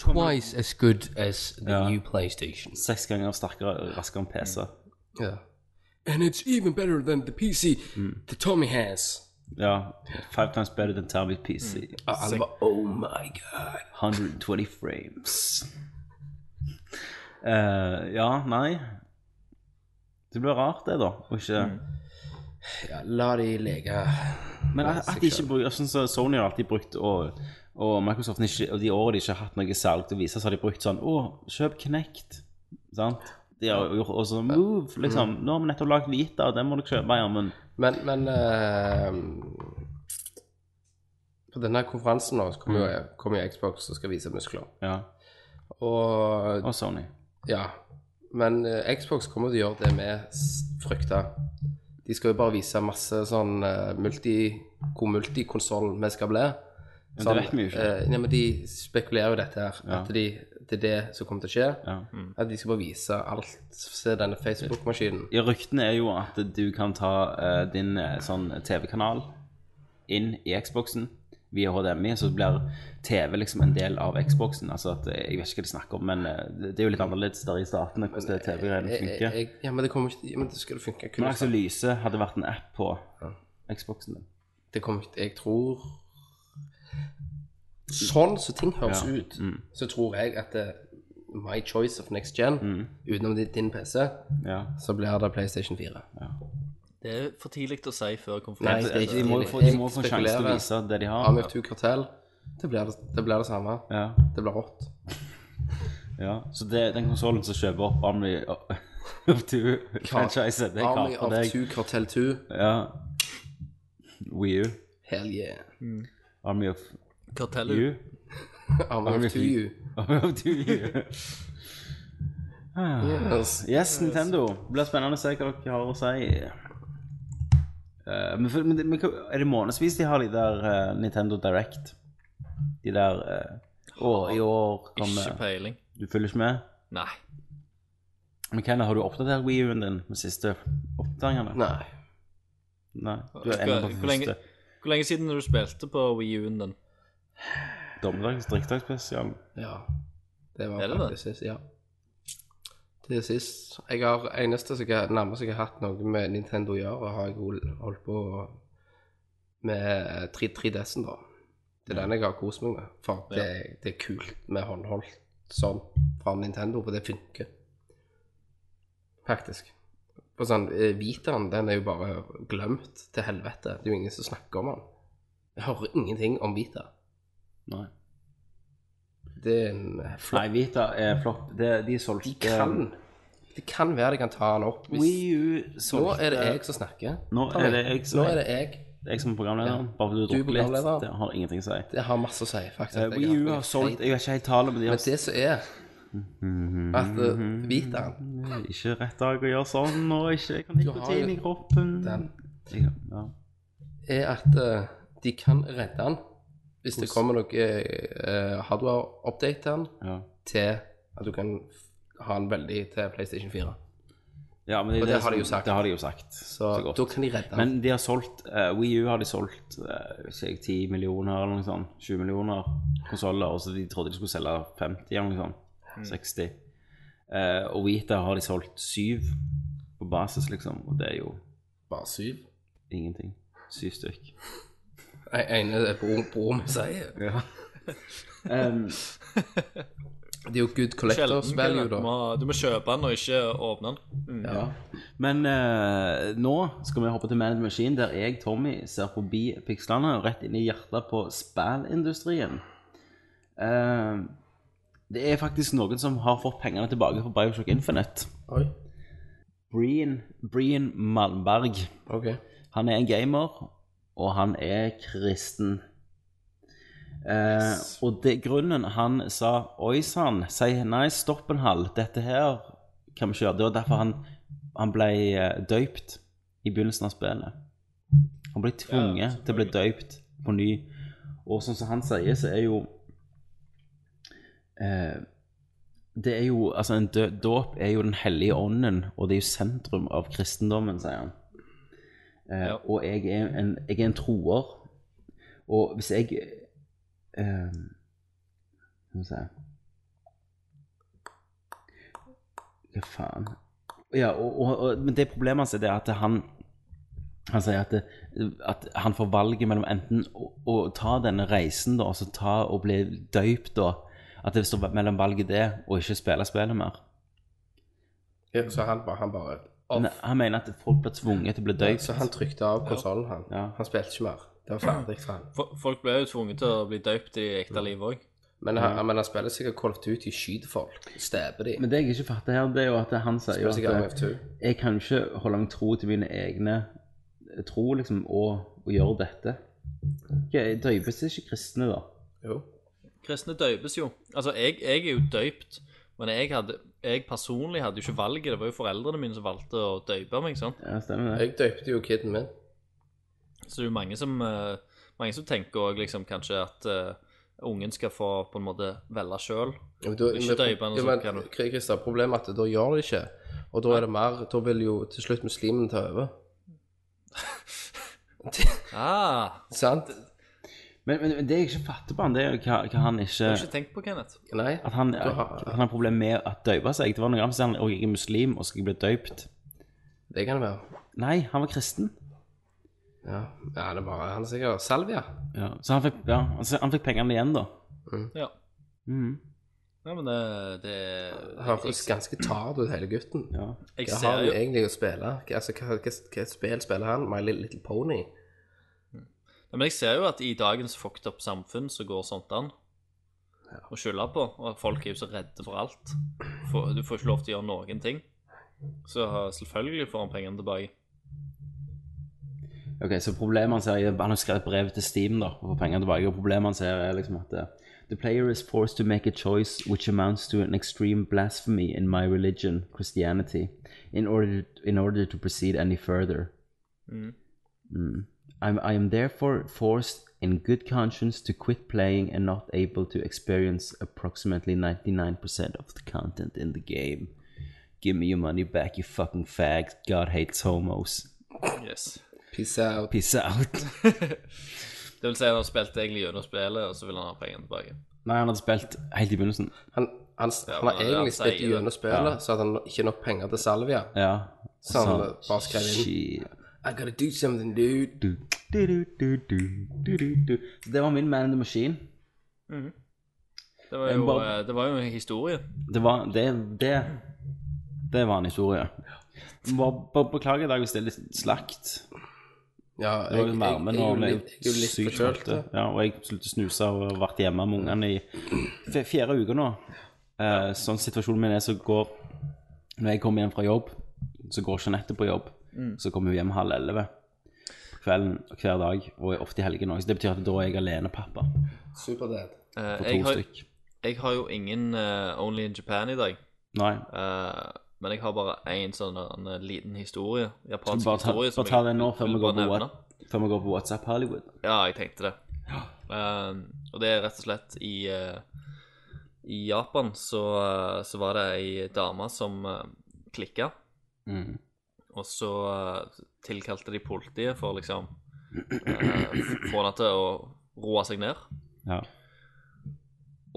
S1: Twice as good as the
S4: Ja.
S1: new PlayStation.
S4: Seks ganger sterkere og raskere enn PC.
S1: Ja. And it's even better than the PC the Tommy has.
S4: Ja. Five times better than Tabby PC.
S1: Ja, alle bare, oh my god.
S4: 120 frames. Eh, ja, nei Det blir rart, det, da. Og ikke
S1: Ja, la de leke.
S4: Men at, at de ikke bruker Jeg synes eh, Sony har alltid brukt og, og Microsoft har ikke, og de årene de ikke har hatt noe salg til å vise, så har de brukt sånn Å, kjøp Knect. Sant? De har gjort også Move, liksom. Nå har vi nettopp lagd Vita, og den må du kjøpe, ja, men
S1: Men, men eh, På denne konferansen nå så kommer jo, kommer jo Xbox og skal vise muskler.
S4: Ja.
S1: Og
S4: Og Sony.
S1: Ja, men eh, Xbox kommer til å gjøre det vi frykter. De skal jo bare vise masse sånn eh, multi, hvor multikonsoll vi skal bli.
S4: det vet vi jo ikke.
S1: eh, nei, men de spekulerer jo dette her,
S4: Ja.
S1: at de, det er det som kommer til å skje.
S4: Ja.
S1: At de skal bare vise alt. Se denne Facebook-maskinen.
S4: Ja, ryktene er jo at du kan ta eh, din eh, sånn TV-kanal inn i Xboxen via HDMI, så blir TV liksom en del av Xboxen. Altså at, eh, jeg vet ikke hva de snakker om, men eh, det det er jo litt annerledes der i statene hvordan det TV-greiene
S1: Jeg- jeg-
S4: funker.
S1: jeg- Ja, men det kommer ikke ja, Men det skal det funke. Kun
S4: Men Axel Lyse hadde vært en app på Xboxen din.
S1: det kommer ikke Jeg tror Sånn som ting høres
S4: Ja, Mm.
S1: ut, så tror jeg at eh, my choice of next gen, utenom di- din PC,
S4: Mm, Ja.
S1: så blir det PlayStation 4.
S5: Det er for tidlig å si før
S1: Nei,
S5: konferansen.
S1: det er ikke
S4: altså, De må jo få, de må jo få en sjanse til å vise det de har.
S1: AMF2 Kartell, det blir det, det blir det samme.
S4: Ja,
S1: Det blir rått.
S4: ja. Så det, den konsollen som kjøper opp Army of Two-franchise, det er
S1: Army
S4: klart for
S1: of
S4: deg.
S1: Two Kartell 2,
S4: Ja. Wii U.
S1: hell yeah.
S4: Army of
S5: Kartellet
S4: You.
S1: Army of
S4: Army of
S1: Two U.
S4: You. Army of Two You.
S1: Yes.
S4: Yes, Nintendo. Det blir spennende å se hva dere har å si. Eh, men, for- men, det- men hva- er det månedsvis de har de der eh, Nintendo Direct? De der eh, Å, i år
S5: Ikke
S4: kommer
S5: peiling.
S4: Du følger ikke med?
S5: Nei.
S4: Men Kenneth, har du oppdatert Wii-en din med siste oppdateringene?
S1: Nei.
S4: Nei, Du er
S5: Hvor-
S4: ennå på
S5: hvor lenge-
S4: første
S5: Hvor lenge siden du spilte på Wii U-en din?
S4: dommedags drikkdagsspesial.
S1: Ja. Det var
S5: Er det det?
S1: faktisk sist. Ja. Det er sist. Jeg har eneste som jeg, nærmest jeg har hatt noe med Nintendo å gjøre, har jeg hol- holdt på med 3- 3DS-en, da. Det er den jeg har kost meg med. For det, det er kult med håndholdt sånn fra Nintendo, for det funker. Faktisk. For sånn, eh, Vitaen, den er jo bare glemt til helvete. Det er jo ingen som snakker om den. Jeg hører ingenting om Vita.
S4: Nei.
S1: Det er en flott
S4: Nei, Vita er flopp. Det, de solgte
S1: De
S4: Ehm.
S1: kan Det kan være de kan ta den opp. Hvis,
S4: Wii U
S1: nå
S4: solgte
S1: er det jeg som snakker.
S4: Nå
S1: Ta
S4: er
S1: meg.
S4: det jeg som-
S1: nå er det jeg.
S4: Jeg som er programlederen.
S1: Ja.
S4: Bare fordi du
S1: Du er
S4: drukker litt.
S1: programleder.
S4: Det har ingenting å si.
S1: Det har masse å si, faktisk.
S4: Eh,
S1: Jeg
S4: Wii U
S1: mye
S4: har solgt
S1: feil.
S4: Jeg har ikke helt tallet, men de har
S1: Men det som er At uh, Vitaen
S4: Det er ikke rett dag å gjøre sånn, og ikke jeg kan
S1: Du har
S4: nikotin
S1: jo
S4: i kroppen.
S1: den.
S4: Jeg- Ja.
S1: er at uh, de kan redde den hvis det kommer noe uh, hardware-update den
S4: Ja.
S1: til at du kan ha den veldig til PlayStation 4.
S4: ja, men det,
S1: Og det har de jo
S4: som-
S1: sagt.
S4: Det har de jo sagt.
S1: Så,
S4: godt.
S1: da kan de redde den.
S4: Men de har solgt eh, Wii U har de solgt eh, ikke jeg, 10 millioner eller noe sånt. 20 millioner konsoller. Og så de trodde de skulle selge 50 eller noe sånt.
S1: Mm.
S4: 60. Eh, og Vita har de solgt 7 på basis, liksom. Og det er jo
S1: Bare syv.
S4: ingenting. Syv stykk.
S1: Den ene broren bro, sier
S4: Ja. um,
S1: Det er jo good collectors
S5: Sjelden.
S1: value,
S5: Kenneth. Du
S1: da.
S5: må- Du må kjøpe den og ikke åpne den.
S4: Ja. Men eh, nå skal vi hoppe til Man in the Machine, der jeg, Tommy, ser forbi pikslene og rett inn i hjertet på spillindustrien. Eh, det er faktisk noen som har fått pengene tilbake fra Bioshock Infinite.
S1: Oi.
S4: Brian, Brian Malmberg.
S1: OK.
S4: Han er en gamer, og han er kristen. Eh, og det grunnen han sa Oi sann, si nei, stopp en hal, dette her kan vi kjøre. Det var derfor han, han ble eh, døypt i begynnelsen av spillet. Han ble tvunget til å bli døypt på ny. Og sånn som han sier, så er jo eh, Det er jo Altså, en dø- dåp er jo Den hellige ånden, og det er jo sentrum av kristendommen, sier han. Eh,
S5: Ja.
S4: Og jeg er, en, jeg er en troer. Og hvis jeg eh, Skal vi se Hva faen Ja, og, og, og, men det problemet hans er det at han han sier at, det, at han får valget mellom enten å, å ta denne reisen da, altså ta og bli døypt da, at det står mellom valget det og ikke spille spillet mer.
S1: Ja, så han, bare- han bare off.
S4: Men han mener at folk blir tvunget til å bli døypt.
S1: Så han trykte av konsollen, han.
S4: Ja.
S1: Han spilte ikke mer. Det var ferdig for han.
S5: Fo- Folk ble jo tvunget til å bli døpt i ekte liv òg.
S1: Men han, men han spiller sikkert Call of Duty, skyter folk, stabber de.
S4: Men det jeg ikke fatter her, det er jo at han sier
S1: Spiller
S4: jo
S1: sikkert
S4: at eh,
S1: MF2.
S4: jeg kan ikke holde meg tro til mine egne tro, liksom, og, og gjøre dette. Okay, døypes er ikke kristne, da.
S1: Jo.
S5: Kristne døpes jo. Altså, jeg, jeg er jo døypt, men jeg, hadde, jeg personlig hadde jo ikke valget. Det var jo foreldrene mine som valgte å døype meg. sant?
S4: Ja, stemmer det.
S1: Jeg døpte jo kiden min.
S5: Så det er jo mange som, eh, mange som tenker òg liksom kanskje at eh, ungen skal få på en måte velge sjøl.
S1: Men da-
S5: Ikke
S1: men-
S5: døpe han,
S1: ja,
S5: og så
S1: men,
S5: kan du-
S1: Kri- Christer, problemet er at da gjør de ikke. Og da er det mer Da vil jo til slutt muslimen ta over.
S5: Ah,
S1: Sant?
S4: Men, men, men det jeg ikke fatter på han, det er jo hva, hva han ikke
S5: det har jeg ikke tenkt på, Kenneth.
S1: Nei.
S4: At han,
S1: Du har-
S4: at han har problemer med å døpe seg. Det var noen andre som sa han «Å, jeg er muslim og skal bli døpt.
S1: Det kan det være.
S4: Nei, han var kristen.
S1: Ja, ja det er bare Han er sikkert Salvia.
S4: Ja. Så han fikk, ja, altså, han fikk pengene igjen, da.
S1: Mm.
S5: Ja.
S4: Mhm.
S5: Nei, men det, det
S1: Høres ganske tard ut, hele gutten.
S4: Ja.
S5: Jeg
S1: Hva har
S5: ser
S1: han
S5: jo
S1: egentlig å spille? Hva- Altså, hva, hva, hva spill spiller han? My Little, Little Pony?
S5: Ja, Men jeg ser jo at i dagens fucked up samfunn så går sånt an. Å skylde på. Og folk er jo så redde for alt. For, du får ikke lov til å gjøre noen ting. Så selvfølgelig får han pengene tilbake.
S4: Ok, så problemet hans er Han har skrevet brev til Steam da, og får penger tilbake. Og problemet hans er liksom at eh, The player is forced to make a choice which amounts to an extreme blasphemy in my religion, Christianity, in order, in order to proceed any further. Mm. I'm, I am therefore forced in good conscience to quit playing and not able to experience approximately 99% of the content in the game. Give me your money back, you fucking fags. God hates homos.
S5: Yes.
S1: Peace out.
S4: Peace out.
S5: Det vil si han har spilt egentlig gjennom spillet, og så vil han ha pengene tilbake.
S4: Nei, han hadde spilt helt i begynnelsen.
S1: Han, han, han har
S5: men det han
S1: egentlig spilt
S5: sier, det.
S1: gjennom spillet, så hadde han ikke nok penger til Salvia.
S4: Ja.
S1: Så han bare skrev inn.
S4: Shit.
S1: I gotta do something, dude.
S4: Du, du, du, du, du, du, du, du. Så det var min Man in the Machine.
S5: Det var jo,
S4: Men bare-
S5: eh, det var jo en historie.
S4: Det var Det, det, det var en historie. Bare, bare beklager i dag hvis det er litt slakt.
S1: Ja,
S4: Det var jo varmen
S1: jeg, jeg,
S4: og vi
S1: er
S4: er
S1: jo
S4: jo
S1: litt- jeg er jo litt
S4: sykt
S1: forkjølt.
S4: kjølte. Ja, og jeg sluttet å snuse og har vært hjemme med ungene i f- fire uker nå. Eh, sånn situasjonen min er så går Når jeg kommer hjem fra jobb, så går Jeanette på jobb.
S1: Mm.
S4: Så kommer hun hjem halv elleve på kvelden hver dag, og ofte i helgen òg. Så det betyr at da er jeg alenepappa
S1: Superdad.
S5: Eh,
S4: for to
S5: jeg, har,
S4: stykk.
S5: jeg har jo ingen eh, Only in Japan i dag.
S4: Nei.
S5: Eh, men jeg har bare én sånn eh, liten historie. Japansk
S4: Bare ta,
S5: historie. som
S4: bare ta
S5: jeg
S4: det nå før
S5: vil
S4: vi går
S5: bare
S4: på,
S5: nevne.
S4: What- før vi går på WhatsApp Hollywood.
S5: Ja, jeg tenkte det. Eh, og det er rett og slett i eh, I Japan så, eh, så var det ei dame som uh, klikka,
S4: Mm.
S5: og så eh, tilkalte de politiet for liksom eh, få henne til å roe seg ned.
S4: Ja.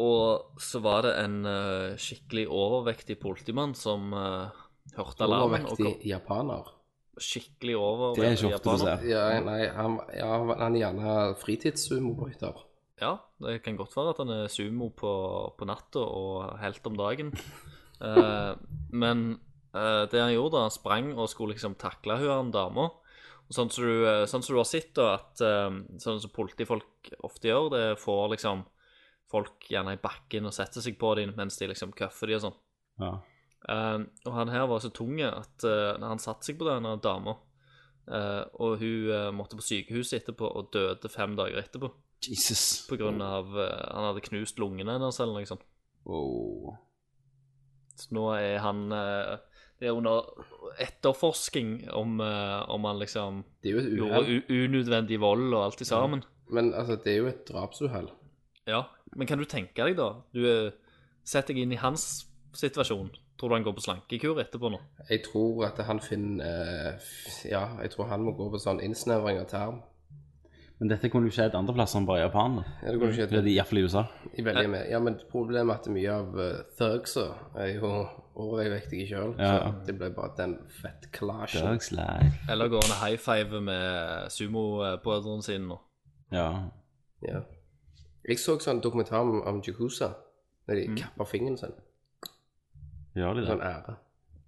S5: Og så var det en eh, skikkelig overvektig politimann som eh, hørte alarmen. og
S1: Overvektig japaner.
S5: kom Skikkelig
S4: Det er ikke ofte
S5: overvektig
S4: du
S5: japaner.
S4: ser.
S1: Ja, nei, han, ja, han er gjerne fritidssumobryter.
S5: Ja, det kan godt være at han er sumo på, på natta og helt om dagen. Eh, men eh, det han gjorde, da, han sprang og skulle liksom takle hun her dama. Og sånn som du, eh, sånn som du har sett, da, at eh, sånn som politifolk ofte gjør, det får liksom folk gjerne i bakken og setter seg på dem mens de liksom køffer de og sånn.
S4: Ja.
S5: Eh, og han her var så tung at eh, når han satte seg på denne dama, eh, og hun eh, måtte på sykehuset etterpå og døde fem dager etterpå.
S4: Jesus.
S5: På grunn av eh, han hadde knust lungene hennes eller noe sånt.
S4: Wow.
S5: Så nå er han eh, Det er under etterforsking om, eh, om han liksom
S1: Det er jo et
S5: gjorde
S1: uhell.
S5: u unødvendig vold og alt i sammen.
S1: Men altså, det er jo et drapsuhell.
S5: Ja. Men kan du tenke deg, da? Du eh, Sett deg inn i hans situasjon. Tror du han går på slankekur etterpå nå?
S1: Jeg tror at han finner eh, Ja, jeg tror han må gå på sånn innsnevring av term.
S4: Men dette kunne jo skjedd andre plasser enn bare i Japan. da.
S1: Ja, det går ikke
S4: Eller i hvert fall i USA.
S1: i veldig med. Ja, men problemet er at mye av uh, thugsa er jo overvektige sjøl.
S4: Ja.
S1: Så det ble bare den fettkalasjen.
S4: Dogs life.
S5: Eller går han high five med sumobrødrene sine nå?
S4: Ja.
S1: Ja. Jeg så sånn dokumentar om, om Jukusa, når de kapper fingeren sin.
S4: Gjør de det?
S1: Sånn ære.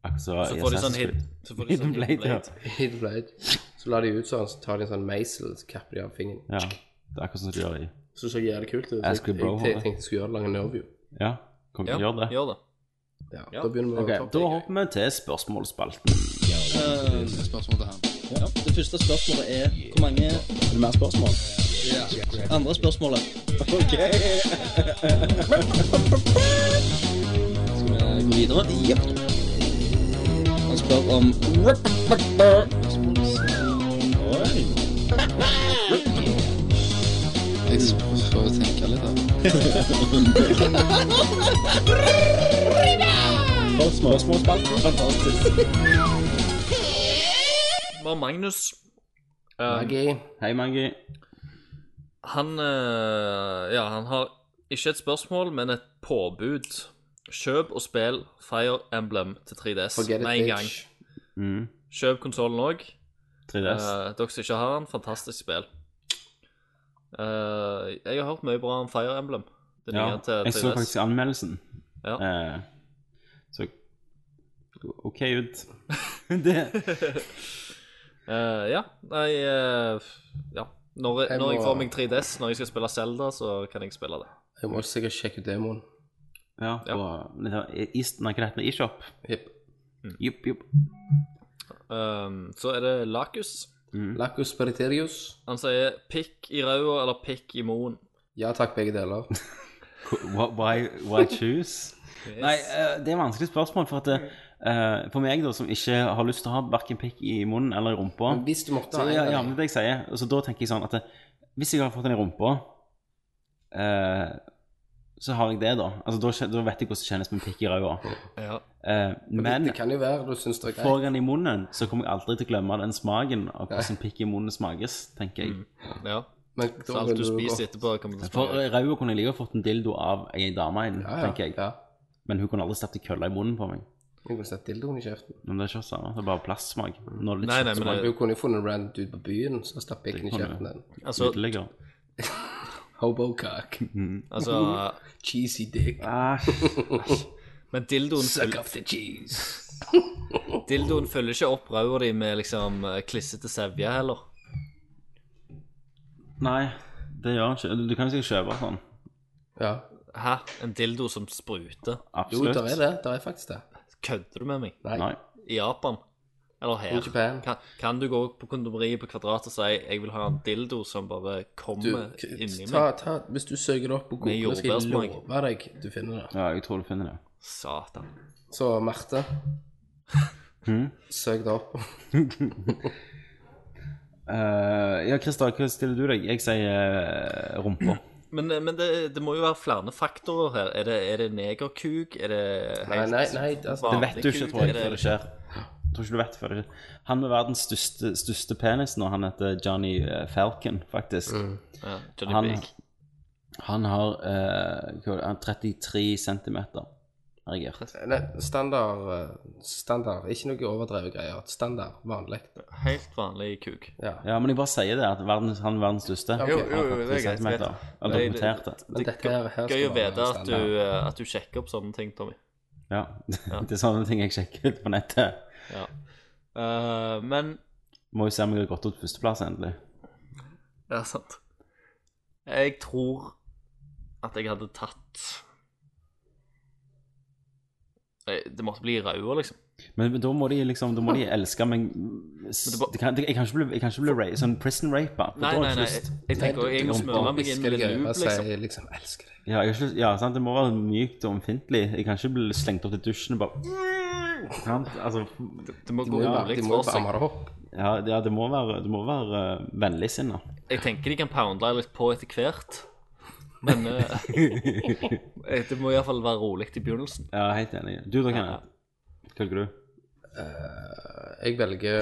S4: Akkurat
S5: Så
S4: i
S5: får de
S4: Assassin's
S5: sånn hid-
S4: Creed.
S5: så får de sånn
S4: Hidden Blade,
S5: hidden blade.
S1: Hit blade. Så la de ut sånn, så tar de en sånn meisel, så kapper de av fingeren.
S4: Ja. Det er akkurat som de gjør i
S1: Så så jævlig kult ut. så Jeg,
S4: Ask
S1: jeg,
S4: Bro,
S1: jeg,
S4: har det.
S1: tenkte jeg skulle gjøre det lang nerveview.
S4: Ja, kan
S5: Ja,
S4: vi gjøre det?
S5: gjør det.
S1: Ja,
S5: Ja.
S1: Da begynner vi
S4: Ok,
S1: å
S4: Da
S1: ta
S4: hopper vi til spørsmålsspalten.
S9: Det første spørsmålet er hvor mange Er det mer spørsmål? Andre spørsmålet. Ok. Skal vi gå videre? Ja. Han spør om Oi. Jeg får jo tenke litt, da. Spørsmål. Spørsmålsspalten. Fantastisk.
S5: Bare Magnus.
S1: Magi.
S4: Hei, Mangi.
S5: Han eh, Ja, han har ikke et spørsmål, men et påbud. Kjøp og spill Fire Emblem til 3DS
S1: Forget
S5: med
S1: it,
S5: en gang.
S1: bitch.
S4: Mm.
S5: Kjøp konsollen òg.
S4: 3DS.
S5: dere som ikke har den, fantastisk spill. Eh, jeg har hørt mye bra om Fire Emblem. Det nye
S4: ja.
S5: til
S4: Jeg så
S5: 3DS.
S4: faktisk anmeldelsen.
S5: Ja.
S4: Eh, så OK ut. det
S5: Eh, ja, nei eh, Ja. Når,
S1: Jeg
S5: når jeg
S1: må-
S5: får meg 3DS, når jeg skal spille Zelda, så kan jeg spille det.
S1: Jeg må sikkert sjekke ut demoen.
S4: Ja, på ja. East, nei, hva det heter det? eShop?
S1: Jepp.
S5: Mm.
S4: Jupp, jupp.
S5: Um, så er det Lakus.
S4: Mm.
S1: Lacus periterius.
S5: Han sier 'pikk i ræva' eller 'pikk i moen'.
S1: Ja takk, begge deler.
S4: Wh- Why, why choose? Nei, eh, det er et vanskelig spørsmål. For, at, det, eh, for meg, da, som ikke har lyst til å ha verken pikk i munnen eller i rumpa
S1: Men hvis du måtte
S4: så,
S1: ha en
S4: ja,
S1: av
S4: ja,
S1: de-
S4: men det jeg sier, og så Da tenker jeg sånn at det, hvis jeg har fått den i rumpa, eh, så har jeg det, da. Altså, da, kjen- da vet jeg hvordan det kjennes med en pikk i ræva.
S5: Ja.
S4: Eh, men
S1: det kan jo være du syns det er
S4: får
S1: greit.
S4: jeg den i munnen, så kommer jeg aldri til å glemme den smaken av hvordan pikk i munnen smakes, tenker
S1: Mm.
S4: jeg.
S5: ja.
S1: Men
S5: Så
S1: da
S5: alt
S1: vil
S5: du
S1: godt-
S5: spiser etterpå, kommer til å
S4: For eh,
S5: smake.
S4: ræva kunne jeg like å fått en dildo av ei dame inn,
S1: ja, ja,
S4: tenker jeg.
S1: Ja.
S4: Men hun kunne aldri stappet en kølle i munnen på meg.
S1: Hun kunne sett dildoen i kjeften.
S4: Men det er ikke det samme. Det er bare plastsmak. Nå er det litt
S5: Nei, nei, men det,
S1: Hun kunne jo funnet en random dude på byen, så stapp pikken i
S4: Det kan
S1: kjeften den.
S5: altså,
S4: ytterligere.
S1: Hobocock.
S5: altså
S1: Cheesy dick.
S4: Æsj.
S5: Men dildoen
S1: Suck
S5: følger,
S1: up the cheese.
S5: dildoen følger ikke opp ræva di med liksom eh, klissete sevje heller.
S4: Nei, det gjør han ikke. Du kan jo sikkert kjøpe sånn.
S1: Ja.
S5: Hæ? En dildo som spruter?
S1: Jo,
S4: Absolutt.
S1: der er det. Der er faktisk det.
S5: Kødder du med meg?
S1: Nei.
S4: Nei.
S5: I Japan? Eller
S1: In
S5: her?
S1: Japan.
S5: Kan, kan du gå på kondomeriet på Kvadrat og si 'jeg vil ha en dildo som bare
S1: Du,
S5: kommer inni
S1: ta,
S5: meg'?
S1: ta, hvis du søker det opp på
S5: Med
S1: Google, skal jeg
S5: jordbærsmak.
S1: love deg du finner det.
S4: Ja, jeg tror du finner det.
S5: Satan.
S1: Så Marte,
S4: Mhm.
S1: søk det opp.
S4: Eh, ja, Christer, hva stiller du deg? Jeg sier eh, rumpa.
S5: Men, men det, det må jo være flere faktorer her. Er det, er det negerkuk? Er det
S1: Nei,
S5: helt
S1: nei, nei, altså,
S4: Det
S5: vanlig
S4: vet du ikke,
S5: kuk?
S4: tror
S5: Er
S4: jeg, før det skjer. Jeg tror ikke du vet før det skjer. Han med verdens største, største penis nå, han heter Johnny eh, Falcon, faktisk.
S5: Ja, Johnny
S4: Han,
S5: Big.
S4: han har eh, hva var det, han har 33 centimeter erigert.
S1: Nei, standard, eh, standard. Ikke noe overdrevet greier. Standard, vanlig.
S5: Helt vanlig kuk.
S1: Ja.
S4: Ja, men jeg bare sier det, at verdens, han er verdens største.
S1: Jo,
S4: Han har
S5: jo, jo, det
S4: 33
S5: er greit,
S4: centimeter.
S5: greit.
S4: Han
S5: Nei, det-
S4: dokumenterte.
S1: Men dette her, her
S5: Gøy å vite at du,
S1: standard.
S5: eh, at du sjekker opp sånne ting, Tommy.
S4: Ja. Det er sånne ting jeg sjekker ut på nettet.
S5: Ja. Eh, men
S4: Må jo se om jeg har gått ut førsteplass, endelig.
S5: Det er sant. Jeg tror at jeg hadde tatt Nei, Det måtte bli røde, liksom.
S4: Men da må de liksom, da må de elske meg det kan, det, Jeg kan ikke bli, jeg kan ikke bli ra sånn prison raper. for
S5: Nei,
S4: da har
S5: nei,
S4: jeg ikke
S5: nei.
S4: lyst.
S5: Jeg, jeg tenker også, jeg må smøre meg inn med
S1: Skal jeg
S5: lube,
S1: øve
S5: liksom.
S1: seg liksom elsker deg?
S4: Ja, jeg har ikke lyst. ja, sant, det må være mykt og omfintlig. Jeg kan ikke bli slengt opp til dusjen og bare sant? Altså,
S5: Det må
S1: De
S5: gå
S1: må jo bare- de
S5: rolig
S1: må jo
S5: for
S1: bare
S5: seg.
S1: varme det opp.
S4: ja, ja, det må være, det må være eh, vennligsinna.
S5: Jeg tenker de kan pounde litt på etter hvert. Men eh, det må iallfall være rolig i begynnelsen.
S4: Ja, helt enig. Du da, Kenneth? Hva velger du?
S1: Jeg velger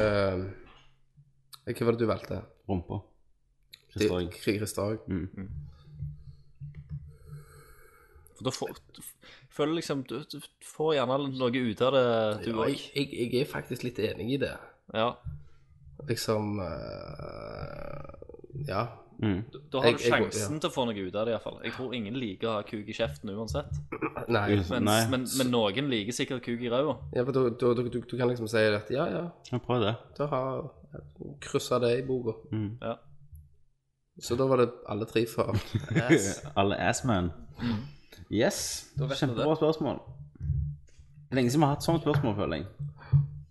S1: eh, Hva var det du valgte?
S4: Rumpa?
S1: Det-
S4: Forstår jeg.
S1: Krigerens dag.
S5: For da får du føler liksom Du, du får gjerne noe ut av det, du
S1: Ja, jeg,
S5: òg.
S1: jeg, jeg er faktisk litt enig i det.
S5: Ja.
S1: Liksom eh, Ja.
S4: Mm.
S5: Da har
S1: Jeg-
S5: du
S1: jeg går-
S5: sjansen til å få noe ut av det, iallfall. Jeg tror ingen liker å ha kuk i kjeften uansett.
S1: Nei.
S5: Mens,
S4: Nei.
S5: men, men noen liker sikkert kuk i ræva.
S1: Ja, for du, du, du, du kan liksom si at ja, ja,
S4: Ja, prøv det.
S1: da har kryssa det i boka.
S4: Mm.
S5: Ja.
S1: Så da var det alle tre for ass.
S4: Alle assman.
S1: Mm.
S4: Yes. Kjempebra spørsmål. Det er lenge siden vi har hatt sånne spørsmål, føler jeg.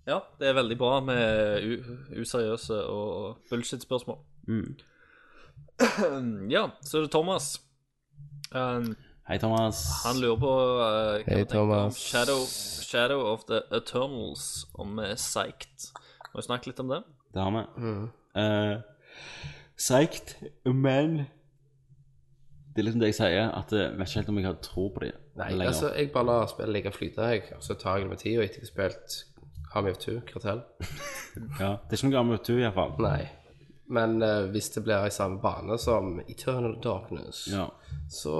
S5: ja, det er veldig bra med u useriøse og bullshit-spørsmål.
S4: Mm.
S5: ja, så er det Thomas. Um,
S4: Hei, Thomas.
S5: han lurer på eh, hva
S1: Hei,
S5: vi tenker om
S1: Thomas.
S5: Shadow, Shadow of the Eternals, om vi er psyched. Må vi snakke litt om det?
S4: Det har vi. Eh, Seigt, men Det er liksom det jeg sier, at jeg vet ikke helt om jeg har tro på det
S1: Nei, altså, jeg bare lar spillet ligge og flyte, jeg. og Så tar jeg det med tida etter jeg har spilt Army of Two, Kartell.
S4: Ja, det er ikke noe gammelt du, iallfall.
S1: Nei. Men eh, hvis det blir i samme bane som Eternal Darkness,
S4: Ja.
S1: så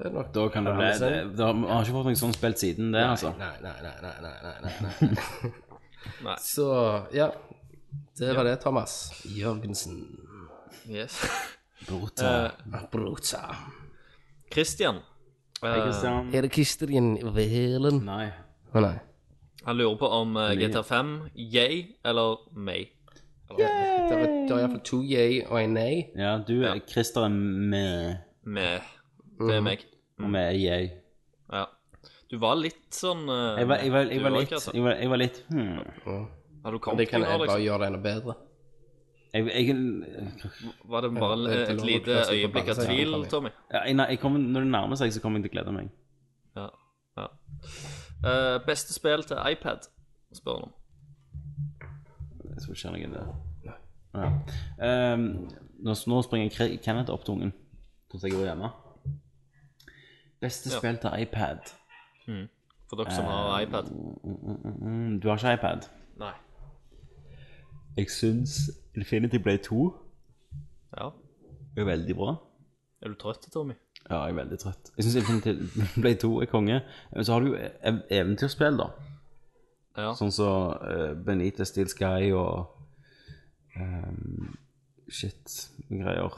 S1: er det nok
S4: Da kan det bli
S1: Ja, men så-
S4: det, det har, Jeg har ikke fått noe sånt spilt siden det, altså.
S1: Nei, nei, nei, nei, nei, nei, nei, nei, nei.
S5: Nei.
S1: Så, ja. Det var det, Thomas. Jørgensen.
S5: Yes.
S4: Brota.
S1: Brota.
S5: Christian
S4: Hei, Kristian.
S1: Er det Kristian Velen?
S4: Nei.
S1: Å nei.
S5: Han lurer på om eh, GTA 5, yay eller may.
S1: Det er, det er iallfall to yay og en nei.
S4: Ja, du er Christer er med,
S5: Meh. Det
S1: Mm.
S5: er meg.
S4: og med er jeg.
S5: Ja. Du var litt sånn eh,
S4: Jeg var, jeg var, jeg
S5: du
S4: var
S5: også,
S4: litt,
S5: altså.
S4: jeg var, jeg var litt hmm.
S5: Har du
S1: Men
S5: kommet
S1: Det kan jeg
S5: til nå,
S1: bare
S5: liksom?
S1: gjøre det enda bedre.
S4: Jeg, jeg,
S5: Var det bare eh,
S1: det er
S5: et
S1: til å
S5: lite
S1: lov å kaste på
S5: øyeblikk av
S1: ballen,
S5: tvil,
S1: sier han.
S5: Tommy?
S4: ja, jeg, jeg kommer, når det nærmer seg, så kommer jeg til å glede meg.
S5: Ja. ja. Eh, beste spill til iPad, spør han om.
S4: Jeg tror ikke noe der. Ja. Ehm, nå, nå springer Kre- Kenneth opp tungen. Tror jeg går hjemme. Beste
S5: Ja.
S4: spill til iPad.
S5: Hmm. For dere som har
S4: Eh.
S5: iPad.
S4: Mm, Du har ikke iPad?
S5: Nei.
S4: Jeg syns Infinity Blade 2
S5: Ja.
S4: er veldig bra.
S5: Er du trøtt, Tommy?
S4: Ja, jeg er veldig trøtt. Jeg syns Infinity Blade 2 er konge. Men så har du jo ev- eventyrspill, da.
S5: Ja.
S4: Sånn som så, eh, Benita Steel Sky og ehm, shit greier.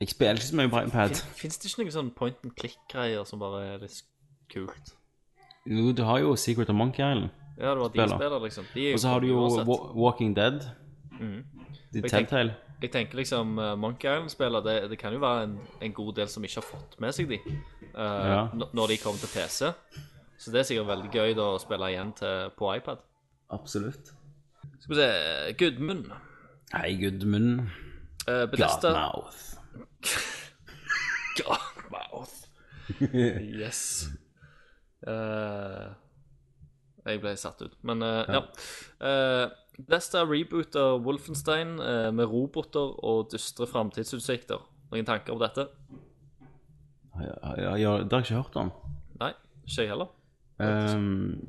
S4: Jeg spiller ikke så mye på iPad.
S5: Fins det ikke noen sånn point and click-greier som bare er litt kult?
S4: Jo, du har jo Secret of Monkey Island.
S5: Ja, det var de
S4: Spiller.
S5: spiller, liksom. De er
S4: Og så har du jo
S5: uansett. Mm.
S4: Wa- Walking Dead. De
S5: Jeg
S4: Telltale.
S5: Jeg tenker liksom eh, Monkey Island-spiller, det, det kan jo være en, en god del som ikke har fått med seg de eh,
S4: Ja.
S5: n- når de kommer til PC. Så det er sikkert veldig gøy da å spille igjen til, på iPad.
S4: Absolutt.
S5: Skal vi se Gudmund.
S4: Hei, Gudmund.
S5: Uh, Bedesta
S4: Godmouth.
S5: Godmouth. Yes. Eh, jeg ble satt ut, men eh, ja. Eh, Bethesda rebooter Wolfenstein eh, med roboter og dystre framtidsutsikter. Noen tanker om dette?
S4: Ja, ja, ja, det har jeg ikke hørt om.
S5: Nei, ikke jeg heller.
S4: Ehm,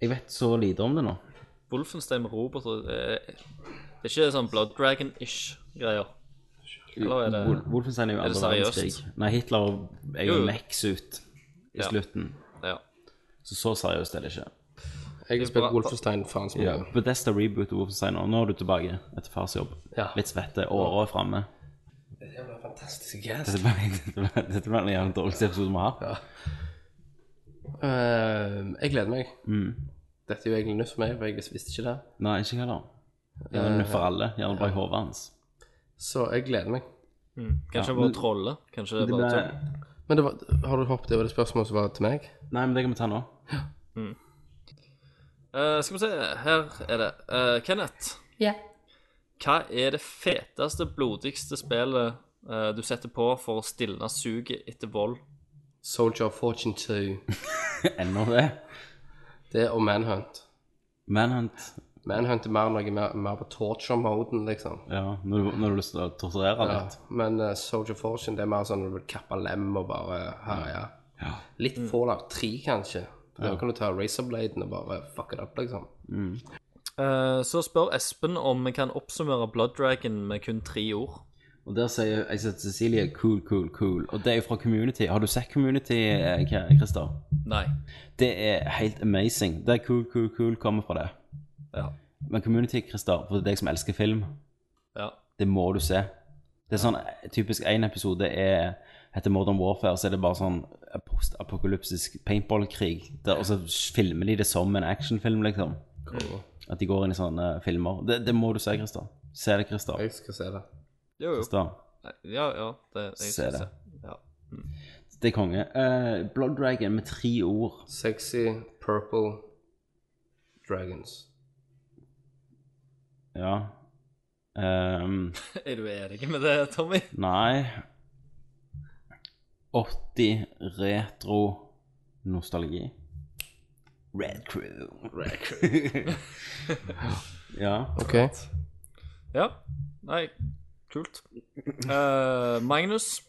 S4: jeg vet så lite om det nå.
S5: Wolfenstein med roboter eh, Det er ikke sånn Blood Dragon-ish greier. Eller er det-
S4: Wol- Wolfenstein er jo
S5: er det
S4: andre
S5: seriøst?
S4: verdenskrig. Nei, Hitler er
S5: Jo,
S4: jo
S5: jo.
S4: mech-suit i
S5: Ja.
S4: slutten.
S5: Ja.
S4: Så så seriøst er det ikke.
S1: Jeg har
S5: bra-
S1: spilt Wolfenstein faen så mye.
S4: Bethesda reboot og Wolfenstein, og nå er du tilbake etter fars jobb.
S1: Ja.
S4: Litt svette, åra er framme.
S1: Fantastisk gjest.
S4: Dette blir dette blir en jævlig dårlig episode vi har.
S1: Ehm, jeg gleder meg. Dette er jo egentlig nytt for meg, for jeg visste ikke det.
S4: Mm. Nei, ikke jeg heller. Gjerne nytt for alle. Gjerne bare i hodet hans.
S1: Så jeg gleder meg.
S5: Kanskje
S4: Ja,
S5: bare
S4: men-
S5: trolle? Kanskje
S4: Det ble...
S5: bare sånn
S1: Men det var, har du hoppet over det spørsmålet som var til meg?
S4: Nei, men det kan vi ta nå.
S5: Eh, Skal vi se, her er det. Eh, Kenneth. Hva er det feteste, blodigste spillet eh, du setter på for å stilne suget etter vold?
S1: Soldier of Fortune 2.
S4: Ennå det.
S1: Det og Manhunt.
S4: Manhunt.
S1: Manhunt er mer noe mer, mer på torture-moden, liksom.
S4: Ja, når du, når du har lyst til å torturere
S1: Ja.
S4: litt.
S1: Men eh, Soldier of Fortune det er mer sånn når du vil kappe lem og bare herje.
S4: Ja.
S1: Litt Fallout 3, kanskje. Da kan du ta Razorbladen og bare fucke det opp, liksom.
S5: Eh, så spør Espen om vi kan oppsummere Blood Dragon med kun tre ord.
S4: Og der sier jeg sier til Cecilie cool, cool, cool. Og det er jo fra Community. Har du sett Community, eh, K- Christer?
S5: Nei.
S4: Det er helt amazing. Det er cool, cool, cool kommer fra det.
S5: Ja.
S4: Men Community, Christer, for deg som elsker film,
S5: Ja.
S4: det må du se. Det er sånn eh, typisk én episode er heter Modern Warfare, så er det bare sånn postapokalypsisk paintballkrig. der- Og så filmer de det som en actionfilm, liksom.
S1: Mm.
S4: At de går inn i sånne filmer. Det, det må du se, Christer. Se det, Christer.
S1: Jeg skal se det.
S5: Jo, jo.
S4: Christer.
S5: Ja, ja. Det, jeg
S4: Se
S5: skal
S4: det.
S5: se. Ja.
S4: Det er konge. Eh, Blood Dragon med tre ord.
S1: Sexy Purple Dragons.
S4: Ja. Ehm,
S5: Er du enig med det, Tommy?
S4: nei 80 retro nostalgi. Red Crew. Red Crew. ja.
S1: OK.
S5: Ja. Nei, kult. Eh, Magnus,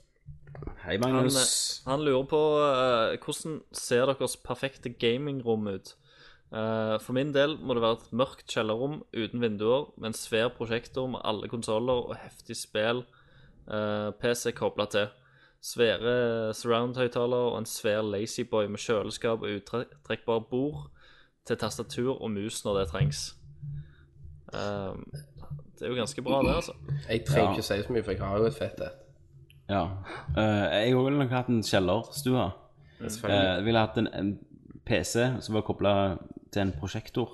S4: Hei,
S5: han,
S4: Magnus.
S5: han lurer på eh, hvordan ser deres perfekte gamingrom ut? Eh, for min del må det være et mørkt kjellerrom uten vinduer, med en svær prosjektor med alle konsoller og heftig spill eh, PC kobla til. Svære surround-høyttalere og en svær Lazyboy med kjøleskap og uttrekkbar bord til tastatur og mus når det trengs. Eh, det er jo ganske bra, det, altså.
S1: Jeg trenger
S4: Ja.
S1: ikke å si så mye, for jeg har jo et fett et.
S4: Ja. Eh, jeg òg ville nok hatt en kjellerstue.
S1: Selvfølgelig.
S4: Eh, jeg ville hatt en, en PC som var kobla til en prosjektor.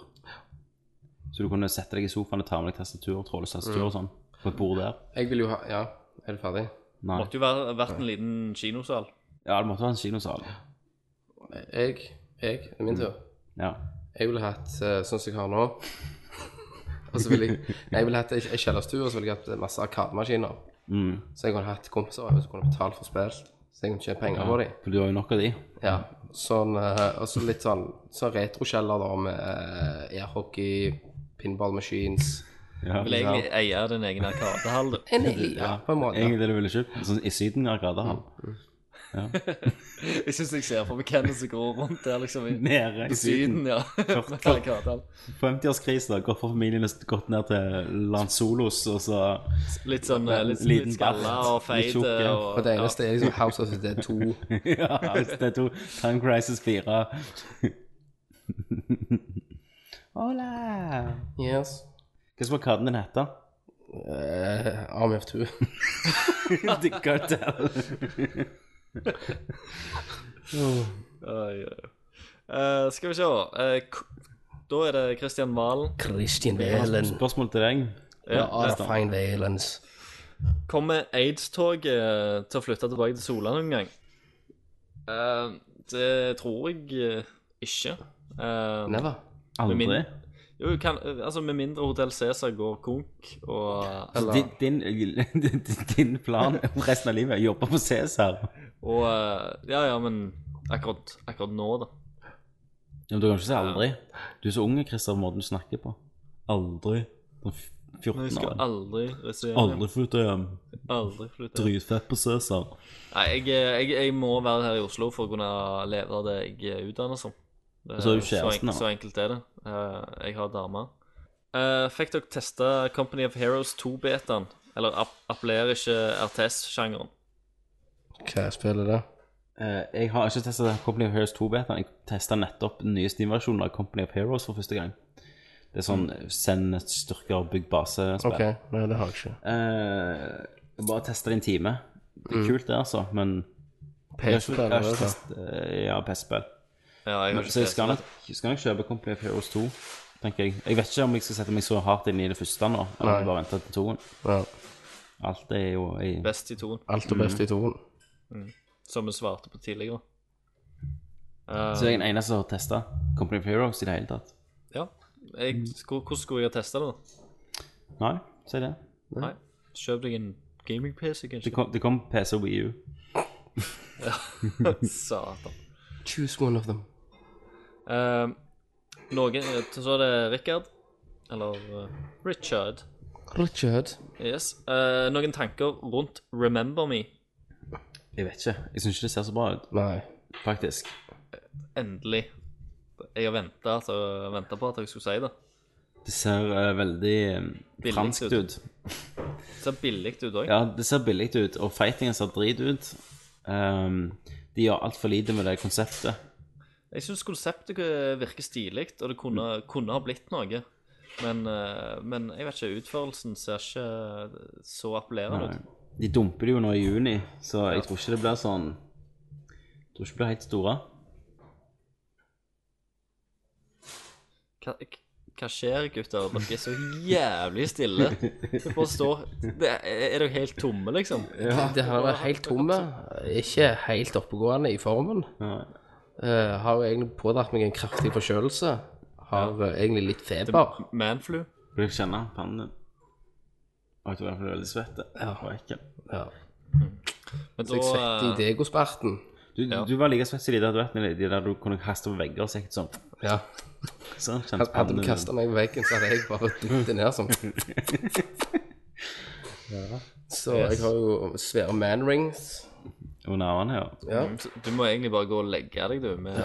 S4: Så du kunne sette deg i sofaen og ta med deg tastatur, trådløst tastatur og sånn. På et bord der.
S1: Jeg vil jo ha Ja, er du ferdig?
S4: Nei.
S5: Måtte jo være- vært en liten kinosal.
S4: Ja, det måtte være en kinosal.
S1: Jeg, jeg, det er min tur.
S4: Ja.
S1: Jeg ville hatt eh, sånn som jeg har nå. og så ville jeg Nei, jeg ville hatt ei ei kjellerstue, og så ville jeg hatt masse arkademaskiner.
S4: Mm.
S1: Så jeg kunne hatt kompiser over som kunne betalt for spill. Så jeg kunne tjene penger på dem.
S4: For du har jo nok av de.
S1: Ja, sånn, eh, og så litt sånn, sånn retrokjeller da, med eh, airhockey, pinball machines.
S4: Ja.
S5: Vil egentlig eie din egen arkadehall, du.
S1: En elite, ja, på en måte. Mm.
S4: Egentlig det du ville kjøpt. Sånn i Syden Arkadehall.
S5: Jeg syns jeg ser for meg hvem som går rundt der, liksom. I,
S4: Nede
S5: i Syden, ja. Med arkadehall.
S4: 50-årskrise, da. Gått for familien og gått ned til Lanzolos, og så
S5: Litt sånn eh, litt,
S4: Liten
S5: litt skalla
S4: bart,
S5: og
S4: litt
S5: feit.
S4: tjukk, ja.
S5: Og,
S1: Og det eneste er liksom House of the Dead 2.
S4: Ja, det er to Time Crisis 4. Hola!
S1: Yes.
S4: Hva skal katten din hete?
S1: Eh, Army of Two.
S4: The Cartel.
S5: Oi, oi. Eh, skal vi se eh, k- Da er det Kristian Valen.
S1: Christian Valen.
S4: Spørsmål til deg.
S1: Ja,
S4: altså.
S1: ah, fine Valens.
S5: Kommer aids-toget til å flytte tilbake til Sola noen gang? Eh, det tror jeg eh, ikke. Eh,
S1: Never.
S4: Aldri.
S5: Min- jo, kan, altså Med mindre Hotell Cæsar går konk og,
S4: Din, din, din plan for resten av livet er å jobbe på Cæsar.
S5: og eh, Ja, ja, men akkurat, akkurat nå, da.
S4: Ja, men du kan ikke si aldri. Du er så ung, Christer, måten du snakker på. Aldri. Sånn f-
S5: Men
S4: 14
S5: jeg skal
S4: år.
S5: aldri resignere.
S4: Aldri flytte hjem.
S5: Aldri flytte.
S4: Dritfett på Cæsar.
S5: Nei, jeg, eh, jeg, jeg må være her i Oslo for å kunne leve av det jeg er utdannet som. Det,
S4: Og så har du
S5: så,
S4: kjæresten,
S5: enkelt,
S4: da.
S5: så enkelt er det. Eh, jeg har dame. Eh, fikk dere teste Company of Heroes 2-betaen? Eller app appellerer ikke RTS-sjangeren?
S1: Hva spiller det?
S4: Eh, jeg har ikke testa Company of Heroes 2-betaen. Jeg testa nettopp den nye Steam-versjonen av Company of Heroes for første gang. Det er sånn eh,
S5: Mm.
S4: send styrker og bygg base-spill.
S1: Ok, nei, det har jeg ikke.
S4: Eh, jeg bare testa det i en time. Det
S5: Mm.
S4: er kult, det, altså, men jeg har ikke, jeg
S1: PC-spill,
S4: har
S1: er det
S4: ikke
S1: det?
S4: testet- eh, Ja, PC-spill.
S5: Ja, jeg har ikke
S4: Så jeg skal
S5: testet
S4: nok, skal nok kjøpe Company of Heroes 2, tenker jeg. Jeg vet ikke om jeg skal sette meg så hardt inn i det første nå, eller om jeg bare venter til toen.
S1: Ja,
S4: Alt er jo i
S5: det. Best i toen,
S1: alt er best i toen.
S5: som vi svarte på tidligere. Eh,
S4: Så jeg er den eneste som har testa Company of Heroes i det hele tatt.
S5: Ja.
S4: Mm.
S5: Jeg, skulle- hvordan skulle jeg ha testa det? da?
S4: Nei, si det.
S5: Nei. Kjøp deg en gaming-PC,
S4: Det
S5: kanskje?
S4: kom, det kom PC og Wii U.
S5: Satan.
S1: Choose one of them.
S5: Eh, noen, eh, så er det Richard, eller eh, Richard.
S1: Richard.
S5: Yes. Eh, noen tanker rundt Remember Me.
S4: Jeg vet ikke. Jeg syns ikke det ser så bra ut,
S1: Nei.
S4: faktisk.
S5: Endelig. Jeg har venta på at jeg skulle si det.
S4: Det ser eh, veldig eh,
S5: Billig
S4: franskt
S5: ut.
S4: ut.
S5: Det ser billig ut òg.
S4: Ja, det ser billig ut, og fightingen ser drit ut. Ehm, de gjør altfor lite med det konseptet.
S5: Jeg syns konseptet virker stilig, og det kunne,
S4: Mm.
S5: kunne ha blitt noe. Men, eh, men jeg vet ikke, utførelsen ser ikke eh, så appellerende ut.
S4: De dumper det jo nå i juni, så jeg tror ikke det blir sånn Jeg tror ikke det blir helt store.
S5: Hva, hva skjer, gutter? Dere er så jævlig stille. Det bare står det, Er dere helt tomme, liksom?
S1: Det har vært helt tomme. Ikke helt oppegående i formen.
S4: Nei.
S1: Eh, har jo egentlig pådratt meg en kraftig forkjølelse. Har eh, egentlig litt feber.
S5: Manflu?
S4: Vil dere kjenne pannen din? Og jeg tror i hvert fall du er veldig svett. eh, Og ekkel.
S1: Ja.
S5: Men
S1: Så jeg svetter i
S5: da, eh,
S1: degosperten.
S4: Du, du var like svett som de der, du vet, når de- de der du kunne kaste på vegger og sikkert sånn.
S1: Ja.
S4: sånn kjennes
S1: Hadde
S4: pannen
S1: du
S4: din.
S1: kasta meg på veggen, så hadde jeg bare dumt det ned som Så jeg har jo svære manrings.
S4: Under armene, ja.
S1: Ja.
S5: du må egentlig bare gå og legge deg, du, med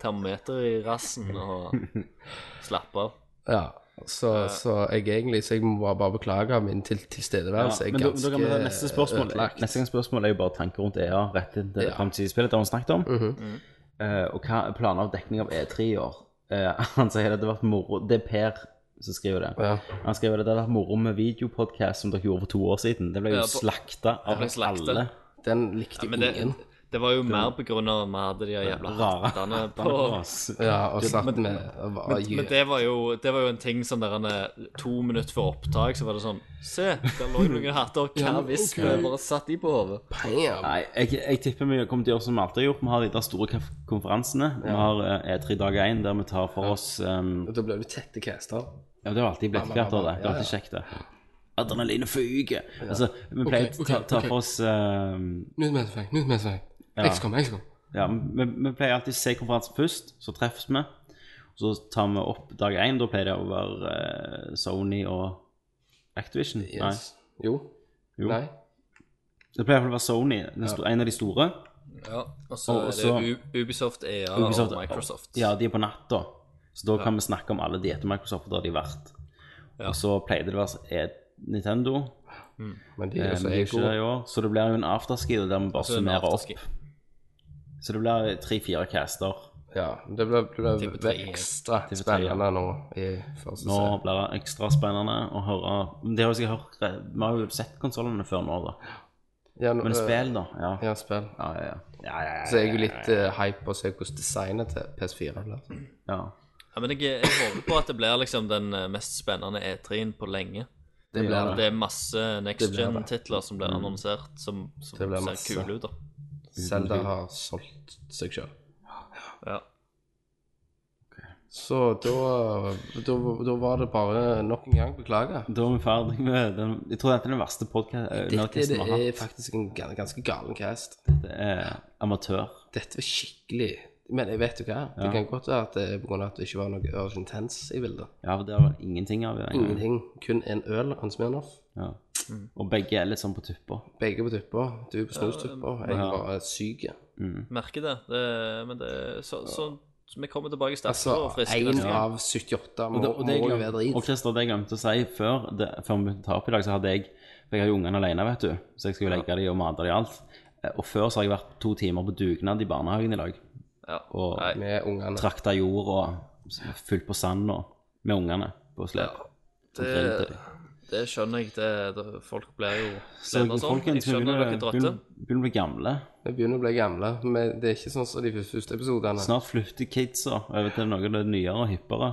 S5: termometer i rassen og slappe av.
S1: ja. Så, så jeg egentlig Så jeg må bare- bare beklage min til,
S4: Ja,
S1: tilstedeværelse. er
S4: men da, da kan vi ta
S1: ganske
S4: neste spørsmål.
S1: ødelagt.
S4: Neste gang spørsmål er jo bare tanker rundt EA rett inn til
S1: Ja. Mm.
S4: fremtidig spill, det har vi snakket om.
S1: Mhm.
S4: Eh, og hva er planer av dekning av E3 i år? Eh, han sier det hadde vært moro Det er Per som skriver det.
S1: Ja.
S4: Han skriver det hadde vært moro med videopodcast som dere gjorde for to år siden. Det ble jo
S5: Ja, på-
S4: slakta av
S5: ble slakta.
S4: alle.
S1: Den likte
S5: Men det,
S1: ingen.
S5: Det var jo mer på grunn av at vi hadde de her jævla
S4: Rare
S5: hattene på.
S4: hattene, ass.
S1: Ja, og satt med og var
S5: Men det var, jo, det var jo en ting som der han er to minutter før opptak, så var det sånn Se, der lå jo noen hatter. Hva hvis vi bare satt de på hodet?
S1: Bam!
S4: Nei, jeg, jeg tipper vi kommer til å gjøre som vi alltid har gjort. Vi har de der store konf- konferansene. Vi har eh, E3 dag 1, der vi tar for oss um,
S1: Og Da ble du tette caster.
S4: Ja, det har alltid blitt
S1: Ja,
S4: kvart av
S1: ja,
S4: det. Det er
S1: ja.
S4: alltid kjekt, det. Adrenalinet fyker. Altså, vi pleier
S1: Ok,
S4: å ta,
S1: ok,
S4: ta
S1: ok.
S4: for oss eh,
S1: Nytt medfang, nytt medfang. XCOM, XCOM.
S4: Ja, vi, vi pleier alltid å se konferansen først, så treffes vi. Så tar vi opp dag én. Da pleier det å være eh, Sony og Activision.
S1: Yes. Jo.
S4: Nei. Jo.
S1: Nei.
S4: Det pleier i hvert fall å være Sony, den sto- en av de store.
S5: Ja, og så
S4: Og- og
S5: er det
S4: så-
S5: U- Ubisoft, EA
S4: Ubisoft-
S5: og Microsoft.
S4: Ja, de er på natta. Så da kan vi snakke om alle de etter Microsoft, og der de har vært. Og så pleide det å være eh, Nintendo.
S1: Men de er
S4: eh,
S1: jo så
S4: men det er jo ikke
S1: ego.
S4: det i år. Så det blir jo en afterski og der vi bare
S5: Så er det en
S4: summerer opp.
S5: afterski.
S4: Så det blir tre-fire caster.
S1: Ja, det ble, ble,
S5: Type
S1: ble
S5: tre, ja.
S1: ekstra
S4: Type tre, ja.
S1: spennende nå i første
S4: Nå
S1: serie.
S4: blir det ekstra spennende å høre Men Det har jo sikkert hørt Vi har jo sett konsollene før nå, da.
S1: Ja, nå-
S4: Men spill, da. Ja.
S1: Ja, spill.
S4: Ja, ja, ja.
S1: Så er jeg jo litt eh, hype på å se hvordan designet til PS4 blir.
S4: ja.
S5: Ja, men jeg, jeg håper på at det blir liksom den eh, mest spennende E3-en på lenge.
S1: Det blir
S5: Det er masse next
S1: Det blir det.
S5: gen-titler som blir annonsert, som, som
S1: Det blir
S5: ser
S1: masse.
S5: kule ut. da
S1: Zelda har solgt seg sjøl.
S5: ja.
S1: Så da, da, da var det bare nok en gang beklager.
S4: Da er vi ferdig med den Jeg tror dette er den verste podkasten
S1: Dette
S4: vi
S1: det
S4: har
S1: er
S4: hatt.
S1: faktisk en ga- ganske galen cast.
S4: Det er eh, amatør.
S1: Dette var skikkelig Men jeg vet jo hva. Det
S4: Ja.
S1: kan godt være at eh, det er pga. at det ikke var noe Urgent Tense i bildet.
S4: Ja, for det er vel ingenting av det. engang.
S1: Ingenting. Kun en øl og en Smirnoff.
S4: Ja. Og begge er litt sånn på tuppa.
S1: Begge på tuppa. Du på snustuppa. Jeg er bare syk.
S5: Merker det. det men det så, så, vi kommer tilbake sterkere
S1: Altså,
S5: og friske.
S1: én
S5: neste gang.
S1: av 78 må,
S4: Og det- og det
S1: må
S4: jeg
S1: jo
S4: glem-
S1: være
S4: Og
S1: drit.
S4: Christer, det jeg glemte å si før, det, før vi begynte å ta opp i dag, så hadde jeg for Jeg har jo ungene alene, vet du, så jeg skal jo legge dem og mate dem og alt. Eh, Og før så har jeg vært to timer på dugnad i barnehagen i dag.
S5: Ja.
S4: Og
S5: Nei.
S1: Med ungene.
S4: trakta jord og fylt på sand og med ungene på slep. Omkring til
S5: Det,
S4: dem.
S5: det skjønner jeg. Det, det, folk blir jo
S4: Så
S5: slemme og sånn. Jeg
S4: folkens, vi
S5: skjønner
S4: begynner
S5: dere er trøtte.
S4: begynner- begynner å bli gamle.
S1: Vi begynner å bli gamle. Men det er ikke sånn som de første episodene.
S4: Snart flytter kidsa over til noe av det nyere og hippere.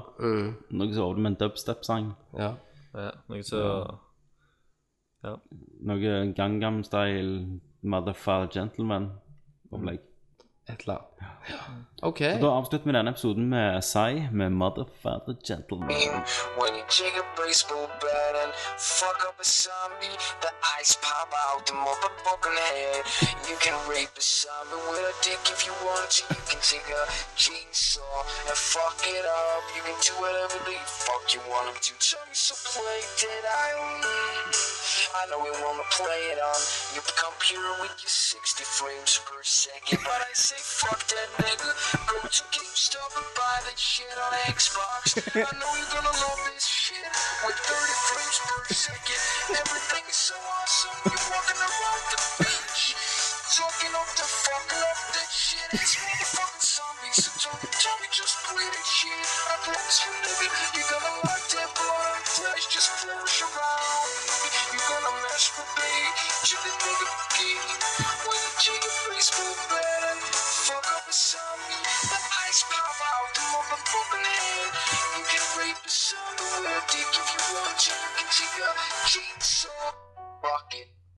S4: Noe så over med en dubstep-sang.
S1: Mm. Ja.
S5: Ja, noe så
S4: Noe Gangnam Style, Motherfather Gentleman-opplegg.
S1: Et eller annet. OK.
S4: Da avslutter vi denne episoden med Sai med Motherfather Gentleman.
S8: When you kick a baseball bat and fuck up a zombie, the eyes pop out the motherfucking head. You can rape a zombie with a dick if you want to. You can take a chainsaw and fuck it up. You can do whatever the fuck you want to do. Tell me so play Dead Island. I know we wanna play it on your computer with your 60 frames per second, but I say fuck that nigga. Go to GameStop and buy that shit on Xbox. I know you're gonna love this shit with 30 frames per second. Everything is so awesome. You're walking around the beach, talking up the fucking up that shit. It's motherfucking zombies. So don't tell me just play that shit. I promise you, nigga, you're gonna like that blood and flesh just flourish around. You're gonna mess with me, chili nigga geek. When you take a baseball bat and fuck up a zombie, the eyes pop out the motherfucking head. You can rape a zombie with a dick if you want to. You can take a chainsaw, fuck it